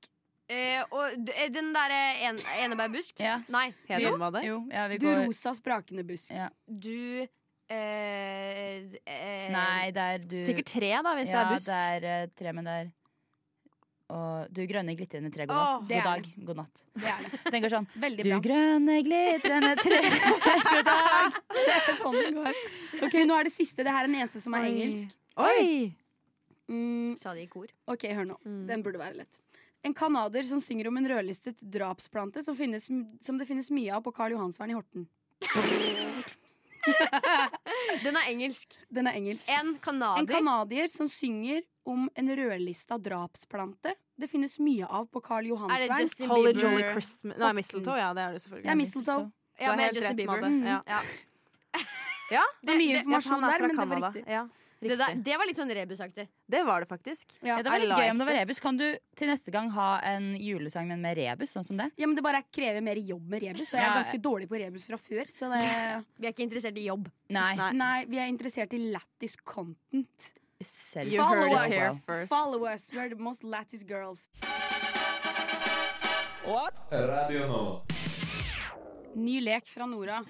[SPEAKER 6] Eh, og d- eh, den derre en, enebærbusk
[SPEAKER 4] Ja.
[SPEAKER 6] Nei,
[SPEAKER 5] Het
[SPEAKER 4] Jo.
[SPEAKER 5] den hva det?
[SPEAKER 4] Jo, ja, vi
[SPEAKER 3] Du
[SPEAKER 4] går
[SPEAKER 3] rosa sprakende busk.
[SPEAKER 4] Ja.
[SPEAKER 6] du eh, eh,
[SPEAKER 4] Nei, det er du
[SPEAKER 5] Sikkert tre, da, hvis det
[SPEAKER 4] Ja,
[SPEAKER 5] er busk.
[SPEAKER 4] det er eh, tre, men det er Og du grønne glitrende tre, god
[SPEAKER 6] Åh,
[SPEAKER 4] natt.
[SPEAKER 3] det er
[SPEAKER 4] God dag, god natt.
[SPEAKER 3] Det er [laughs] det.
[SPEAKER 4] Den går sånn.
[SPEAKER 3] Veldig
[SPEAKER 4] Du
[SPEAKER 3] bra.
[SPEAKER 4] grønne glitrende tre, [laughs] god dag.
[SPEAKER 3] Det er sånn det går. Ok, Nå er det siste. Det her er den eneste som er engelsk.
[SPEAKER 5] Oi!
[SPEAKER 3] Mm,
[SPEAKER 6] Sa de i kor.
[SPEAKER 3] ok, hør nå.
[SPEAKER 4] Mm.
[SPEAKER 3] Den burde være lett. En canadier som synger om en rødlistet drapsplante som, finnes, som det finnes mye av på Karl Johansvern i Horten.
[SPEAKER 6] Den er engelsk.
[SPEAKER 3] Den er engelsk.
[SPEAKER 6] En
[SPEAKER 3] En
[SPEAKER 6] canadier.
[SPEAKER 3] canadier som synger om en rødlista drapsplante det finnes mie av på Karl
[SPEAKER 6] er det
[SPEAKER 3] Johansvern.
[SPEAKER 6] Justin
[SPEAKER 5] Holly
[SPEAKER 6] Bieber?
[SPEAKER 5] Jolly Christmas Nei, mistletoe, ja, det er
[SPEAKER 3] Det
[SPEAKER 5] det
[SPEAKER 3] er
[SPEAKER 5] selvfølgelig.
[SPEAKER 3] mistletoe.
[SPEAKER 6] Ja,
[SPEAKER 5] Du har
[SPEAKER 6] med
[SPEAKER 5] helt
[SPEAKER 6] Justin
[SPEAKER 5] rett,
[SPEAKER 6] Bieber.
[SPEAKER 5] Madde. Ja.
[SPEAKER 6] Ja.
[SPEAKER 5] Ja,
[SPEAKER 3] Det er mye
[SPEAKER 6] det-
[SPEAKER 3] informasjon
[SPEAKER 5] han er
[SPEAKER 3] der,
[SPEAKER 5] fra
[SPEAKER 3] men det var
[SPEAKER 5] Canada.
[SPEAKER 3] riktig.
[SPEAKER 5] Ja,
[SPEAKER 6] Det, der,
[SPEAKER 5] riktig.
[SPEAKER 6] det var litt sånn rebusaktig.
[SPEAKER 5] Det var det faktisk.
[SPEAKER 3] Ja.
[SPEAKER 4] Ja, det var
[SPEAKER 5] I
[SPEAKER 4] litt gøy om det
[SPEAKER 5] liked
[SPEAKER 4] var
[SPEAKER 5] it.
[SPEAKER 4] rebus. Kan du til neste gang ha en julesang, men med rebus, sånn som det?
[SPEAKER 3] Ja, men Det bare krever mer jobb med rebus, og jeg er
[SPEAKER 4] Ja.
[SPEAKER 3] ganske dårlig på rebus fra før. Så det,
[SPEAKER 6] Vi er ikke interessert i jobb.
[SPEAKER 4] Nei.
[SPEAKER 3] nei, vi er interessert i lattis content.
[SPEAKER 4] Selv.
[SPEAKER 5] You heard
[SPEAKER 3] Follow
[SPEAKER 5] it here
[SPEAKER 3] us.
[SPEAKER 5] first.
[SPEAKER 3] Follow us, we're the most lattis girls.
[SPEAKER 1] Radio Nova.
[SPEAKER 3] Ny lek fra Nora.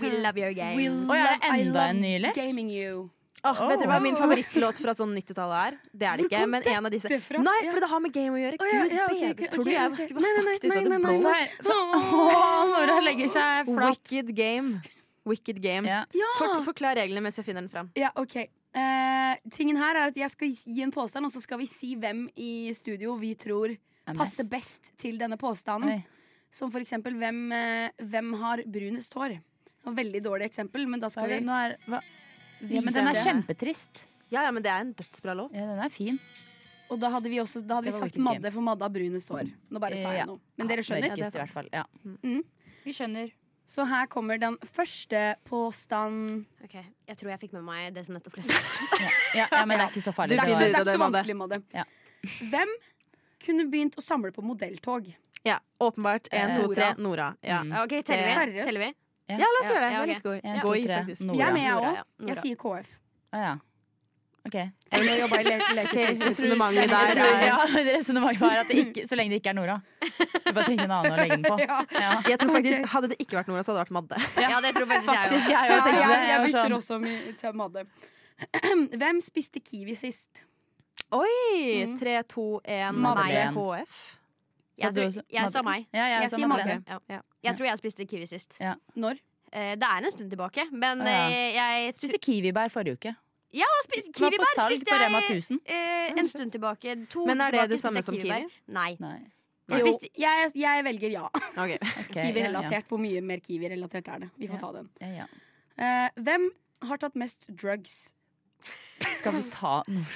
[SPEAKER 6] We love your game.
[SPEAKER 3] We
[SPEAKER 4] Oi, er det
[SPEAKER 3] love- I
[SPEAKER 4] enda
[SPEAKER 3] love
[SPEAKER 4] en ny lek?
[SPEAKER 3] Gaming you.
[SPEAKER 5] Åh, Vet dere hva min favorittlåt fra sånn 90-tallet er? Det er det
[SPEAKER 3] Hvor
[SPEAKER 5] ikke,
[SPEAKER 3] kom
[SPEAKER 5] men en av disse
[SPEAKER 3] dette fra?
[SPEAKER 5] Nei,
[SPEAKER 3] Ja.
[SPEAKER 5] for det har med game å gjøre.
[SPEAKER 3] Å, ja,
[SPEAKER 5] Gud
[SPEAKER 3] ja, ok,
[SPEAKER 5] bedre.
[SPEAKER 3] ok,
[SPEAKER 5] Tror du
[SPEAKER 3] ok,
[SPEAKER 5] jeg
[SPEAKER 3] ok. Nei,
[SPEAKER 5] skulle bare
[SPEAKER 3] nei,
[SPEAKER 5] sagt det ut av
[SPEAKER 3] nei,
[SPEAKER 5] det
[SPEAKER 3] nei,
[SPEAKER 5] blå?
[SPEAKER 3] nei.
[SPEAKER 4] Hva er- Åh, Nora legger seg flatt.
[SPEAKER 5] Wicked game. Wicked game.
[SPEAKER 4] Ja.
[SPEAKER 5] Fort, forklar reglene mens jeg finner den fram.
[SPEAKER 3] Ja, ok Eh, Tingen her er at jeg skal gi en påstand, og så skal vi si hvem i studio vi tror
[SPEAKER 4] Er
[SPEAKER 3] passer
[SPEAKER 4] mest.
[SPEAKER 3] best til denne påstanden.
[SPEAKER 4] Oi.
[SPEAKER 3] Som for eksempel hvem, eh, hvem har brunest hår? Det var et veldig dårlig eksempel, men da
[SPEAKER 4] Hva
[SPEAKER 3] skal
[SPEAKER 4] er
[SPEAKER 3] vi
[SPEAKER 4] det? Nå er, hva?
[SPEAKER 3] vise
[SPEAKER 4] Ja, men den er
[SPEAKER 3] det.
[SPEAKER 4] kjempetrist.
[SPEAKER 5] Ja, ja, men det er en dødsbra låt.
[SPEAKER 4] Ja, den er fin.
[SPEAKER 3] Og da hadde vi også da hadde vi
[SPEAKER 4] Det var
[SPEAKER 3] sagt
[SPEAKER 4] Wicked Game.
[SPEAKER 3] Madde, for Madde har brunest hår. Nå bare
[SPEAKER 4] Ja.
[SPEAKER 3] sa jeg noe. Men dere skjønner?
[SPEAKER 4] Mørkest, i hvert fall. Ja.
[SPEAKER 3] Mm.
[SPEAKER 4] Vi skjønner.
[SPEAKER 3] Så her kommer den første påstand.
[SPEAKER 6] Ok, Jeg tror jeg fikk med meg det som nettopp ble sagt.
[SPEAKER 4] Ja, ja, men det er ikke så farlig.
[SPEAKER 3] Det er ikke så, det
[SPEAKER 5] finner
[SPEAKER 3] er ikke
[SPEAKER 5] ut av
[SPEAKER 3] så
[SPEAKER 5] det,
[SPEAKER 3] vanskelig, Madde.
[SPEAKER 4] Ja.
[SPEAKER 3] Hvem kunne begynt å samle på modelltog?
[SPEAKER 5] Ja, Åpenbart.
[SPEAKER 4] Eh,
[SPEAKER 5] En, to,
[SPEAKER 4] Nora.
[SPEAKER 5] tre. Nora. Ja,
[SPEAKER 4] Mm.
[SPEAKER 6] Ok, Teller vi?
[SPEAKER 3] Seriøst?
[SPEAKER 6] Teller vi?
[SPEAKER 5] ja la oss
[SPEAKER 6] Ja,
[SPEAKER 5] gjøre det.
[SPEAKER 6] ja,
[SPEAKER 5] Det er
[SPEAKER 6] ok.
[SPEAKER 5] litt gøy.
[SPEAKER 4] En, to,
[SPEAKER 5] Gøy,
[SPEAKER 4] tre.
[SPEAKER 5] faktisk.
[SPEAKER 4] Nora.
[SPEAKER 3] Jeg er med, jeg
[SPEAKER 6] Nora,
[SPEAKER 3] òg.
[SPEAKER 6] ja.
[SPEAKER 3] Jeg
[SPEAKER 6] Nora.
[SPEAKER 3] sier KF.
[SPEAKER 4] Å, ja. OK.
[SPEAKER 3] Selv om jeg jobba i le leketøys-
[SPEAKER 5] Resonnementet der er
[SPEAKER 4] Ja, [laughs] Resonnementet var at det ikke, så lenge det ikke er Nora. Du bare trenger en annen å legge den
[SPEAKER 3] [laughs]
[SPEAKER 4] på. Ja.
[SPEAKER 5] Jeg tror faktisk, Hadde det ikke vært Nora, så hadde det vært Madde.
[SPEAKER 6] Ja, det tror faktisk jeg
[SPEAKER 4] Faktisk,
[SPEAKER 6] også.
[SPEAKER 4] jeg har jo
[SPEAKER 3] Ja,
[SPEAKER 4] tenkt det.
[SPEAKER 3] jeg, jeg
[SPEAKER 4] var
[SPEAKER 3] bytter
[SPEAKER 4] sånn-
[SPEAKER 3] også mi- til Madde. [clears throat] Hvem spiste kiwi sist?
[SPEAKER 5] Oi!
[SPEAKER 3] Mm.
[SPEAKER 5] Tre, to, én.
[SPEAKER 4] Madeleine.
[SPEAKER 5] KF.
[SPEAKER 4] Sa
[SPEAKER 6] Jeg,
[SPEAKER 4] du
[SPEAKER 6] tror,
[SPEAKER 4] også-
[SPEAKER 6] jeg sa
[SPEAKER 4] Madde-
[SPEAKER 6] meg.
[SPEAKER 4] Ja, jeg,
[SPEAKER 3] Jeg
[SPEAKER 4] sa
[SPEAKER 3] sier
[SPEAKER 4] Madeleine.
[SPEAKER 3] Madde.
[SPEAKER 6] Ja.
[SPEAKER 5] Ja.
[SPEAKER 6] Jeg tror jeg spiste kiwi sist.
[SPEAKER 4] Ja.
[SPEAKER 3] Når?
[SPEAKER 6] Eh, Det er en stund tilbake, men
[SPEAKER 4] Å, ja.
[SPEAKER 6] eh, jeg
[SPEAKER 4] Spiste kiwibær forrige uke.
[SPEAKER 6] Ja, spiste
[SPEAKER 4] Den var på
[SPEAKER 6] kiwibær
[SPEAKER 4] salg
[SPEAKER 6] spiste
[SPEAKER 4] på Rema
[SPEAKER 6] jeg
[SPEAKER 4] 1000.
[SPEAKER 6] eh, en stund tilbake. To
[SPEAKER 5] Men er det
[SPEAKER 6] tilbake
[SPEAKER 5] det
[SPEAKER 6] spiste
[SPEAKER 5] samme
[SPEAKER 6] jeg
[SPEAKER 5] som
[SPEAKER 6] kiwibær.
[SPEAKER 5] kiwi?
[SPEAKER 6] Nei.
[SPEAKER 4] Nei.
[SPEAKER 3] Jo,
[SPEAKER 6] Jeg spiste
[SPEAKER 3] jeg, jeg velger ja.
[SPEAKER 5] Ok.
[SPEAKER 4] ok, Ja,
[SPEAKER 3] Kiwi-relatert. Hvor mye mer kiwi-relatert er det? Vi får
[SPEAKER 4] Ja.
[SPEAKER 3] ta den.
[SPEAKER 4] ja, ja.
[SPEAKER 3] Eh, hvem har tatt mest drugs?
[SPEAKER 4] Skal vi ta Nora?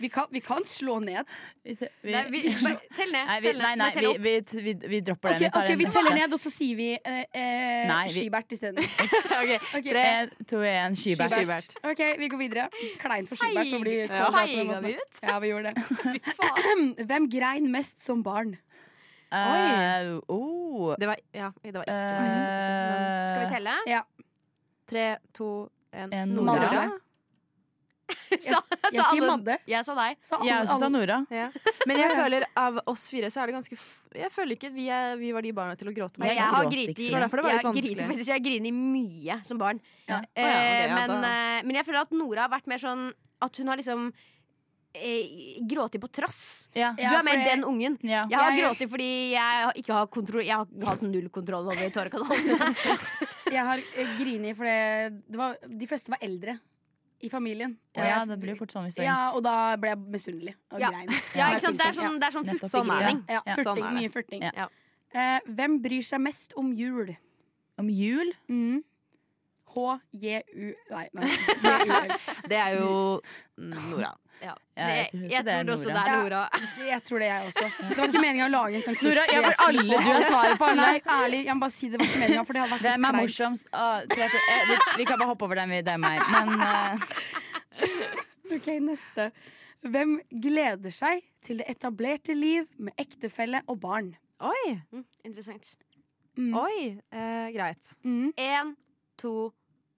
[SPEAKER 3] Vi kan, vi kan slå ned.
[SPEAKER 4] Vi, vi,
[SPEAKER 6] Nei, vi, bare, tell
[SPEAKER 4] [laughs]
[SPEAKER 6] ned.
[SPEAKER 4] nei, vi,
[SPEAKER 6] tell ned.
[SPEAKER 4] nei, nei
[SPEAKER 6] tell
[SPEAKER 4] vi,
[SPEAKER 6] opp.
[SPEAKER 4] vi, vi, vi dropper
[SPEAKER 3] Ok,
[SPEAKER 4] den. tar
[SPEAKER 3] ok,
[SPEAKER 4] den
[SPEAKER 3] Vi
[SPEAKER 4] neste.
[SPEAKER 3] teller
[SPEAKER 4] [laughs]
[SPEAKER 3] ned, og så sier vi eh, eh,
[SPEAKER 4] Nei, vi-
[SPEAKER 3] Skibert isteden.
[SPEAKER 4] [laughs]
[SPEAKER 3] Ok. [laughs]
[SPEAKER 4] En, to, en, skybær.
[SPEAKER 5] Skybert.
[SPEAKER 3] OK, vi går videre. Kleint for
[SPEAKER 6] Feig-
[SPEAKER 3] Skibert å bli
[SPEAKER 6] Ja.
[SPEAKER 3] kåt på den
[SPEAKER 6] Feiga vi
[SPEAKER 3] måten. Ja, vi gjorde det. [clears throat]
[SPEAKER 6] Fy faen.
[SPEAKER 3] Hvem grein mest som barn?
[SPEAKER 4] Eh, oh.
[SPEAKER 5] Det var, ja, det var ikke
[SPEAKER 4] Eh,
[SPEAKER 5] meg.
[SPEAKER 6] Skal vi telle?
[SPEAKER 5] Tre, to, én.
[SPEAKER 4] En
[SPEAKER 5] Nora.
[SPEAKER 4] Nora.
[SPEAKER 6] Sa-
[SPEAKER 3] Jeg
[SPEAKER 6] sa
[SPEAKER 3] sier
[SPEAKER 6] alle-
[SPEAKER 3] Madde.
[SPEAKER 6] Jeg sa deg.
[SPEAKER 3] Sa
[SPEAKER 4] Jeg
[SPEAKER 3] alle-
[SPEAKER 4] også sa
[SPEAKER 3] alle-
[SPEAKER 4] Nora.
[SPEAKER 5] Ja. [laughs]
[SPEAKER 3] [laughs]
[SPEAKER 5] Men jeg føler av oss fire så er det ganske f Jeg føler ikke vi, er, vi var de barna til å gråte.
[SPEAKER 6] Jeg,
[SPEAKER 5] med.
[SPEAKER 4] Jeg
[SPEAKER 6] har
[SPEAKER 4] gråt
[SPEAKER 6] griti,
[SPEAKER 4] ikke.
[SPEAKER 5] Det var derfor det var
[SPEAKER 6] jeg
[SPEAKER 5] litt
[SPEAKER 6] griter
[SPEAKER 5] vanskelig.
[SPEAKER 6] faktisk, jeg griner mye som barn.
[SPEAKER 4] Ja.
[SPEAKER 6] Eh,
[SPEAKER 5] Å ja, ok, ja,
[SPEAKER 6] men,
[SPEAKER 5] da-
[SPEAKER 6] eh, men jeg føler at Nora har vært mer sånn At hun har liksom eh, grått på trass.
[SPEAKER 4] Ja.
[SPEAKER 6] du er
[SPEAKER 3] for
[SPEAKER 6] mer
[SPEAKER 3] jeg-
[SPEAKER 6] den ungen.
[SPEAKER 4] Ja.
[SPEAKER 6] Jeg har
[SPEAKER 3] Jeg-
[SPEAKER 6] grått fordi jeg har ikke har kontroll Jeg har hatt null kontroll
[SPEAKER 4] [laughs]
[SPEAKER 6] over tårekanalen.
[SPEAKER 3] Jeg har eh, grini fordi det var, de fleste var eldre i familien.
[SPEAKER 4] Å ja, det blir fort sånn hvis du er
[SPEAKER 3] ja,
[SPEAKER 4] yngst.
[SPEAKER 3] og da ble jeg misunnelig og
[SPEAKER 6] Ja.
[SPEAKER 3] grein.
[SPEAKER 6] ja, ikke sant? Det er sånn, det er sånn
[SPEAKER 4] Nettopp.
[SPEAKER 6] furtegrining.
[SPEAKER 4] Ja,
[SPEAKER 3] Ja, furting,
[SPEAKER 5] sånn er det.
[SPEAKER 3] mye furting.
[SPEAKER 4] Ja.
[SPEAKER 6] Ja.
[SPEAKER 3] Eh, hvem bryr seg mest om jul?
[SPEAKER 4] Om jul?
[SPEAKER 3] Mm. H-J-U Nei, nei. J-U-L.
[SPEAKER 5] Det er jo Nora.
[SPEAKER 4] Ja,
[SPEAKER 6] Det,
[SPEAKER 4] tror også
[SPEAKER 6] jeg
[SPEAKER 4] det er
[SPEAKER 6] tror også
[SPEAKER 4] Nora.
[SPEAKER 6] det er
[SPEAKER 3] Ja.
[SPEAKER 6] Nora.
[SPEAKER 3] Jeg tror det, jeg også. Det var ikke meningen å lage en sånn quiz.
[SPEAKER 4] Nora, jeg
[SPEAKER 3] hvor
[SPEAKER 4] får
[SPEAKER 3] jeg skulle
[SPEAKER 4] alle
[SPEAKER 3] få-
[SPEAKER 4] du har svaret på. Alle.
[SPEAKER 3] Nei, ærlig, jeg må bare si det var ikke meningen, for det hadde vært
[SPEAKER 4] Hvem
[SPEAKER 3] litt
[SPEAKER 4] er
[SPEAKER 3] kleint.
[SPEAKER 4] morsomst? Ah, tre, to, eh, vi, vi kan bare hoppe over den, vi. Det er meg. Men eh,
[SPEAKER 3] Ok, neste. Hvem gleder seg til det etablerte liv med ektefelle og barn?
[SPEAKER 5] Oi!
[SPEAKER 6] Mm, interessant.
[SPEAKER 3] Mm.
[SPEAKER 5] Oi! Eh, greit.
[SPEAKER 3] Mm.
[SPEAKER 6] Én, to,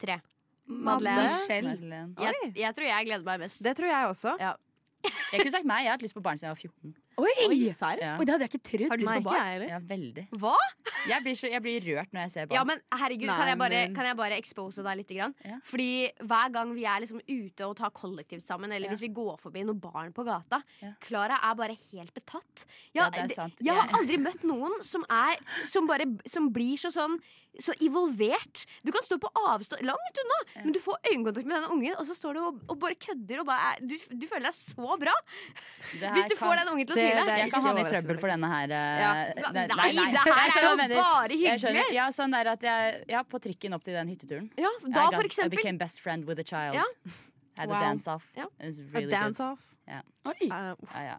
[SPEAKER 6] tre.
[SPEAKER 3] Madeleine.
[SPEAKER 6] Madeleine.
[SPEAKER 3] Schell.
[SPEAKER 4] Madeleine.
[SPEAKER 6] Jeg,
[SPEAKER 5] Oi.
[SPEAKER 6] jeg tror jeg gleder meg mest.
[SPEAKER 5] Det tror jeg også.
[SPEAKER 6] Ja.
[SPEAKER 4] Jeg kunne sagt meg. Jeg har hatt lyst på barn siden jeg var 14.
[SPEAKER 5] Oi!
[SPEAKER 4] Ja,
[SPEAKER 3] Oi, det hadde jeg ikke trodd.
[SPEAKER 6] Har
[SPEAKER 5] Nei,
[SPEAKER 6] du lyst på
[SPEAKER 5] ikke
[SPEAKER 6] barn?
[SPEAKER 5] jeg heller.
[SPEAKER 4] ja veldig.
[SPEAKER 6] Hva?
[SPEAKER 4] Jeg blir, så, jeg blir rørt når jeg ser barn.
[SPEAKER 6] Ja, men herregud,
[SPEAKER 5] Nei,
[SPEAKER 6] kan jeg bare,
[SPEAKER 5] men-
[SPEAKER 6] kan jeg bare expose deg litt? Grann?
[SPEAKER 4] Ja.
[SPEAKER 6] Fordi hver gang vi er liksom ute og tar kollektivt sammen, eller
[SPEAKER 4] Ja.
[SPEAKER 6] hvis vi går forbi noen barn på gata,
[SPEAKER 4] Ja.
[SPEAKER 6] Klara er bare helt betatt.
[SPEAKER 4] Ja,
[SPEAKER 6] Jeg-
[SPEAKER 4] det er sant.
[SPEAKER 6] Jeg har
[SPEAKER 4] Jeg-
[SPEAKER 6] aldri møtt noen som, er, som, bare, som blir så sånn så involvert. Du kan stå på avstand langt unna, men du får øyekontakt med denne ungen, og så står du og, og bare kødder og bare er, du, du føler deg så bra
[SPEAKER 4] Det her
[SPEAKER 6] hvis du får
[SPEAKER 4] kan-
[SPEAKER 6] den ungen til
[SPEAKER 5] det-
[SPEAKER 6] å smile.
[SPEAKER 5] det er
[SPEAKER 4] Jeg kan havne i
[SPEAKER 5] overraskende,
[SPEAKER 4] trøbbel for denne her. eh,
[SPEAKER 5] Ja.
[SPEAKER 4] det-
[SPEAKER 6] Nei, det her
[SPEAKER 4] Jeg
[SPEAKER 6] er
[SPEAKER 4] skjønner
[SPEAKER 6] jo
[SPEAKER 4] hva du mener.
[SPEAKER 6] bare
[SPEAKER 4] Jeg skjønner.
[SPEAKER 6] hyggelig.
[SPEAKER 4] Ja, sånn der at jeg, ja, på trikken opp til den hytteturen.
[SPEAKER 6] Ja,
[SPEAKER 4] I
[SPEAKER 6] da
[SPEAKER 4] got-
[SPEAKER 6] for
[SPEAKER 4] I
[SPEAKER 6] eksempel.
[SPEAKER 4] became best friend with a child.
[SPEAKER 6] Ja.
[SPEAKER 4] [laughs] Had
[SPEAKER 3] Wow.
[SPEAKER 4] a dance off.
[SPEAKER 6] Ja.
[SPEAKER 4] It was
[SPEAKER 5] A
[SPEAKER 4] really
[SPEAKER 5] dance
[SPEAKER 4] good.
[SPEAKER 5] off.
[SPEAKER 3] Oi.
[SPEAKER 5] Eh,
[SPEAKER 4] Ja, ja.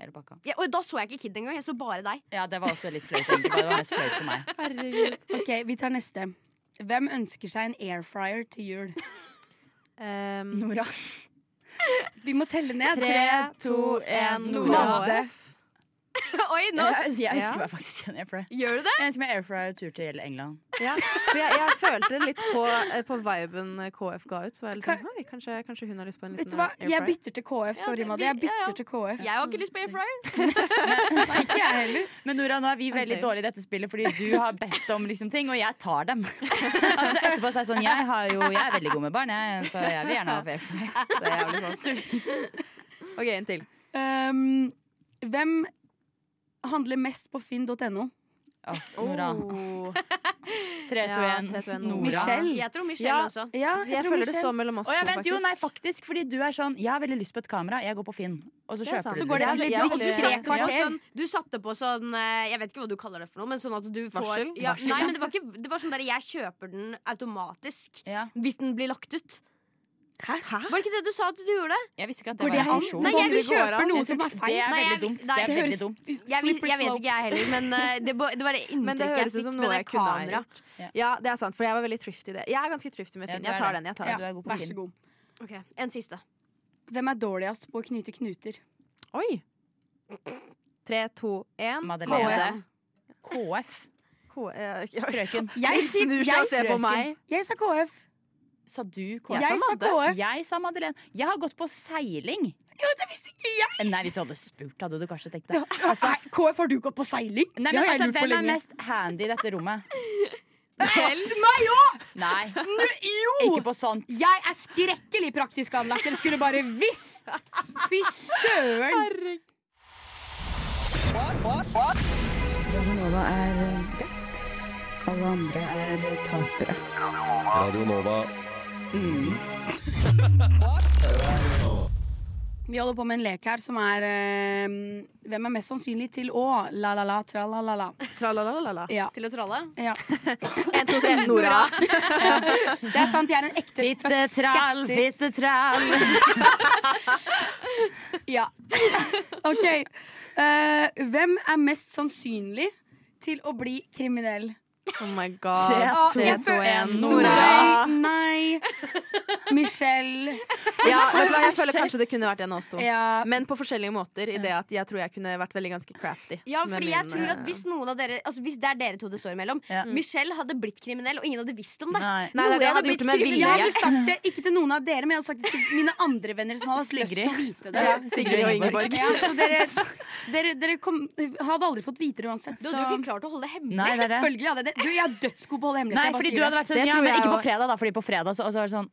[SPEAKER 4] Hele pakka.
[SPEAKER 6] Ja, og da så jeg ikke Kid engang, jeg så bare deg. [laughs]
[SPEAKER 5] [laughs]
[SPEAKER 4] Ja, det var også litt flaut. egentlig. Det var mest flaut for meg.
[SPEAKER 5] herregud.
[SPEAKER 3] Ok, vi tar neste. Hvem ønsker seg en airfryer til jul?
[SPEAKER 5] Um,
[SPEAKER 3] Nora. Vi må telle ned.
[SPEAKER 5] Tre, to, en, Nora.
[SPEAKER 3] Madde.
[SPEAKER 6] Oi, nå
[SPEAKER 4] Jeg, jeg
[SPEAKER 6] [laughs] Ja.
[SPEAKER 4] husker meg faktisk en airfryer.
[SPEAKER 6] [laughs] Gjør du det?
[SPEAKER 4] Jeg ønsker meg airfryer tur til England.
[SPEAKER 5] For jeg, jeg følte det litt på, eh, på viben KF ga ut. Så var jeg litt sånn, Oi, kanskje, kanskje hun har lyst på en
[SPEAKER 3] Vet
[SPEAKER 5] liten
[SPEAKER 3] du hva?
[SPEAKER 5] eh,
[SPEAKER 3] Jeg
[SPEAKER 5] airfryer.
[SPEAKER 3] bytter til KF.
[SPEAKER 6] Ja,
[SPEAKER 3] Sorry,
[SPEAKER 6] det-
[SPEAKER 3] Madde. Jeg
[SPEAKER 6] vi- ja, ja.
[SPEAKER 3] bytter til KF.
[SPEAKER 6] Jeg har ikke lyst på airfryer.
[SPEAKER 3] Nei, ikke jeg heller.
[SPEAKER 4] Men Nora, nå er vi veldig
[SPEAKER 5] sorry.
[SPEAKER 4] dårlige i dette spillet fordi du har bedt om liksom ting, og jeg tar dem. Altså etterpå så er jeg sånn Jeg, har jo, jeg er veldig god med barn, jeg, så jeg vil gjerne ha airfryer.
[SPEAKER 5] Det er jævlig sant. OK, en til.
[SPEAKER 3] Um, hvem handler mest på finn.no?
[SPEAKER 4] Åh, Nora. 3, 2,
[SPEAKER 5] Oh. Ja,
[SPEAKER 4] 1.
[SPEAKER 5] tre, to, en,
[SPEAKER 4] Nora.
[SPEAKER 5] Michelle.
[SPEAKER 6] Jeg tror Michelle
[SPEAKER 4] Ja.
[SPEAKER 6] også.
[SPEAKER 3] Ja, jeg,
[SPEAKER 5] Jeg
[SPEAKER 3] tror
[SPEAKER 5] føler det
[SPEAKER 3] Michelle-
[SPEAKER 5] står mellom oss
[SPEAKER 4] Å ja,
[SPEAKER 5] to,
[SPEAKER 4] vent, jo, nei,
[SPEAKER 5] faktisk.
[SPEAKER 4] faktisk. Fordi du er sånn Jeg har veldig lyst på et kamera, jeg går på Finn. Og så
[SPEAKER 5] Det er
[SPEAKER 4] kjøper
[SPEAKER 5] sant.
[SPEAKER 4] du
[SPEAKER 5] Så går det
[SPEAKER 4] det.
[SPEAKER 5] veldig-
[SPEAKER 6] Ja,
[SPEAKER 5] Ja,
[SPEAKER 6] du
[SPEAKER 5] det-
[SPEAKER 6] satte på
[SPEAKER 4] ja.
[SPEAKER 6] sånn, du satte på sånn eh, Jeg vet ikke hva du kaller det for noe, men sånn at du får
[SPEAKER 5] Varsel?
[SPEAKER 6] Ja,
[SPEAKER 4] Varsel,
[SPEAKER 6] nei,
[SPEAKER 4] ja.
[SPEAKER 6] men det var, ikke, det var sånn der jeg kjøper den automatisk
[SPEAKER 4] Ja.
[SPEAKER 6] hvis den blir lagt ut.
[SPEAKER 5] Hæ?
[SPEAKER 6] Var det ikke det du sa at du gjorde?
[SPEAKER 4] Jeg visste ikke at det var
[SPEAKER 3] Går det
[SPEAKER 4] en
[SPEAKER 3] an?
[SPEAKER 4] funksjon.
[SPEAKER 6] Nei,
[SPEAKER 3] Om
[SPEAKER 6] jeg-
[SPEAKER 3] du
[SPEAKER 5] det går
[SPEAKER 3] kjøper
[SPEAKER 5] an.
[SPEAKER 3] noe
[SPEAKER 4] Jeg
[SPEAKER 3] som
[SPEAKER 4] tror
[SPEAKER 3] er
[SPEAKER 4] ikke-
[SPEAKER 3] feil?
[SPEAKER 4] Det er
[SPEAKER 6] Nei, jeg-
[SPEAKER 4] veldig dumt.
[SPEAKER 6] nei,
[SPEAKER 4] Det er
[SPEAKER 3] det
[SPEAKER 4] veldig
[SPEAKER 3] høres-
[SPEAKER 4] dumt.
[SPEAKER 6] Jeg, vis,
[SPEAKER 3] Slippery
[SPEAKER 6] jeg vet
[SPEAKER 3] slope.
[SPEAKER 6] ikke, jeg heller. Men eh, det, bo- det var det
[SPEAKER 5] Men det
[SPEAKER 6] inntrykket jeg
[SPEAKER 5] høres ut
[SPEAKER 6] fikk
[SPEAKER 5] som
[SPEAKER 6] med
[SPEAKER 5] noe
[SPEAKER 6] det
[SPEAKER 5] jeg kunne ha
[SPEAKER 6] kameraet.
[SPEAKER 5] gjort.
[SPEAKER 4] Ja.
[SPEAKER 5] Ja, det er sant, for jeg var veldig thrifty i det. Jeg er ganske thrifty med
[SPEAKER 4] Ja,
[SPEAKER 5] Finn.
[SPEAKER 4] du er
[SPEAKER 5] Jeg tar
[SPEAKER 4] det.
[SPEAKER 5] den. jeg tar
[SPEAKER 4] Ja,
[SPEAKER 5] den
[SPEAKER 4] du er god på
[SPEAKER 3] Vær så
[SPEAKER 4] Finn.
[SPEAKER 3] god.
[SPEAKER 6] Ok, En siste.
[SPEAKER 3] Hvem er dårligst på å knyte knuter?
[SPEAKER 5] Oi! Tre, to, én.
[SPEAKER 4] Madeleine. KF.
[SPEAKER 5] eh,
[SPEAKER 4] Frøken.
[SPEAKER 3] Jeg
[SPEAKER 5] Hun snur seg og ser på
[SPEAKER 4] frøken.
[SPEAKER 5] meg.
[SPEAKER 3] Jeg sa KF.
[SPEAKER 4] Sa du KF?
[SPEAKER 5] Jeg
[SPEAKER 3] Jeg
[SPEAKER 5] sa
[SPEAKER 3] sa
[SPEAKER 5] Madde.
[SPEAKER 3] KF.
[SPEAKER 4] Jeg sa Madeleine. Jeg har gått på seiling.
[SPEAKER 3] Ja, det visste ikke jeg!
[SPEAKER 4] Nei, Hvis du hadde spurt, hadde du kanskje tenkt det.
[SPEAKER 3] Altså, KF, har du gått på seiling?
[SPEAKER 4] Nei, men altså, Hvem er mest handy i dette rommet?
[SPEAKER 3] Meg òg!
[SPEAKER 4] Nei,
[SPEAKER 3] Jo!
[SPEAKER 4] ikke på sånt.
[SPEAKER 3] Jeg er skrekkelig praktisk anlagt. Dere skulle bare visst! Fy søren!
[SPEAKER 8] Radionova er best. Alle andre er tapere.
[SPEAKER 7] Radio Nova.
[SPEAKER 3] Vi holder på med en lek her som er eh, Hvem er mest sannsynlig til å la-la-la, tra-la-la-la.
[SPEAKER 5] Tralalalala.
[SPEAKER 3] Ja.
[SPEAKER 6] Til å trolle?
[SPEAKER 3] ja.
[SPEAKER 5] En, to, tre. Nora.
[SPEAKER 3] Det er sant, jeg er en ekte født
[SPEAKER 4] Fittetrall,
[SPEAKER 3] skatter.
[SPEAKER 4] fittetrall.
[SPEAKER 3] Ja. [laughs] OK. Eh, hvem er mest sannsynlig til å bli kriminell?
[SPEAKER 5] Oh my god.
[SPEAKER 4] Tre,
[SPEAKER 5] Tre,
[SPEAKER 4] jeg
[SPEAKER 5] to,
[SPEAKER 4] føler-
[SPEAKER 5] én. Nora.
[SPEAKER 4] Nora.
[SPEAKER 3] Nei, nei. Michelle.
[SPEAKER 5] Ja, vet du hva, jeg føler kanskje det kunne vært en av oss to.
[SPEAKER 3] Ja.
[SPEAKER 5] Men på forskjellige måter. I det at jeg tror jeg kunne vært veldig ganske crafty.
[SPEAKER 6] Ja,
[SPEAKER 5] med
[SPEAKER 6] fordi
[SPEAKER 5] min,
[SPEAKER 6] jeg tror at
[SPEAKER 5] eh,
[SPEAKER 6] hvis noen av dere Altså hvis det er dere to det står imellom
[SPEAKER 4] Ja.
[SPEAKER 6] Michelle hadde blitt kriminell, og ingen hadde visst om det.
[SPEAKER 4] Mm. Nei.
[SPEAKER 5] Nei, det er det jeg hadde gjort med
[SPEAKER 3] Jeg
[SPEAKER 5] vilje.
[SPEAKER 3] hadde sagt det ikke til noen av dere, men jeg hadde sagt det til mine andre venner som hadde hatt lyst til å vite det.
[SPEAKER 5] Sigrid og Ingeborg.
[SPEAKER 3] Ja, så dere, dere, dere kom, hadde aldri fått vite det uansett.
[SPEAKER 6] Du
[SPEAKER 3] Så.
[SPEAKER 6] hadde jo ikke klart å holde det hemmelig.
[SPEAKER 4] Nei, det er det.
[SPEAKER 3] Selvfølgelig hadde jeg det. Du, jeg har dødsgod på å holde
[SPEAKER 4] Nei,
[SPEAKER 3] hemmeligheter. jeg bare
[SPEAKER 4] fordi
[SPEAKER 3] sier
[SPEAKER 4] du hadde
[SPEAKER 3] det.
[SPEAKER 4] vært sånn,
[SPEAKER 5] Det
[SPEAKER 4] ja,
[SPEAKER 5] tror
[SPEAKER 4] men
[SPEAKER 5] jeg
[SPEAKER 4] ikke på
[SPEAKER 5] også.
[SPEAKER 4] fredag, da. Fordi på fredag så, og så var det sånn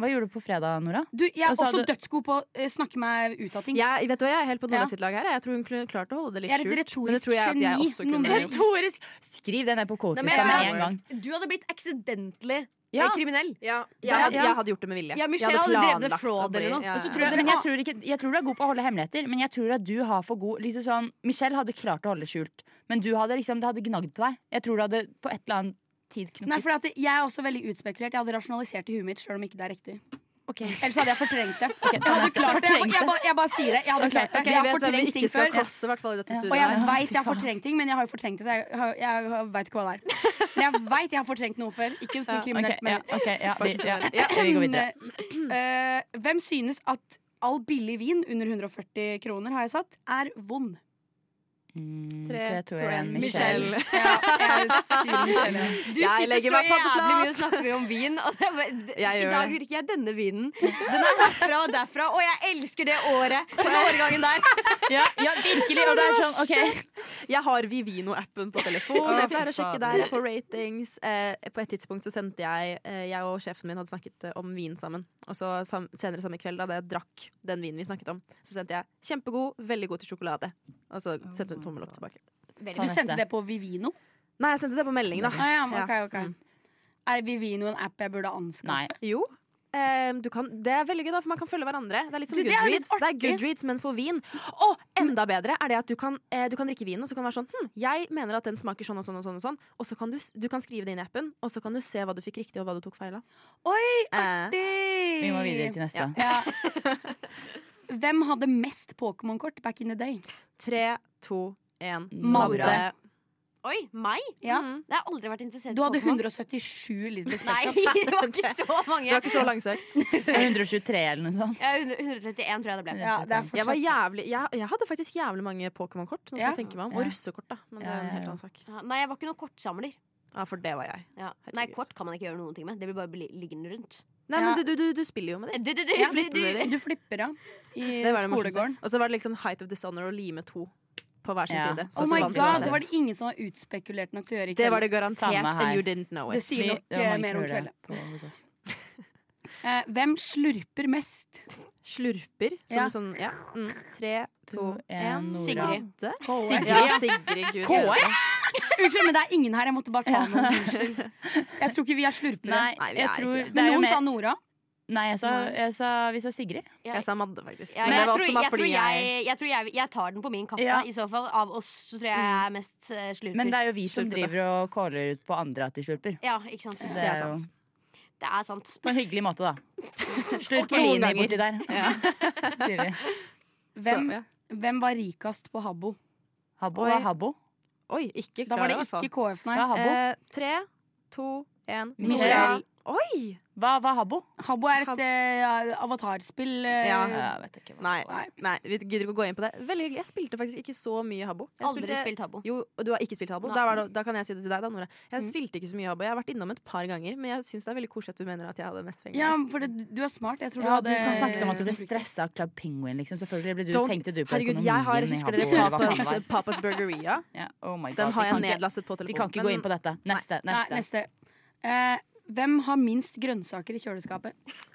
[SPEAKER 4] Hva gjorde du på fredag, Nora?
[SPEAKER 3] du, jeg er
[SPEAKER 4] Og så
[SPEAKER 3] også
[SPEAKER 4] hadde-
[SPEAKER 3] dødsgod på å eh, snakke meg ut av ting.
[SPEAKER 5] Jeg, vet du hva, jeg er helt på Nora
[SPEAKER 3] Ja.
[SPEAKER 5] sitt lag her. Jeg tror hun kunne klart å holde det litt
[SPEAKER 3] Jeg er et
[SPEAKER 5] skjult.
[SPEAKER 3] retorisk
[SPEAKER 5] men det tror jeg at jeg
[SPEAKER 3] geni,
[SPEAKER 5] også kunne
[SPEAKER 3] Nora.
[SPEAKER 5] gjort.
[SPEAKER 4] Retorisk! Skriv det ned på
[SPEAKER 6] Nei,
[SPEAKER 4] kortlista
[SPEAKER 6] men
[SPEAKER 4] med
[SPEAKER 6] jeg-
[SPEAKER 4] en gang.
[SPEAKER 6] Du hadde blitt accidentally eh,
[SPEAKER 4] Ja.
[SPEAKER 6] kriminell.
[SPEAKER 5] Ja, jeg,
[SPEAKER 4] Ja,
[SPEAKER 5] hadde,
[SPEAKER 4] ja.
[SPEAKER 5] jeg hadde gjort det med vilje.
[SPEAKER 6] Ja, Michelle
[SPEAKER 5] Jeg
[SPEAKER 6] hadde drevet
[SPEAKER 5] planlagt
[SPEAKER 6] fraud
[SPEAKER 5] å bli-
[SPEAKER 6] eller noe.
[SPEAKER 5] ja,
[SPEAKER 6] Og så
[SPEAKER 5] ja,
[SPEAKER 6] tror
[SPEAKER 5] ja.
[SPEAKER 4] Ja, men jeg, tror ikke, jeg tror du er god på å holde hemmeligheter, men jeg tror at du har for god liksom sånn, Michelle hadde klart å holde det skjult, men du hadde liksom, det hadde gnagd på deg. Jeg tror du hadde på et eller annet tid
[SPEAKER 3] Nei,
[SPEAKER 4] knukket.
[SPEAKER 3] for at Jeg er også veldig utspekulert. Jeg hadde rasjonalisert i huet mitt, sjøl om ikke det er riktig.
[SPEAKER 4] Ok.
[SPEAKER 3] Ellers hadde jeg fortrengt det.
[SPEAKER 4] Ok,
[SPEAKER 3] Jeg hadde
[SPEAKER 4] neste.
[SPEAKER 3] klart det. Jeg,
[SPEAKER 4] Fortrengt
[SPEAKER 3] jeg, bare, jeg bare sier det. Jeg hadde
[SPEAKER 4] Ok,
[SPEAKER 3] klart det.
[SPEAKER 4] ok,
[SPEAKER 3] jeg
[SPEAKER 5] Vi
[SPEAKER 3] har
[SPEAKER 5] vet hvem vi
[SPEAKER 3] fortrengt ting
[SPEAKER 5] ikke skal
[SPEAKER 3] før.
[SPEAKER 5] crosse, i hvert fall i dette
[SPEAKER 4] Ja.
[SPEAKER 5] studioet.
[SPEAKER 3] Og jeg
[SPEAKER 4] Ja,
[SPEAKER 3] veit
[SPEAKER 4] fy
[SPEAKER 3] jeg har
[SPEAKER 4] faen.
[SPEAKER 3] fortrengt ting, men jeg har jo fortrengt det, så jeg, har- jeg, jeg veit ikke hva det er. Men jeg veit jeg har fortrengt noe før. Ikke noe
[SPEAKER 4] Ok,
[SPEAKER 3] kriminelt.
[SPEAKER 4] ja,
[SPEAKER 3] men-
[SPEAKER 4] ok, ja, vi, ja.
[SPEAKER 5] Ja.
[SPEAKER 4] vi går videre.
[SPEAKER 3] [clears throat] Eh, hvem synes at all billig vin under 140 kroner har jeg satt, er vond?
[SPEAKER 4] Mm,
[SPEAKER 5] Tre,
[SPEAKER 4] tre, to,
[SPEAKER 5] to,
[SPEAKER 4] en,
[SPEAKER 5] en,
[SPEAKER 4] Michelle.
[SPEAKER 5] Michelle.
[SPEAKER 3] [laughs] Ja, jeg sier Michelle.
[SPEAKER 6] Du
[SPEAKER 5] Jeg
[SPEAKER 6] sitter
[SPEAKER 5] legger
[SPEAKER 6] så
[SPEAKER 5] meg paddeflat.
[SPEAKER 6] jævlig mye og snakker om vin. Og det, er
[SPEAKER 5] Jeg
[SPEAKER 6] bare- I
[SPEAKER 5] gjør
[SPEAKER 6] dag
[SPEAKER 5] det.
[SPEAKER 6] drikker jeg denne vinen. Den er herfra og derfra, og jeg elsker det året. Den årgangen der.
[SPEAKER 4] Ja, ja, virkelig! Og det er sånn, ok.
[SPEAKER 5] Jeg har Vivino-appen på telefon.
[SPEAKER 4] Å,
[SPEAKER 5] Jeg
[SPEAKER 4] fy
[SPEAKER 5] pleier å sjekke
[SPEAKER 4] faen.
[SPEAKER 5] der på ratings. Eh, på et tidspunkt så sendte jeg eh, Jeg og sjefen min hadde snakket eh, om vin sammen. Og så sam senere samme kveld, da da jeg drakk den vinen vi snakket om, så sendte jeg 'kjempegod, veldig god til sjokolade'. Og så sendte hun tommel opp tilbake.
[SPEAKER 4] Ta
[SPEAKER 6] Veldig
[SPEAKER 3] Du
[SPEAKER 6] bra.
[SPEAKER 4] neste.
[SPEAKER 3] sendte det på Vivino?
[SPEAKER 5] Nei, jeg sendte det på melding, da.
[SPEAKER 3] Ah, ja, ok,
[SPEAKER 5] Ja.
[SPEAKER 3] ok. Er Vivino en app jeg burde anskaffe?
[SPEAKER 4] Nei.
[SPEAKER 5] Jo. Eh, du kan, det er veldig gøy, da, for man kan følge hverandre. Det er litt som
[SPEAKER 3] Du, det er litt
[SPEAKER 5] Goodreads, det er
[SPEAKER 3] artig.
[SPEAKER 5] Goodreads, men for vin. Og enda bedre er det at du kan, eh, du kan drikke vinen, og så kan du være sånn hm, Jeg mener at den smaker sånn og sånn og sånn, og sånn Og så kan du, s- du kan skrive det inn i appen, og så kan du se hva du fikk riktig, og hva du tok feil av.
[SPEAKER 3] Oi,
[SPEAKER 5] Eh,
[SPEAKER 4] Vi må videre til neste.
[SPEAKER 3] Ja. [laughs] Hvem hadde mest Pokémon-kort back in the day?
[SPEAKER 5] tre, to, én.
[SPEAKER 4] Madde.
[SPEAKER 6] Oi, meg?
[SPEAKER 3] Ja.
[SPEAKER 6] Mm. Det har jeg aldri vært interessert
[SPEAKER 3] Du hadde
[SPEAKER 6] Pokémon.
[SPEAKER 3] 177 liter
[SPEAKER 6] Nei, [laughs]
[SPEAKER 3] spesial.
[SPEAKER 6] det var ikke så mange.
[SPEAKER 5] Du er ikke så langsøkt.
[SPEAKER 3] [laughs]
[SPEAKER 4] 123 eller noe sånt.
[SPEAKER 6] Ja, 100 131 tror jeg det ble.
[SPEAKER 3] Ja, det er
[SPEAKER 5] Jeg, var
[SPEAKER 3] fortsatt
[SPEAKER 5] jævlig, jeg, jeg hadde faktisk jævlig mange Pokémon-kort. nå skal
[SPEAKER 3] Ja.
[SPEAKER 5] jeg tenke meg om.
[SPEAKER 4] Ja.
[SPEAKER 5] Og russekort, da. Men det er
[SPEAKER 4] Ja,
[SPEAKER 5] en
[SPEAKER 4] ja,
[SPEAKER 5] helt
[SPEAKER 4] ja.
[SPEAKER 5] annen sak.
[SPEAKER 6] Ja, Nei, jeg var ikke noen kortsamler.
[SPEAKER 5] Ja, For det var jeg.
[SPEAKER 6] Ja.
[SPEAKER 5] Herregud.
[SPEAKER 6] Nei, kort kan man ikke gjøre noen ting med. Det blir bare bli liggende rundt.
[SPEAKER 5] Nei,
[SPEAKER 3] Ja.
[SPEAKER 5] men du, du, du, du spiller jo med det.
[SPEAKER 6] Du, du, du,
[SPEAKER 5] Ja,
[SPEAKER 6] du,
[SPEAKER 5] flipper med det.
[SPEAKER 3] Du flipper av i
[SPEAKER 5] det var det morsomste.
[SPEAKER 3] skolegården.
[SPEAKER 5] Og så var det liksom Height of Dishonor og lime to på hver sin
[SPEAKER 4] Ja.
[SPEAKER 5] side.
[SPEAKER 3] Oh
[SPEAKER 5] så
[SPEAKER 3] my
[SPEAKER 5] vant vi
[SPEAKER 3] god,
[SPEAKER 5] uansett.
[SPEAKER 3] Det var det ingen som var utspekulert nok til å gjøre. i
[SPEAKER 5] det
[SPEAKER 3] kveld.
[SPEAKER 5] var det garantert.
[SPEAKER 4] Samme her.
[SPEAKER 5] And you didn't know
[SPEAKER 3] Det
[SPEAKER 5] it.
[SPEAKER 3] sier nok
[SPEAKER 4] det var
[SPEAKER 3] eh,
[SPEAKER 4] mange
[SPEAKER 3] mer
[SPEAKER 4] som
[SPEAKER 3] om
[SPEAKER 4] gjorde
[SPEAKER 3] kvelden.
[SPEAKER 4] det på- hos oss.
[SPEAKER 3] Eh, hvem slurper mest?
[SPEAKER 5] Slurper. Som
[SPEAKER 3] Ja.
[SPEAKER 5] en sånn, ja. mm. Tre, to,
[SPEAKER 4] To, en,
[SPEAKER 5] én.
[SPEAKER 4] Nora.
[SPEAKER 6] Sigrid.
[SPEAKER 5] Sigrid.
[SPEAKER 4] Ja.
[SPEAKER 5] Ja, Sigrid Gud.
[SPEAKER 3] [laughs] Unnskyld, men det er ingen her. Jeg måtte bare ta med Unnskyld. Jeg tror ikke vi er slurpere.
[SPEAKER 4] Nei,
[SPEAKER 5] Nei, vi
[SPEAKER 4] jeg
[SPEAKER 5] er
[SPEAKER 4] tror
[SPEAKER 5] ikke.
[SPEAKER 4] det er
[SPEAKER 3] Men
[SPEAKER 4] jo
[SPEAKER 3] noen sånn-
[SPEAKER 4] mer-
[SPEAKER 3] sa Nora.
[SPEAKER 4] Nei, jeg sa, jeg sa, vi sa Sigrid.
[SPEAKER 5] Jeg sa Madde, faktisk.
[SPEAKER 6] Ja,
[SPEAKER 5] Men
[SPEAKER 6] jeg,
[SPEAKER 5] det var
[SPEAKER 6] tror,
[SPEAKER 5] også
[SPEAKER 6] jeg,
[SPEAKER 5] bare
[SPEAKER 6] tror
[SPEAKER 5] fordi
[SPEAKER 6] jeg,
[SPEAKER 5] jeg
[SPEAKER 6] jeg tror jeg, jeg tar den på min kappe,
[SPEAKER 4] Ja. Mm.
[SPEAKER 6] i så fall. Av oss så tror jeg jeg er mest eh, slurper.
[SPEAKER 4] Men det er jo vi som
[SPEAKER 5] Slurper, da.
[SPEAKER 4] driver og caller ut på andre at de slurper.
[SPEAKER 6] Ja, ikke sant.
[SPEAKER 4] Det
[SPEAKER 5] Det er
[SPEAKER 4] er jo
[SPEAKER 5] sant.
[SPEAKER 6] Det er sant.
[SPEAKER 4] på en hyggelig måte, da. Slurp
[SPEAKER 5] Noen
[SPEAKER 4] Eline
[SPEAKER 5] ganger.
[SPEAKER 4] borti der,
[SPEAKER 5] Ja.
[SPEAKER 4] sier vi.
[SPEAKER 3] Hvem,
[SPEAKER 5] [laughs] Så, ja.
[SPEAKER 3] hvem var rikest på Habbo?
[SPEAKER 4] Habbo
[SPEAKER 5] Oi.
[SPEAKER 4] og Habbo.
[SPEAKER 5] Oi, ikke
[SPEAKER 3] Da var
[SPEAKER 5] klar, i
[SPEAKER 3] det
[SPEAKER 5] hvert fall.
[SPEAKER 3] ikke KF, nei.
[SPEAKER 4] Hva er Habbo?
[SPEAKER 5] Eh, tre, to, én.
[SPEAKER 4] Michelle.
[SPEAKER 5] Oi!
[SPEAKER 4] Hva var Habbo?
[SPEAKER 3] Habbo er
[SPEAKER 5] Hab-
[SPEAKER 3] et eh, avatarspill. eh,
[SPEAKER 5] Ja.
[SPEAKER 4] Jeg vet ikke. hva.
[SPEAKER 5] Nei,
[SPEAKER 3] Nei.
[SPEAKER 5] nei, vi gidder ikke å gå inn på det. Veldig hyggelig. Jeg spilte faktisk ikke så mye Habbo. Jeg
[SPEAKER 6] Aldri
[SPEAKER 5] spilte-
[SPEAKER 6] spilt
[SPEAKER 4] [laughs]
[SPEAKER 6] Habbo.
[SPEAKER 5] Jo, og du har ikke spilt Habbo.
[SPEAKER 6] Nei.
[SPEAKER 5] Da, var det, da kan jeg si det til deg, da, Nora. Jeg
[SPEAKER 4] Mm.
[SPEAKER 5] spilte ikke så mye Habbo. Jeg har vært innom et par ganger, men jeg syns det er veldig koselig at du mener at jeg hadde mest penger.
[SPEAKER 3] ja, for det, du er smart. Jeg tror
[SPEAKER 4] Ja,
[SPEAKER 3] du
[SPEAKER 4] du
[SPEAKER 3] hadde
[SPEAKER 4] som snakket om at du ble stressa av Club Penguin, liksom. Selvfølgelig ble du,
[SPEAKER 5] Don't-
[SPEAKER 4] tenkte du på økonomien
[SPEAKER 5] Herregud, jeg har,
[SPEAKER 4] i
[SPEAKER 5] husker
[SPEAKER 4] Habbo.
[SPEAKER 5] dere
[SPEAKER 4] eller hva faen det var.
[SPEAKER 5] Papas, Papas
[SPEAKER 4] [laughs]
[SPEAKER 5] Burgeria?
[SPEAKER 4] Ja, oh my God.
[SPEAKER 5] Den har
[SPEAKER 4] vi
[SPEAKER 5] jeg
[SPEAKER 4] kan ikke-
[SPEAKER 5] nedlastet på telefonen.
[SPEAKER 4] Vi kan ikke gå inn på dette. Neste.
[SPEAKER 3] Nei,
[SPEAKER 4] neste.
[SPEAKER 3] neste. Eh, hvem har minst grønnsaker i kjøleskapet?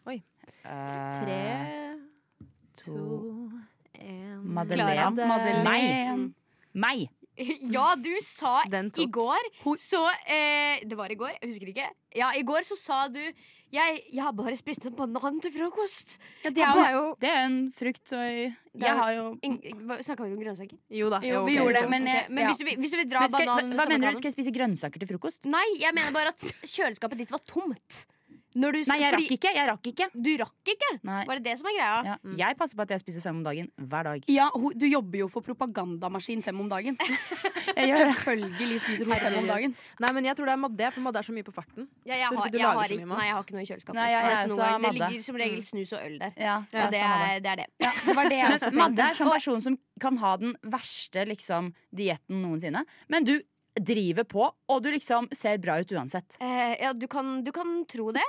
[SPEAKER 4] Eh,
[SPEAKER 5] Tre, to,
[SPEAKER 4] to
[SPEAKER 5] én
[SPEAKER 4] Madeleine.
[SPEAKER 3] eh,
[SPEAKER 5] Klara.
[SPEAKER 4] Meg. Meg!
[SPEAKER 6] Ja, du sa
[SPEAKER 5] Den
[SPEAKER 6] i
[SPEAKER 5] tok.
[SPEAKER 6] går Så eh, Det var i går, jeg husker ikke. Ja, i går så sa du Jeg, jeg har bare spist en banan til frokost.
[SPEAKER 3] Ja, det er jo
[SPEAKER 4] Det er en frukt og
[SPEAKER 6] Det er
[SPEAKER 4] Jeg
[SPEAKER 6] jo-
[SPEAKER 4] har jo
[SPEAKER 6] Snakka vi ikke om grønnsaker?
[SPEAKER 5] Jo da.
[SPEAKER 3] Jo, vi
[SPEAKER 5] ok.
[SPEAKER 3] gjorde det,
[SPEAKER 6] Men,
[SPEAKER 3] men, eh,
[SPEAKER 6] eh, men
[SPEAKER 3] ja.
[SPEAKER 6] hvis, du, vil- hvis du vil dra
[SPEAKER 4] Men skal, hva,
[SPEAKER 6] bananen
[SPEAKER 4] hva
[SPEAKER 6] som
[SPEAKER 4] mener du?
[SPEAKER 6] bananen-
[SPEAKER 4] Skal jeg spise grønnsaker til frokost?
[SPEAKER 6] Nei, jeg mener bare at kjøleskapet ditt var tomt. Når du,
[SPEAKER 4] Nei, jeg
[SPEAKER 6] fordi-
[SPEAKER 4] rakk ikke. Jeg rakk ikke.
[SPEAKER 6] Du rakk ikke!
[SPEAKER 4] Nei.
[SPEAKER 6] Var det det som er greia?
[SPEAKER 4] Ja. Jeg passer på at jeg spiser fem om dagen hver dag.
[SPEAKER 3] Ja, hun, du jobber jo for propagandamaskin fem om dagen. Selvfølgelig spiser hun fem om dagen.
[SPEAKER 5] Nei, men jeg tror det er Madde, for Madde er så mye på farten.
[SPEAKER 6] Ja, jeg,
[SPEAKER 5] Så
[SPEAKER 6] har,
[SPEAKER 5] du
[SPEAKER 6] jeg,
[SPEAKER 5] lager så
[SPEAKER 6] har ikke,
[SPEAKER 5] mye mat?
[SPEAKER 6] nei, jeg har ikke noe i kjøleskapet.
[SPEAKER 4] Nei, jeg-
[SPEAKER 6] Så
[SPEAKER 4] jeg
[SPEAKER 6] nesten
[SPEAKER 4] også
[SPEAKER 6] noen
[SPEAKER 4] er
[SPEAKER 6] ganger- det
[SPEAKER 4] Madde.
[SPEAKER 6] ligger som regel snus og øl der.
[SPEAKER 4] Ja,
[SPEAKER 6] Og
[SPEAKER 4] jeg
[SPEAKER 6] det,
[SPEAKER 4] også
[SPEAKER 6] er, det er det.
[SPEAKER 3] Det var det jeg også
[SPEAKER 4] Men Madde er sånn person som kan ha den verste liksom, dietten noensinne. Men du driver på, og du liksom ser bra ut uansett.
[SPEAKER 6] Eh, ja, du kan, du kan tro det.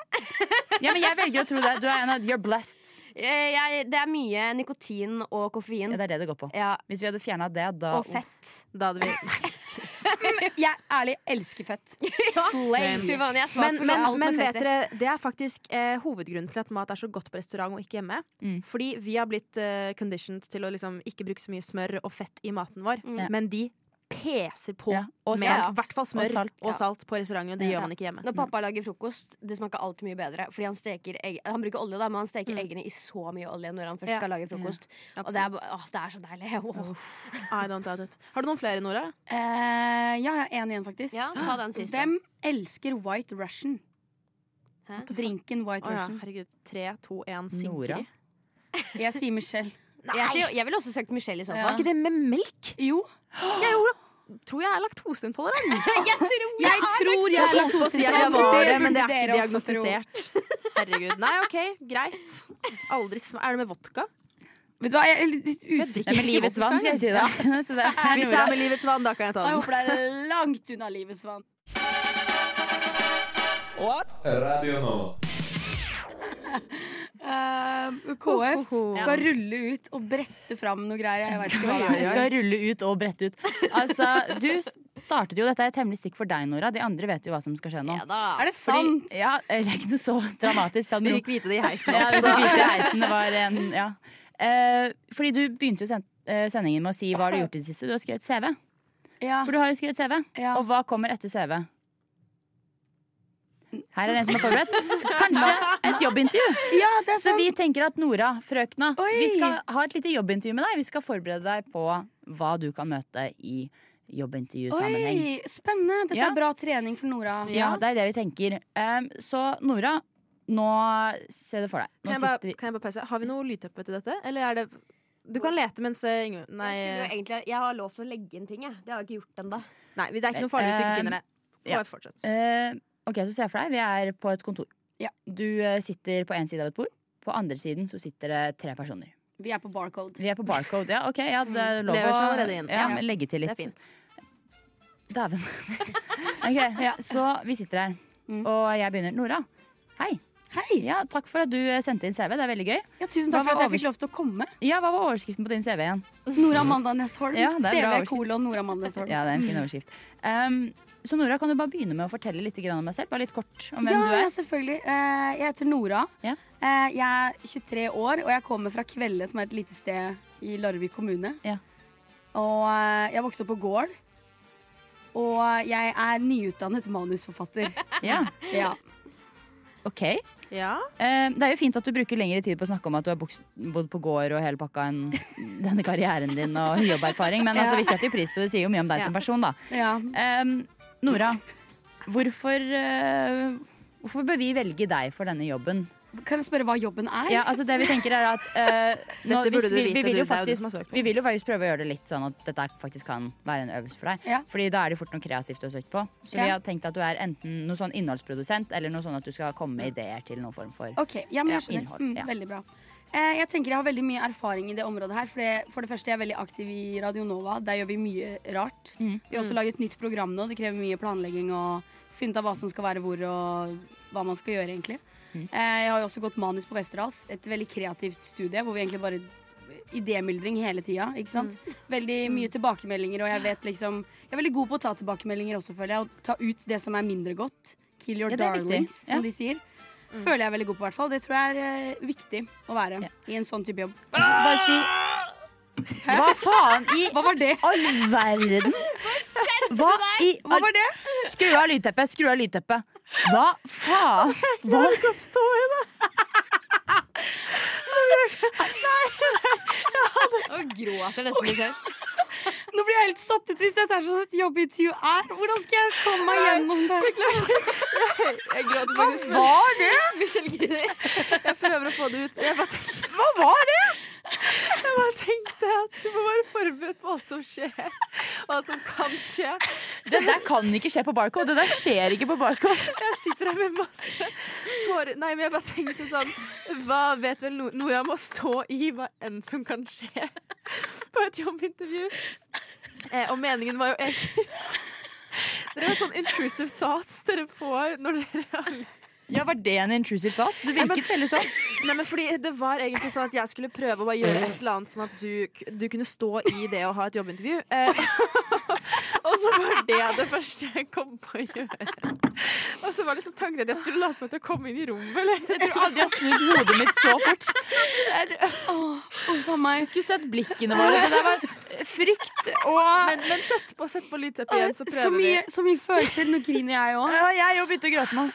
[SPEAKER 4] Ja, men Jeg velger å tro det. Du er en av You're blessed.
[SPEAKER 6] Eh, jeg, det er mye nikotin og koffein.
[SPEAKER 4] Ja, det er det det går på.
[SPEAKER 6] Ja,
[SPEAKER 4] Hvis vi hadde fjerna det, da
[SPEAKER 6] og fett.
[SPEAKER 5] Da hadde vi
[SPEAKER 3] Jeg ærlig elsker fett. Slay.
[SPEAKER 6] Fy faen, jeg er svak
[SPEAKER 5] Men,
[SPEAKER 6] for
[SPEAKER 5] men,
[SPEAKER 6] alt med
[SPEAKER 5] men vet
[SPEAKER 6] fett i.
[SPEAKER 5] dere, det er faktisk eh, hovedgrunnen til at mat er så godt på restaurant og ikke hjemme.
[SPEAKER 4] Mm.
[SPEAKER 5] Fordi vi har blitt eh, conditioned til å liksom ikke bruke så mye smør og fett i maten vår.
[SPEAKER 6] Mm.
[SPEAKER 5] Men de peser på
[SPEAKER 4] Ja, og
[SPEAKER 5] med
[SPEAKER 4] salt.
[SPEAKER 5] i hvert fall smør
[SPEAKER 4] Og
[SPEAKER 5] og
[SPEAKER 4] salt.
[SPEAKER 5] salt,
[SPEAKER 4] Ja.
[SPEAKER 5] på restauranten, og det
[SPEAKER 4] Ja.
[SPEAKER 5] gjør man ikke hjemme.
[SPEAKER 6] Når pappa lager frokost, det smaker alltid mye bedre. Fordi han steker egg Han bruker olje, da, men han steker eggene i så mye olje når han først
[SPEAKER 5] Ja.
[SPEAKER 6] skal lage frokost. Og det er,
[SPEAKER 5] Absolutt.
[SPEAKER 6] ba- åh, det er så deilig. [laughs] Åh.
[SPEAKER 5] I don't doubt it. Har du noen flere, Nora?
[SPEAKER 3] Eh, ja, jeg er en igjen, faktisk.
[SPEAKER 6] Ja, ta den siste.
[SPEAKER 3] Hvem elsker White Russian?
[SPEAKER 6] Hæ?
[SPEAKER 3] Drinken White
[SPEAKER 5] Å ja,
[SPEAKER 3] Russian.
[SPEAKER 5] herregud. Tre, to, én, Sigrid.
[SPEAKER 4] Nora.
[SPEAKER 5] Er
[SPEAKER 3] Jeg sier Michelle.
[SPEAKER 6] Jeg, sier- jeg ville også søkt Michelle i så
[SPEAKER 4] Ja.
[SPEAKER 6] fall.
[SPEAKER 5] ikke det med melk?
[SPEAKER 3] Jo,
[SPEAKER 5] Jeg jo, tror jeg er laktoseintolerant.
[SPEAKER 6] [laughs] Jeg tror
[SPEAKER 3] jeg tror jeg er
[SPEAKER 5] Folk sier at jeg
[SPEAKER 3] laktoseintolerant.
[SPEAKER 5] var det, men det er
[SPEAKER 3] burde
[SPEAKER 5] ikke
[SPEAKER 3] dere også tro.
[SPEAKER 5] diagnostisert. Herregud. Nei, OK, greit. Aldri sm- Er det med vodka?
[SPEAKER 3] Vet du hva, jeg er litt usikker.
[SPEAKER 4] Det er med livets vann, skal jeg si da. [laughs] Så det er liksom-
[SPEAKER 5] Hvis det
[SPEAKER 4] Nora.
[SPEAKER 5] er med livets vann, da kan jeg ta
[SPEAKER 4] sånn?
[SPEAKER 3] Jeg
[SPEAKER 5] den.
[SPEAKER 3] håper det er langt unna sånn. livets vann.
[SPEAKER 7] Radio Nova.
[SPEAKER 3] Eh, KF skal rulle ut og brette fram noe greier. Jeg vet ikke hva det
[SPEAKER 4] Jeg
[SPEAKER 3] er.
[SPEAKER 4] skal rulle ut og brette ut. Altså, Du startet jo dette er et hemmelig stikk for deg, Nora. De andre vet jo hva som skal skje nå.
[SPEAKER 6] Ja da.
[SPEAKER 3] Er det
[SPEAKER 4] Fordi-
[SPEAKER 3] sant?
[SPEAKER 4] Ja, eller ikke noe så dramatisk. Ta den
[SPEAKER 5] Vi
[SPEAKER 4] ro.
[SPEAKER 5] fikk vite det i heisen.
[SPEAKER 4] Ja,
[SPEAKER 5] opp,
[SPEAKER 4] vi
[SPEAKER 5] så-
[SPEAKER 4] fikk vite i heisen. Det var en ja. Eh, Fordi du begynte jo sen eh, sendingen med å si hva har du gjort i det siste. Du har skrevet CV.
[SPEAKER 3] Ja.
[SPEAKER 4] For du har jo skrevet CV.
[SPEAKER 3] Ja.
[SPEAKER 4] Og hva kommer etter CV? Her er en som er forberedt. Kanskje et jobbintervju.
[SPEAKER 3] ja, det er
[SPEAKER 4] Så vi tenker at Nora, frøkna,
[SPEAKER 3] Oi.
[SPEAKER 4] vi skal ha et lite jobbintervju med deg. Vi skal forberede deg på hva du kan møte i jobbintervjusammenheng.
[SPEAKER 3] Oi, spennende. Dette
[SPEAKER 4] Ja.
[SPEAKER 3] er bra trening for Nora.
[SPEAKER 4] Ja, det er det vi tenker. Um, så Nora, nå se det for deg.
[SPEAKER 5] Kan
[SPEAKER 4] Nå
[SPEAKER 5] jeg, bare,
[SPEAKER 4] sitter vi
[SPEAKER 5] kan jeg bare pause? Har vi noe lydteppe til dette? Eller er det Du kan lete mens eh, Inge... Nei,
[SPEAKER 6] Jeg, skulle jo egentlig, jeg har lov til å legge inn ting, jeg. Det har jeg ikke gjort ennå.
[SPEAKER 5] nei, det er ikke noe farlig hvis du ikke
[SPEAKER 4] Eh,
[SPEAKER 5] finner det.
[SPEAKER 4] ja.
[SPEAKER 5] Bare fortsett.
[SPEAKER 4] Eh, ok, så ser jeg for deg. Vi er på et kontor.
[SPEAKER 3] Ja.
[SPEAKER 4] Du eh, sitter på en side av et bord. På andre siden så sitter det tre personer.
[SPEAKER 3] Vi er på barcode.
[SPEAKER 4] Vi er på barcode. Ja, ok, ja, det er lov
[SPEAKER 5] Mm. Lever
[SPEAKER 4] å
[SPEAKER 5] seg allerede inn.
[SPEAKER 4] ja,
[SPEAKER 5] Ja.
[SPEAKER 4] men legge til
[SPEAKER 5] Det
[SPEAKER 4] litt.
[SPEAKER 5] er fint.
[SPEAKER 4] Dæven.
[SPEAKER 5] [laughs]
[SPEAKER 4] Ok, Så vi sitter her,
[SPEAKER 3] Mm.
[SPEAKER 4] og jeg begynner. Nora. Hei.
[SPEAKER 3] Hei!
[SPEAKER 4] Ja, takk for at du eh, sendte inn CV. Det er veldig gøy.
[SPEAKER 3] Ja, tusen
[SPEAKER 4] Hva
[SPEAKER 3] takk for at
[SPEAKER 4] var
[SPEAKER 3] jeg fikk lov til å komme.
[SPEAKER 4] Ja, Hva var overskriften på din CV igjen?
[SPEAKER 3] Nora Amanda Nesholm.
[SPEAKER 4] Ja, det er bra
[SPEAKER 3] CV
[SPEAKER 4] oversikt.
[SPEAKER 3] kolon Nora Amanda Nesholm.
[SPEAKER 4] Ja, det er en
[SPEAKER 5] Mm.
[SPEAKER 4] fin overskrift. Ehm, så Nora, kan du bare begynne med å fortelle litt grann om deg selv? Bare litt kort om hvem
[SPEAKER 3] ja,
[SPEAKER 4] du
[SPEAKER 3] Ja,
[SPEAKER 4] er.
[SPEAKER 3] selvfølgelig. Eh, Jeg heter Nora.
[SPEAKER 4] Ja.
[SPEAKER 3] Eh, Jeg er 23 år, og jeg kommer fra Kvelde, som er et lite sted i Larvik kommune.
[SPEAKER 4] Ja.
[SPEAKER 3] Og eh, jeg vokste opp på gård. Og jeg er nyutdannet manusforfatter.
[SPEAKER 4] [laughs] Ja,
[SPEAKER 3] ja.
[SPEAKER 4] ok.
[SPEAKER 5] Ja.
[SPEAKER 4] Ehm, det er jo fint at du bruker lengre tid på å snakke om at du har boks- bodd på gård og hele pakka enn [laughs] denne karrieren din og jobberfaring, men altså, vi setter jo pris på det. Det sier jo mye om deg
[SPEAKER 5] Ja.
[SPEAKER 4] som person, da.
[SPEAKER 3] ja.
[SPEAKER 4] Ehm, Nora, hvorfor, eh, hvorfor bør vi velge deg for denne jobben?
[SPEAKER 3] Kan jeg spørre hva jobben er?
[SPEAKER 4] Ja, altså det Vi tenker er at
[SPEAKER 5] [laughs]
[SPEAKER 4] eh, nå,
[SPEAKER 5] Dette burde
[SPEAKER 4] hvis
[SPEAKER 5] du
[SPEAKER 4] vi, vi,
[SPEAKER 5] vite,
[SPEAKER 4] vil
[SPEAKER 5] du,
[SPEAKER 4] jo
[SPEAKER 5] det er jo du som har
[SPEAKER 4] faktisk,
[SPEAKER 5] søkt på.
[SPEAKER 4] vi vil jo faktisk prøve å gjøre det litt sånn at dette faktisk kan være en øvelse for deg.
[SPEAKER 3] Ja.
[SPEAKER 4] Fordi da er det fort noe kreativt å søke på. Så
[SPEAKER 3] Ja.
[SPEAKER 4] vi har tenkt at du er enten noe sånn innholdsprodusent eller noe sånn at du skal komme med ideer til noen form for
[SPEAKER 3] Ok, ja, men jeg
[SPEAKER 4] Ja,
[SPEAKER 3] skjønner.
[SPEAKER 4] innhold,
[SPEAKER 3] Mm,
[SPEAKER 4] ja.
[SPEAKER 3] Veldig bra. Eh, Jeg tenker jeg har veldig mye erfaring i det området her. For det, for det første, jeg er veldig aktiv i Radio Nova. Der gjør vi mye rart.
[SPEAKER 4] Mm.
[SPEAKER 3] Vi har også laget et nytt program nå. Det krever mye planlegging og finne ut av hva som skal være hvor, og hva man skal gjøre, egentlig.
[SPEAKER 4] Mm.
[SPEAKER 3] Eh, Jeg har jo også gått manus på Westerdals. Et veldig kreativt studie hvor vi egentlig bare Idémyldring hele tida. Ikke sant?
[SPEAKER 4] Mm.
[SPEAKER 3] Veldig mye tilbakemeldinger, og jeg vet liksom Jeg er veldig god på å ta tilbakemeldinger også, føler jeg. Og ta ut det som er mindre godt. Kill your
[SPEAKER 4] Ja, det er viktig.
[SPEAKER 3] darlings, som
[SPEAKER 4] Ja. Mm.
[SPEAKER 3] de sier. Føler jeg er veldig god på, i hvert fall. Det tror jeg er eh, viktig å være
[SPEAKER 4] Ja.
[SPEAKER 3] i en sånn type jobb.
[SPEAKER 4] Altså, Bare si Hva faen i
[SPEAKER 3] Hva var det?
[SPEAKER 4] all verden? Hva i
[SPEAKER 3] Hva var det?
[SPEAKER 4] Skru av lydteppet! Skru av lydteppet! Hva faen? Hva?
[SPEAKER 6] Og gråter nesten i sjøen.
[SPEAKER 3] [laughs] Nå blir jeg helt satt ut hvis dette er sånn et jobbintervju er. Hvordan skal jeg komme meg gjennom det?
[SPEAKER 4] Hva var
[SPEAKER 6] [laughs]
[SPEAKER 4] det?
[SPEAKER 5] Jeg prøver å få det ut. Jeg bare tenker,
[SPEAKER 4] Hva var det?
[SPEAKER 5] jeg bare tenkte at du må være forberedt på alt som skjer. Og alt som kan skje.
[SPEAKER 4] Det der kan ikke skje på Barcode. Det der skjer ikke på Barcode.
[SPEAKER 5] Jeg sitter her med masse tårer. Nei, men jeg bare tenkte sånn Hva vet vel Nor- Nora må stå i hva enn som kan skje på et jobbintervju. Eh, og meningen var jo egentlig Dere har sånn intrusive thoughts dere får når dere har
[SPEAKER 4] Ja, Var det en intrusive thought? Det virket veldig sånn.
[SPEAKER 5] Nei, men fordi det var egentlig sånn at jeg skulle prøve å bare gjøre et eller annet sånn at du, k- du kunne stå i det å ha et jobbintervju. Eh, og så var det det første jeg kom på å gjøre. Og så var liksom tanken at jeg skulle late som at jeg kom inn i rommet, eller?
[SPEAKER 4] Jeg tror aldri jeg har snudd hodet mitt så fort. Jeg tror,
[SPEAKER 3] Uff a meg.
[SPEAKER 4] jeg skulle sett blikkene våre. Det der var frykt og
[SPEAKER 5] Men, men sett på, sett på lydteppet igjen, så
[SPEAKER 3] Så
[SPEAKER 5] prøver vi.
[SPEAKER 3] mye, så mye følelser. Nå griner jeg òg.
[SPEAKER 4] ja, Jeg jo begynte å gråte nå.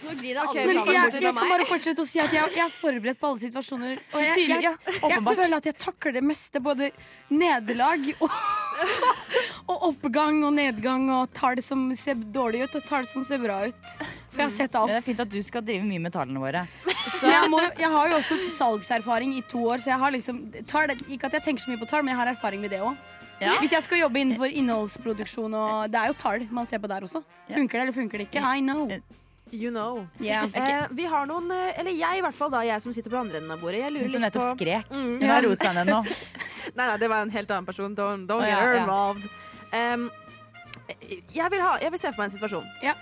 [SPEAKER 6] Nå griner alle
[SPEAKER 5] Ok,
[SPEAKER 3] Men
[SPEAKER 5] men
[SPEAKER 6] sammen.
[SPEAKER 3] jeg, jeg
[SPEAKER 6] bortsett fra
[SPEAKER 3] kan
[SPEAKER 6] meg.
[SPEAKER 3] bare fortsette å si at jeg, jeg er forberedt på alle situasjoner. Og jeg, jeg,
[SPEAKER 4] Tydelig, ja,
[SPEAKER 3] jeg
[SPEAKER 4] åpenbart.
[SPEAKER 3] føler at jeg takler det meste. Både nederlag og, [laughs] og oppgang og nedgang. Og tar det som ser dårlig ut, og tar det som ser bra ut. For jeg har sett
[SPEAKER 4] Det er
[SPEAKER 3] alt.
[SPEAKER 4] fint at du skal drive mye med tallene våre.
[SPEAKER 3] Men jeg, må, jeg har jo også salgserfaring i to år, så jeg har liksom tall, Ikke at jeg tenker så mye på tall, men jeg har erfaring med det òg.
[SPEAKER 4] Ja.
[SPEAKER 3] Hvis jeg skal jobbe innenfor innholdsproduksjon og Det er jo tall man ser på der også.
[SPEAKER 4] Ja.
[SPEAKER 3] Funker det, eller funker det ikke? I know.
[SPEAKER 5] You know.
[SPEAKER 3] Yeah.
[SPEAKER 5] Eh, vi har noen, eh, eller jeg i hvert fall, da, jeg som sitter på andre enden av bordet. Jeg
[SPEAKER 4] Hun
[SPEAKER 5] lurer
[SPEAKER 4] som
[SPEAKER 5] litt
[SPEAKER 4] nettopp
[SPEAKER 5] på
[SPEAKER 4] skrek.
[SPEAKER 5] Mm.
[SPEAKER 4] Hun har roet seg ned nå.
[SPEAKER 5] Nei, nei, det var en helt annen person. Don't,
[SPEAKER 4] Å,
[SPEAKER 5] don't get
[SPEAKER 4] ja,
[SPEAKER 5] her
[SPEAKER 4] ja.
[SPEAKER 5] involved. Em, jeg, vil ha, jeg vil se for meg en situasjon.
[SPEAKER 3] Ja.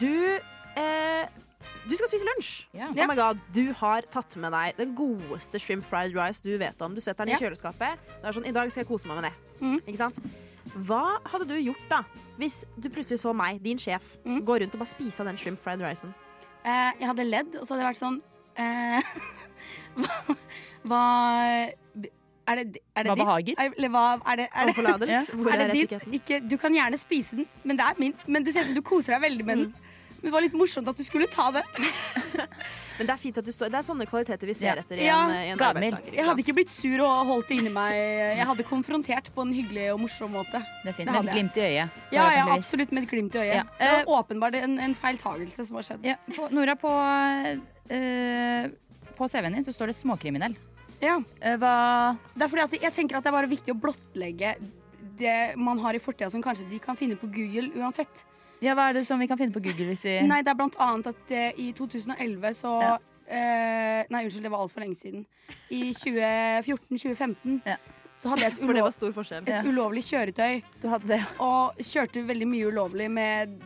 [SPEAKER 5] Du, eh, du skal spise lunsj.
[SPEAKER 4] Ja.
[SPEAKER 5] Oh my god, Du har tatt med deg den godeste shrimp fried rice du vet om. Du setter den
[SPEAKER 3] Ja.
[SPEAKER 5] i kjøleskapet. Det er sånn, I dag skal jeg kose meg med det.
[SPEAKER 3] Mm.
[SPEAKER 5] Ikke sant? Hva hadde du gjort da hvis du plutselig så meg, din sjef,
[SPEAKER 3] Mm.
[SPEAKER 5] gå rundt og bare spise av den shrimp fried ricen?
[SPEAKER 3] Eh, jeg hadde ledd, og så hadde jeg vært sånn eh, [laughs] hva, hva Er det, er det
[SPEAKER 4] Hva behager?
[SPEAKER 3] Er, eller hva er det, er det, [laughs]
[SPEAKER 5] Overforlatelse? Hvor
[SPEAKER 3] er
[SPEAKER 5] er
[SPEAKER 3] det
[SPEAKER 5] etiketten?
[SPEAKER 3] din? Ikke, du kan gjerne spise den, men det er min. Men det ser ut som du koser deg veldig med den. Men det var litt morsomt at du skulle ta det.
[SPEAKER 5] Men det er fint at du står Det er sånne kvaliteter vi ser
[SPEAKER 4] Ja.
[SPEAKER 5] etter i
[SPEAKER 3] Ja,
[SPEAKER 5] en, i en
[SPEAKER 4] gammel.
[SPEAKER 5] arbeidstaker. ikke
[SPEAKER 3] Jeg hadde
[SPEAKER 5] sant?
[SPEAKER 3] ikke blitt sur og holdt det inni meg. Jeg hadde konfrontert på en hyggelig og morsom måte.
[SPEAKER 4] Det er fint.
[SPEAKER 3] Det
[SPEAKER 4] Med
[SPEAKER 3] hadde
[SPEAKER 4] et
[SPEAKER 3] jeg.
[SPEAKER 4] glimt i øyet.
[SPEAKER 3] Ja, ja,
[SPEAKER 4] forhåpentligvis.
[SPEAKER 3] absolutt med et glimt i øyet.
[SPEAKER 4] Ja.
[SPEAKER 3] Det var åpenbart en, en feiltagelse som har skjedd.
[SPEAKER 4] Ja, på, Nora, på, eh, på CV-en din så står det småkriminell.
[SPEAKER 3] Ja.
[SPEAKER 4] Eh, Hva
[SPEAKER 3] Det er fordi at jeg tenker at det er bare viktig å blottlegge det man har i fortida som kanskje de kan finne på Google uansett.
[SPEAKER 4] Ja, hva er det som vi kan finne på Google hvis vi
[SPEAKER 3] [laughs] Nei, det er blant annet at eh, i 2011 så
[SPEAKER 4] Ja.
[SPEAKER 3] eh, Nei, unnskyld, det var altfor lenge siden. I 2014-2015
[SPEAKER 4] Ja.
[SPEAKER 3] så hadde jeg et,
[SPEAKER 5] For det
[SPEAKER 3] ulov,
[SPEAKER 5] var stor forskjell.
[SPEAKER 4] Ja.
[SPEAKER 3] et ulovlig kjøretøy
[SPEAKER 4] Du hadde det.
[SPEAKER 3] og kjørte veldig mye ulovlig med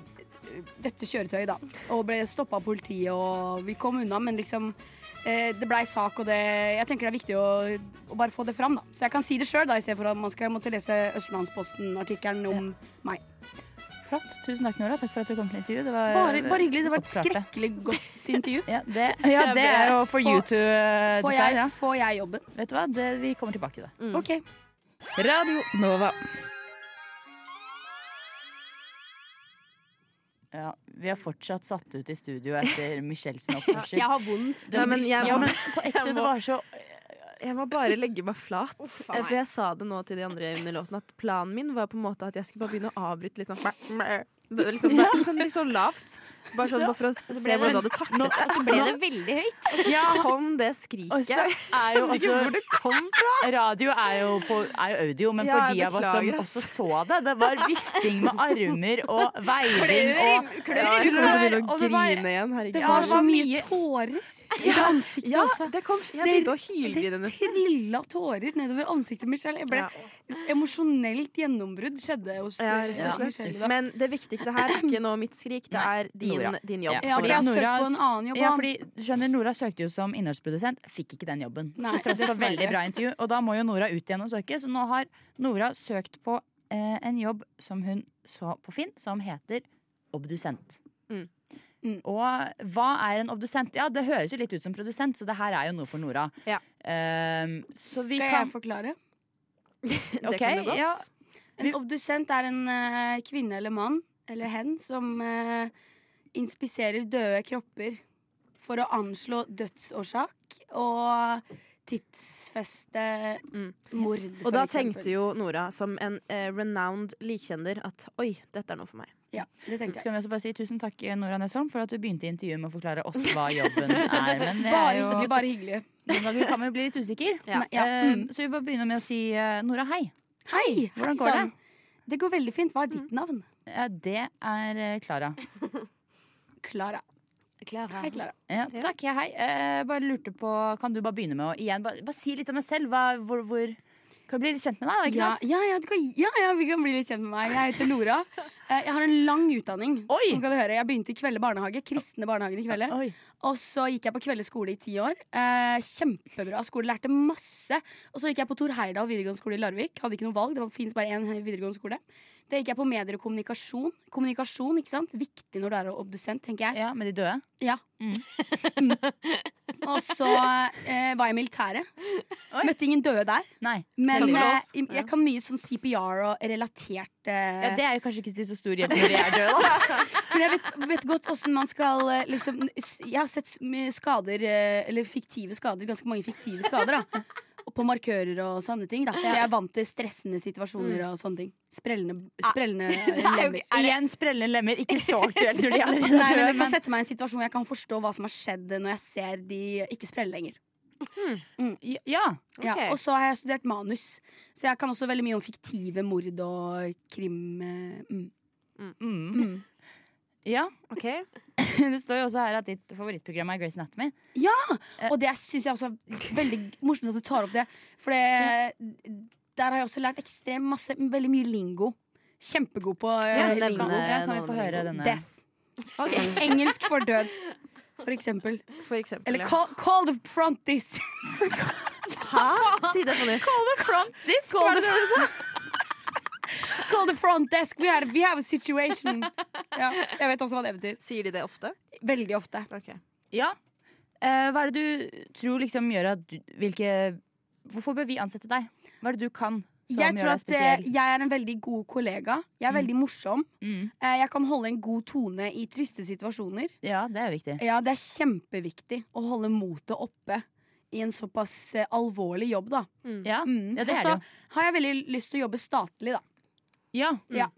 [SPEAKER 3] dette kjøretøyet, da. Og ble stoppa av politiet, og vi kom unna, men liksom eh, Det blei sak, og det Jeg tenker det er viktig å, å bare få det fram, da. Så jeg kan si det sjøl, i stedet for at man skal måtte lese Østlandsposten-artikkelen om eh,
[SPEAKER 4] Flott. Tusen takk, Nora. Takk for at du kom til intervju. Det var
[SPEAKER 3] bare, bare hyggelig. Det var et
[SPEAKER 4] oppklarte.
[SPEAKER 3] skrekkelig godt intervju.
[SPEAKER 4] Ja, det, ja, det er å få
[SPEAKER 3] Får-
[SPEAKER 4] you to eh,
[SPEAKER 3] [laughs] Får
[SPEAKER 4] decide,
[SPEAKER 3] jeg, Mm.
[SPEAKER 4] ja.
[SPEAKER 3] får jeg jobben?
[SPEAKER 4] Vet du hva, det, vi kommer tilbake til det.
[SPEAKER 3] OK.
[SPEAKER 8] Radio Nova.
[SPEAKER 4] Ja, vi er fortsatt satt ut i studio etter
[SPEAKER 3] [laughs]
[SPEAKER 4] Michelsen oppførsel.
[SPEAKER 6] Jeg har vondt.
[SPEAKER 5] Nei, men jeg,
[SPEAKER 4] Ja, men på ekte,
[SPEAKER 5] Jeg må-
[SPEAKER 4] det var så
[SPEAKER 5] jeg må bare legge meg flat. Eh,
[SPEAKER 6] a meg.
[SPEAKER 5] For jeg sa det nå til de andre under låten, at planen min var på en måte at jeg skulle bare begynne å avbryte litt sånn Litt sånn, litt sånn, litt sånn lavt. Bare sånn bare for å s- se
[SPEAKER 6] det-
[SPEAKER 5] hvordan du hadde taklet det.
[SPEAKER 6] Så ble det veldig høyt.
[SPEAKER 4] Ja,
[SPEAKER 5] Kom det
[SPEAKER 4] og så er
[SPEAKER 5] skriket.
[SPEAKER 4] jo
[SPEAKER 5] Ikke hvor
[SPEAKER 4] også
[SPEAKER 5] det kom fra.
[SPEAKER 4] Radio er jo, på, er jo audio, men
[SPEAKER 5] Ja,
[SPEAKER 4] for de
[SPEAKER 5] jeg
[SPEAKER 4] av oss som
[SPEAKER 5] beklager, altså.
[SPEAKER 4] også så det, det var vifting med armer og
[SPEAKER 5] [laughs]
[SPEAKER 4] veiling og
[SPEAKER 5] Ja, jeg kommer til å begynne å
[SPEAKER 4] og det var-
[SPEAKER 5] grine igjen. Herregud.
[SPEAKER 3] Det
[SPEAKER 4] Ja,
[SPEAKER 3] var
[SPEAKER 4] det
[SPEAKER 3] så
[SPEAKER 4] var
[SPEAKER 3] mye
[SPEAKER 4] mye-
[SPEAKER 3] tårer i ansiktet
[SPEAKER 5] Ja,
[SPEAKER 3] også.
[SPEAKER 5] det kom, jeg begynte å hylgrine
[SPEAKER 3] Det
[SPEAKER 5] nesten.
[SPEAKER 3] trilla tårer nedover ansiktet Michelle. Jeg ble
[SPEAKER 5] Ja.
[SPEAKER 3] emosjonelt gjennombrudd skjedde hos
[SPEAKER 5] Ja,
[SPEAKER 3] eh,
[SPEAKER 5] rett
[SPEAKER 4] og
[SPEAKER 3] hos
[SPEAKER 4] slett.
[SPEAKER 3] Michelle. Da.
[SPEAKER 5] Men det viktigste her er ikke nå mitt skrik, det
[SPEAKER 4] Nei,
[SPEAKER 5] er din,
[SPEAKER 4] Nora.
[SPEAKER 5] din jobb.
[SPEAKER 4] Ja,
[SPEAKER 3] Ja, for
[SPEAKER 5] Fordi
[SPEAKER 3] jeg har
[SPEAKER 4] Nora-
[SPEAKER 3] søkt på en annen jobb.
[SPEAKER 4] Ja,
[SPEAKER 3] han.
[SPEAKER 4] fordi du skjønner, Nora søkte jo som innholdsprodusent, fikk ikke den jobben.
[SPEAKER 3] Nei,
[SPEAKER 4] Til tross for
[SPEAKER 3] dessverre.
[SPEAKER 4] veldig bra intervju. Og da må jo Nora ut igjen og søke, så nå har Nora søkt på eh, en jobb som hun så på Finn, som heter obdusent.
[SPEAKER 5] Mm.
[SPEAKER 3] Mm.
[SPEAKER 4] Og hva er en obdusent? Ja, det høres jo litt ut som produsent, så det her er jo noe for Nora.
[SPEAKER 5] Ja.
[SPEAKER 4] Ehm, så vi
[SPEAKER 3] Skal
[SPEAKER 4] kan
[SPEAKER 3] jeg forklare?
[SPEAKER 5] Det kan du
[SPEAKER 4] Ok, ja.
[SPEAKER 5] godt.
[SPEAKER 3] En obdusent er en eh, kvinne eller mann eller hen som eh, inspiserer døde kropper for å anslå dødsårsak og tidsfeste
[SPEAKER 5] Mm.
[SPEAKER 3] mord.
[SPEAKER 5] Og da tenkte jo Nora, som en eh, renowned likkjender, at oi, dette er noe for meg.
[SPEAKER 3] Ja, det
[SPEAKER 4] Så
[SPEAKER 3] tenkte jeg.
[SPEAKER 4] skal vi også bare si Tusen takk Nora Nesholm for at du begynte intervjuet med å forklare oss
[SPEAKER 3] [laughs]
[SPEAKER 4] hva jobben er. Men det
[SPEAKER 3] Bare
[SPEAKER 4] er jo,
[SPEAKER 3] hyggelig, bare hyggelig.
[SPEAKER 4] noen ganger kan vi bli litt usikker.
[SPEAKER 5] Ja.
[SPEAKER 3] Nei, ja.
[SPEAKER 4] Eh,
[SPEAKER 3] mm.
[SPEAKER 4] Så vi bare begynner med å si eh, Nora, hei.
[SPEAKER 3] Hei!
[SPEAKER 4] Hvordan går
[SPEAKER 3] sann. Det går veldig fint. Hva er ditt navn?
[SPEAKER 4] Ja, det er eh, Klara.
[SPEAKER 3] Klara. Hei, Klara.
[SPEAKER 4] Ja, takk, ja, hei. Eh, bare lurte på, Kan du bare begynne med å igjen, bare, bare si litt om deg selv? Hva, hvor, hvor, kan vi bli litt kjent med deg? da, ikke
[SPEAKER 3] Ja,
[SPEAKER 4] sant?
[SPEAKER 3] ja, ja, du kan, ja, ja, vi kan bli litt kjent med meg. Jeg heter Nora. Eh, Jeg har en lang utdanning.
[SPEAKER 4] Oi!
[SPEAKER 3] Som kan du høre. Jeg begynte i Kvelde barnehage, kristne barnehagen i Kvelde.
[SPEAKER 4] Oi.
[SPEAKER 3] Og så gikk jeg på Kvelde skole i ti år. Eh, Kjempebra skole, lærte masse. Og så gikk jeg på Tor Heyerdahl videregående skole i Larvik. Hadde ikke noe valg, det fins bare én videregående skole. Det gikk jeg på medier og kommunikasjon. Kommunikasjon, ikke sant? Viktig når du er obdusent, tenker jeg.
[SPEAKER 4] Ja, Med de døde?
[SPEAKER 3] Og så eh, var jeg i militæret. Møtte ingen døde der.
[SPEAKER 4] Nei.
[SPEAKER 3] Men eh,
[SPEAKER 5] Heldigvis.
[SPEAKER 3] jeg, jeg kan mye sånn CPR og relatert eh,
[SPEAKER 4] Ja, Det er jo kanskje ikke til så stor hjelp når de er døde.
[SPEAKER 3] [laughs]
[SPEAKER 4] da.
[SPEAKER 3] Men jeg vet, vet godt hvordan man skal eh, liksom, s- Jeg har sett s- mye skader, eh, eller fiktive skader, ganske mange fiktive skader. da Og på markører og sånne ting. Da. Så jeg er vant til stressende situasjoner og sånne ting. Sprellende, sprellende lemmer.
[SPEAKER 4] Igjen sprellende lemmer. Ikke så aktuelt når de allerede er
[SPEAKER 3] [laughs] Nei, men
[SPEAKER 4] døde.
[SPEAKER 3] jeg kan sette meg i en situasjon hvor jeg kan forstå hva som har skjedd når jeg ser de ikke sprelle lenger.
[SPEAKER 4] men- ja.
[SPEAKER 3] Ja,
[SPEAKER 5] Ok.
[SPEAKER 3] og så har jeg studert manus, så jeg kan også veldig mye om fiktive mord og krim. eh, Mm.
[SPEAKER 4] Mm. Ja,
[SPEAKER 5] Ok,
[SPEAKER 4] [laughs] Det står jo også her at ditt favorittprogram er Grace Anatomy.
[SPEAKER 3] Og det syns jeg også er veldig morsomt at du tar opp det. For det, der har jeg også lært ekstremt masse, veldig mye lingo. Kjempegod på eh,
[SPEAKER 4] Ja, det
[SPEAKER 3] lingo.
[SPEAKER 4] kan, ja, kan vi få
[SPEAKER 5] noen
[SPEAKER 4] høre denne?
[SPEAKER 3] Death. Engelsk for død, for eksempel.
[SPEAKER 5] for eksempel.
[SPEAKER 3] Eller
[SPEAKER 5] ja.
[SPEAKER 3] call, call the front [laughs] this.
[SPEAKER 5] Hæ? Si det på nytt.
[SPEAKER 3] Call the, call the front desk. We have, we have a situation. Ja, jeg vet også hva det betyr.
[SPEAKER 5] Sier de det ofte?
[SPEAKER 3] Veldig ofte.
[SPEAKER 5] Ok.
[SPEAKER 4] Ja. Eh, hva er det du tror liksom gjør at du, Hvilke Hvorfor bør vi ansette deg? Hva er det du kan som
[SPEAKER 3] Jeg
[SPEAKER 4] gjør
[SPEAKER 3] tror
[SPEAKER 4] deg
[SPEAKER 3] at eh,
[SPEAKER 4] spesiell?
[SPEAKER 3] jeg er en veldig god kollega. Jeg er veldig morsom.
[SPEAKER 4] Mm.
[SPEAKER 3] Eh, Jeg kan holde en god tone i triste situasjoner.
[SPEAKER 4] Ja, det er jo viktig.
[SPEAKER 3] Ja, det er kjempeviktig å holde motet oppe i en såpass eh, alvorlig jobb, da.
[SPEAKER 4] Ja,
[SPEAKER 3] Mm.
[SPEAKER 4] ja det
[SPEAKER 3] Og
[SPEAKER 4] er det
[SPEAKER 3] så
[SPEAKER 4] jo.
[SPEAKER 3] har jeg veldig lyst til å jobbe statlig, da.
[SPEAKER 4] Ja.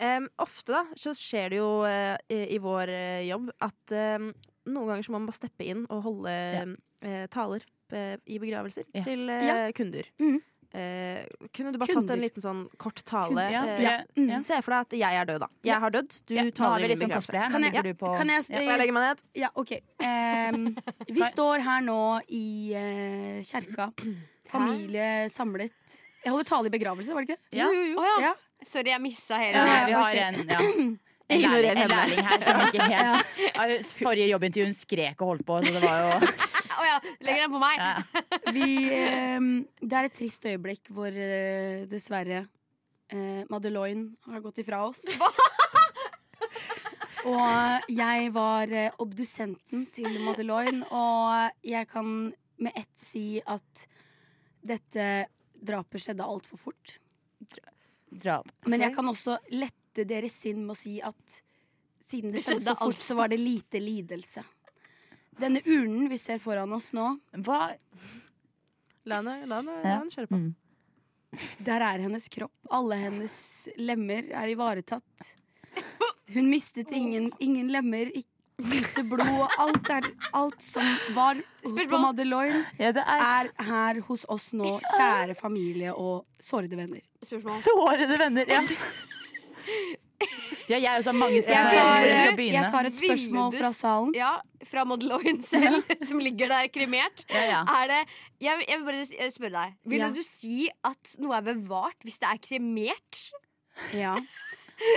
[SPEAKER 5] Em, ofte da, så skjer det jo eh, i, i vår eh, jobb at em, noen ganger så må man bare steppe inn og holde em, eh, taler. eh, i begravelser
[SPEAKER 4] Ja. Mm.
[SPEAKER 5] til eh,
[SPEAKER 3] Ja.
[SPEAKER 5] kunder.
[SPEAKER 3] Mhm.
[SPEAKER 5] Eh, kunne du bare tatt
[SPEAKER 3] Kunder.
[SPEAKER 5] en liten sånn kort tale?
[SPEAKER 4] Ja,
[SPEAKER 5] eh,
[SPEAKER 4] ja,
[SPEAKER 3] Mm.
[SPEAKER 4] ja.
[SPEAKER 5] Se for deg at jeg er død, da. Jeg har dødd, du
[SPEAKER 4] Ja, nå har
[SPEAKER 5] taler
[SPEAKER 4] vi
[SPEAKER 5] i
[SPEAKER 4] litt
[SPEAKER 5] min
[SPEAKER 4] sånn
[SPEAKER 5] begravelse.
[SPEAKER 4] cosplay her.
[SPEAKER 3] Kan
[SPEAKER 4] Nå
[SPEAKER 3] jeg-
[SPEAKER 4] ligger du på
[SPEAKER 3] Kan jeg,
[SPEAKER 5] Ja, jeg legger meg ned.
[SPEAKER 3] Ja, OK.
[SPEAKER 4] [laughs]
[SPEAKER 3] Em, vi står her nå i eh, kjerka. Familie samlet. Jeg holder tale i begravelse, var det ikke det?
[SPEAKER 4] Ja.
[SPEAKER 6] Å ja.
[SPEAKER 3] Ja.
[SPEAKER 6] Sorry, jeg missa hele
[SPEAKER 4] Ja,
[SPEAKER 3] Ja,
[SPEAKER 4] vi
[SPEAKER 3] ja,
[SPEAKER 4] har
[SPEAKER 3] ok. [clears throat]
[SPEAKER 4] en, ja. en,
[SPEAKER 5] Ignorer
[SPEAKER 4] lærling, en
[SPEAKER 5] henne.
[SPEAKER 4] lærling her som ikke
[SPEAKER 3] [laughs]
[SPEAKER 4] helt Ja, Forrige jobbintervju hun skrek og holdt på, så det var jo
[SPEAKER 3] [laughs]
[SPEAKER 6] Å ja, legger den på meg.
[SPEAKER 4] ja.
[SPEAKER 3] Vi, em, det er et trist øyeblikk hvor eh, dessverre eh, Madeloine har gått ifra oss. Og jeg var eh, obdusenten til Madeloine, og jeg kan med ett si at dette drapet skjedde altfor fort.
[SPEAKER 4] drap.
[SPEAKER 3] Men jeg
[SPEAKER 5] Ok.
[SPEAKER 3] kan også lette deres sinn med å si at siden det
[SPEAKER 6] Det
[SPEAKER 3] skjedde
[SPEAKER 6] skjedde
[SPEAKER 3] så fort, så var det lite lidelse. Denne urnen vi ser foran oss nå,
[SPEAKER 4] Hva
[SPEAKER 5] La henne, la henne, la
[SPEAKER 4] Ja.
[SPEAKER 5] henne kjøre på.
[SPEAKER 4] Mm.
[SPEAKER 3] der er hennes kropp. Alle hennes lemmer er ivaretatt. Hun mistet ingen, ingen lemmer, ikk- lite blod. Alt, er, alt som var på
[SPEAKER 6] Spørsmål?
[SPEAKER 3] Madeloine,
[SPEAKER 4] Ja, det er
[SPEAKER 3] er her hos oss nå. Kjære familie og sårede venner.
[SPEAKER 6] Spørsmål.
[SPEAKER 4] sårede venner. [laughs] Ja, ja jeg også har mange
[SPEAKER 3] Jeg
[SPEAKER 4] spørsmål. Hvor
[SPEAKER 3] tar,
[SPEAKER 4] skal jeg begynne?
[SPEAKER 3] jeg tar et
[SPEAKER 6] Vil
[SPEAKER 3] spørsmål
[SPEAKER 6] du
[SPEAKER 3] fra
[SPEAKER 6] s-
[SPEAKER 3] salen.
[SPEAKER 6] Ja, fra Madeloine selv, [laughs] som ligger der kremert.
[SPEAKER 4] Ja, ja.
[SPEAKER 6] Er det Jeg, jeg vil bare s- eh, spørre deg. Ville
[SPEAKER 3] Ja.
[SPEAKER 6] du si at noe er bevart hvis det er kremert?
[SPEAKER 3] Ja.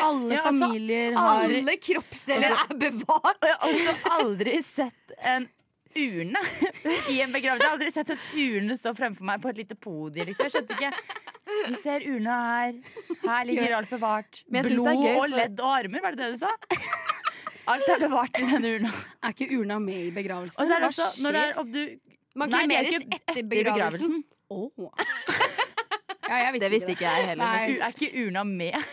[SPEAKER 3] Alle
[SPEAKER 4] Ja, altså,
[SPEAKER 3] familier har
[SPEAKER 6] Alle kroppsdeler er bevart!
[SPEAKER 4] Og jeg har også aldri sett en urne i en begravelse. Jeg har aldri sett en urne stå fremfor meg på et lite podie. Liksom. Jeg skjønte ikke Vi ser urna her. Her ligger alt bevart.
[SPEAKER 5] Men jeg synes det er
[SPEAKER 4] Blod
[SPEAKER 5] gøy,
[SPEAKER 4] og
[SPEAKER 5] for-
[SPEAKER 4] ledd og armer, var det det du sa? Alt er bevart i denne urna.
[SPEAKER 3] Er ikke urna med i begravelsen?
[SPEAKER 4] Og så er det
[SPEAKER 3] Hva
[SPEAKER 4] også når det er obdu...
[SPEAKER 6] Man
[SPEAKER 4] Nei, men det er
[SPEAKER 6] kremeres
[SPEAKER 4] ikke
[SPEAKER 6] etter begravelsen.
[SPEAKER 3] Åh. Ja, jeg
[SPEAKER 5] Det visste ikke jeg heller.
[SPEAKER 3] Nei.
[SPEAKER 4] U- Er ikke urna med?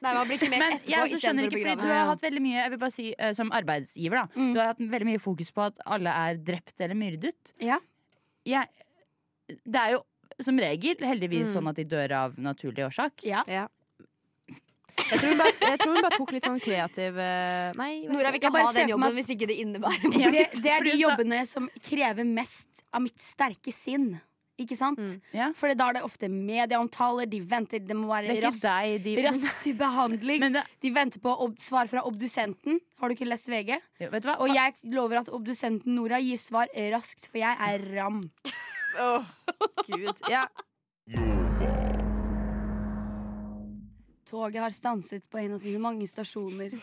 [SPEAKER 6] Nei, man blir kremert
[SPEAKER 4] Men
[SPEAKER 6] etterpå
[SPEAKER 4] jeg også skjønner
[SPEAKER 6] istedenfor å
[SPEAKER 4] ikke, fordi du
[SPEAKER 6] begraves.
[SPEAKER 4] har hatt veldig mye Jeg vil bare si, eh, som arbeidsgiver, da.
[SPEAKER 3] Mm.
[SPEAKER 4] Du har hatt veldig mye fokus på at alle er drept eller myrdet.
[SPEAKER 3] Ja.
[SPEAKER 4] Jeg, det er jo som regel heldigvis
[SPEAKER 5] Mm.
[SPEAKER 4] sånn at de dør av naturlig årsak.
[SPEAKER 3] Ja.
[SPEAKER 5] Jeg tror hun bare, jeg tror hun bare tok litt sånn kreativ eh, Nei, hva-
[SPEAKER 6] Nora
[SPEAKER 3] Jeg
[SPEAKER 6] vil ikke
[SPEAKER 3] bare
[SPEAKER 6] ha
[SPEAKER 3] ser for
[SPEAKER 6] den
[SPEAKER 3] meg
[SPEAKER 6] jobben
[SPEAKER 3] at-
[SPEAKER 6] hvis ikke det innebærer noe.
[SPEAKER 3] Det,
[SPEAKER 4] [laughs]
[SPEAKER 3] det er
[SPEAKER 4] Fordi
[SPEAKER 3] de
[SPEAKER 4] så-
[SPEAKER 3] jobbene som krever mest av mitt sterke sinn. Ikke sant?
[SPEAKER 5] Mm.
[SPEAKER 4] Ja.
[SPEAKER 3] For da er det ofte medieomtaler, de venter, det
[SPEAKER 4] Det
[SPEAKER 3] må være
[SPEAKER 4] er ikke
[SPEAKER 3] raskt
[SPEAKER 4] deg de
[SPEAKER 3] rask til behandling.
[SPEAKER 4] [laughs] Men det,
[SPEAKER 3] De venter på ob svar fra obdusenten. Har du ikke lest VG?
[SPEAKER 4] jo, vet du hva?
[SPEAKER 3] Og jeg lover at obdusenten Nora gir svar raskt, for jeg er ram.
[SPEAKER 5] Gud. Ja.
[SPEAKER 3] Toget har stanset på en av sine mange stasjoner.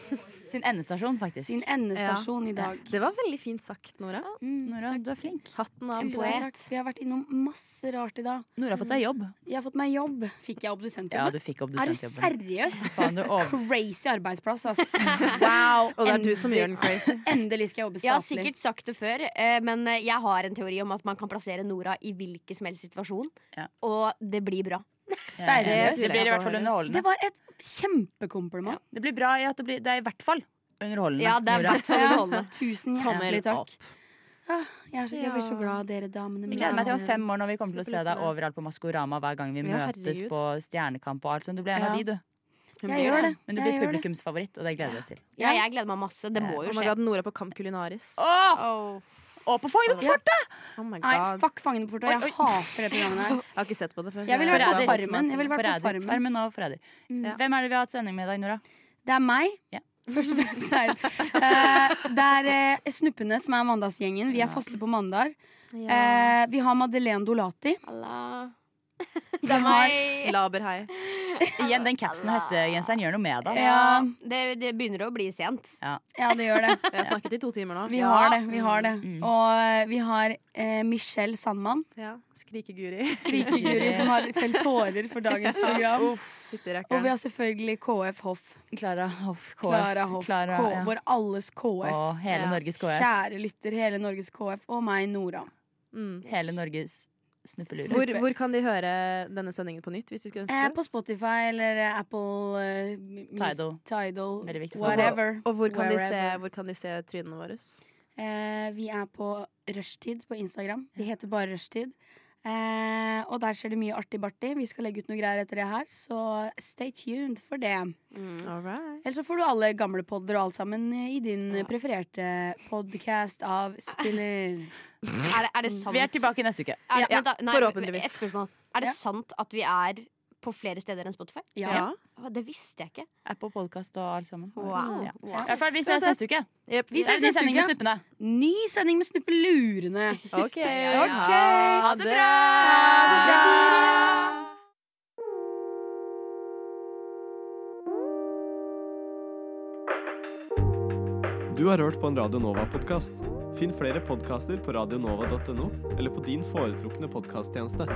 [SPEAKER 4] Sin endestasjon, faktisk.
[SPEAKER 3] Sin endestasjon i
[SPEAKER 5] Ja.
[SPEAKER 3] dag.
[SPEAKER 5] Det var veldig fint sagt, Nora.
[SPEAKER 3] Mm.
[SPEAKER 4] Nora, du er flink.
[SPEAKER 5] Hatten av.
[SPEAKER 3] Tusen
[SPEAKER 5] på deg.
[SPEAKER 3] takk. Vi har vært innom masse rart i dag.
[SPEAKER 4] Nora har fått seg jobb.
[SPEAKER 3] Jeg har fått meg jobb. Fikk
[SPEAKER 4] Ja,
[SPEAKER 3] jeg obdusentjobben?
[SPEAKER 4] du fikk
[SPEAKER 3] er du
[SPEAKER 4] obdusentjobben.
[SPEAKER 3] seriøs?
[SPEAKER 4] [laughs] Faen, du over...
[SPEAKER 3] Crazy arbeidsplass, ass. [laughs] Wow.
[SPEAKER 5] Og det er du som gjør den
[SPEAKER 3] [laughs]
[SPEAKER 5] crazy.
[SPEAKER 3] Endelig skal jeg jobbe
[SPEAKER 6] [laughs] Jeg har
[SPEAKER 3] statlig.
[SPEAKER 6] sikkert sagt det før, eh, men eh, jeg har en teori om at man kan plassere Nora i hvilken som helst situasjon,
[SPEAKER 4] Ja.
[SPEAKER 6] og det blir bra.
[SPEAKER 3] Eh,
[SPEAKER 4] Seriøst?
[SPEAKER 3] Seriøst.
[SPEAKER 4] Det blir i hvert fall underholdende.
[SPEAKER 3] Det var et kjempekompliment.
[SPEAKER 4] Ja. Det blir bra i at det blir Det er i hvert fall underholdende.
[SPEAKER 6] Ja, det er i
[SPEAKER 4] Nora.
[SPEAKER 6] hvert fall underholdende.
[SPEAKER 3] Tusen
[SPEAKER 5] Tommel
[SPEAKER 3] hjertelig takk.
[SPEAKER 5] opp.
[SPEAKER 3] Jeg, er så, jeg blir så glad dere damene
[SPEAKER 4] Jeg gleder meg til om
[SPEAKER 3] mine.
[SPEAKER 4] fem år når vi kommer til å se deg
[SPEAKER 5] Superliten.
[SPEAKER 4] overalt på Maskorama hver gang vi
[SPEAKER 5] Ja,
[SPEAKER 4] møtes
[SPEAKER 5] herregud.
[SPEAKER 4] på Stjernekamp og alt sånn. Du blir en av
[SPEAKER 3] Ja.
[SPEAKER 4] de, du.
[SPEAKER 3] Jeg
[SPEAKER 5] Hun blir
[SPEAKER 3] gjør
[SPEAKER 5] det.
[SPEAKER 3] det.
[SPEAKER 4] Men du
[SPEAKER 3] Jeg
[SPEAKER 4] blir
[SPEAKER 3] gjør det.
[SPEAKER 4] publikumsfavoritt, og det gleder vi oss til.
[SPEAKER 6] Ja, jeg gleder meg masse. Det må
[SPEAKER 5] Oh
[SPEAKER 6] jo
[SPEAKER 5] my
[SPEAKER 6] skje.
[SPEAKER 5] god, Nora på Kamp Kulinaris.
[SPEAKER 4] Åh!
[SPEAKER 6] Oh.
[SPEAKER 4] Og på Fangene på fortet!
[SPEAKER 5] Oh my
[SPEAKER 3] Nei,
[SPEAKER 5] god.
[SPEAKER 3] fuck Fangene på fortet.
[SPEAKER 4] Oi, oi.
[SPEAKER 3] Jeg hater det programmet
[SPEAKER 5] [laughs]
[SPEAKER 3] her.
[SPEAKER 5] Jeg har ikke sett på det før. så
[SPEAKER 3] Jeg ville
[SPEAKER 5] er
[SPEAKER 3] vært på
[SPEAKER 5] glad.
[SPEAKER 3] Farmen. Jeg ville vært på
[SPEAKER 4] Forræder.
[SPEAKER 3] Farmen.
[SPEAKER 4] Farmen og forræder.
[SPEAKER 3] Mm.
[SPEAKER 4] Hvem er det vi har hatt sending med i dag, Nora?
[SPEAKER 3] Det er meg.
[SPEAKER 4] Ja.
[SPEAKER 3] Først og fremst er eh, Det er eh, Snuppene som er mandagsgjengen. Vi er faste på mandag.
[SPEAKER 5] Ja.
[SPEAKER 3] Eh, vi har Madeleine Dolati.
[SPEAKER 6] Allah.
[SPEAKER 3] Vi
[SPEAKER 6] Det er
[SPEAKER 3] har-
[SPEAKER 5] Eh,
[SPEAKER 6] meg.
[SPEAKER 5] Laberhei.
[SPEAKER 4] Igjen den capsen og hettegenseren gjør noe med deg. altså.
[SPEAKER 6] Ja, det, det begynner å bli sent.
[SPEAKER 3] Ja, det gjør det.
[SPEAKER 5] Jeg har snakket i to timer nå.
[SPEAKER 3] Vi
[SPEAKER 6] Ja.
[SPEAKER 3] har det. vi har det
[SPEAKER 4] Mm.
[SPEAKER 3] Og eh, vi har eh, Michelle Sandmann.
[SPEAKER 5] Ja. Skrikeguri. [laughs]
[SPEAKER 3] Rikeguri som har felt tårer for dagens program. Og vi
[SPEAKER 5] Fytterakkeren.
[SPEAKER 3] har selvfølgelig KF Hoff.
[SPEAKER 4] Klara Hoff. KF.
[SPEAKER 3] Klara Hoff.
[SPEAKER 4] Klara,
[SPEAKER 3] K-
[SPEAKER 4] ja.
[SPEAKER 3] Vår alles KF.
[SPEAKER 4] Og hele
[SPEAKER 5] Ja.
[SPEAKER 4] Norges KF.
[SPEAKER 3] Kjære lytter, hele Norges KF og meg, Nora.
[SPEAKER 5] Mm.
[SPEAKER 4] Hele Norges snuppelurer.
[SPEAKER 5] Hvor, hvor kan de høre denne sendingen på nytt? Hvis du skulle ønske
[SPEAKER 3] Eh,
[SPEAKER 5] det?
[SPEAKER 3] på Spotify eller eh, Apple eh, Mus-
[SPEAKER 4] Tidal.
[SPEAKER 3] Tidal
[SPEAKER 4] Veldig viktig for
[SPEAKER 3] whatever.
[SPEAKER 5] Og hvor kan, de se,
[SPEAKER 3] Wherever.
[SPEAKER 5] hvor kan de se trynene våre?
[SPEAKER 3] Eh, vi er på Rushtid på Instagram. Vi heter bare Rushtid. Eh, og der skjer det mye artig-bartig. Vi skal legge ut noe greier etter det her, så stay tuned for det.
[SPEAKER 6] Mm.
[SPEAKER 5] All right.
[SPEAKER 3] Ellers så får du alle gamle podder og alt sammen eh, i din prefererte podcast av spiller.
[SPEAKER 6] Er det, er det sant?
[SPEAKER 4] Vi er tilbake neste uke.
[SPEAKER 6] Er,
[SPEAKER 5] Ja,
[SPEAKER 6] men da, nei,
[SPEAKER 5] forhåpentligvis.
[SPEAKER 6] Et spørsmål. Er det
[SPEAKER 3] Ja.
[SPEAKER 6] sant at vi er på flere steder enn Spotify?
[SPEAKER 3] Ja.
[SPEAKER 6] Å, Det visste jeg ikke.
[SPEAKER 4] Apple Podcast og alt sammen.
[SPEAKER 6] Wow.
[SPEAKER 4] Ja.
[SPEAKER 6] wow.
[SPEAKER 4] I hvert fall, vi ses
[SPEAKER 5] Uansett.
[SPEAKER 4] neste uke.
[SPEAKER 5] Yep.
[SPEAKER 3] Vi ses
[SPEAKER 4] Nei,
[SPEAKER 3] neste
[SPEAKER 4] sending med
[SPEAKER 3] uke.
[SPEAKER 4] snuppene.
[SPEAKER 3] Ny sending med snuppelurene.
[SPEAKER 5] Ok.
[SPEAKER 4] ja.
[SPEAKER 5] Ha det bra. Ha det bra.
[SPEAKER 10] Du har hørt på en Radio Nova-podkast. Finn flere podkaster på radionova.no eller på din foretrukne podkasttjeneste.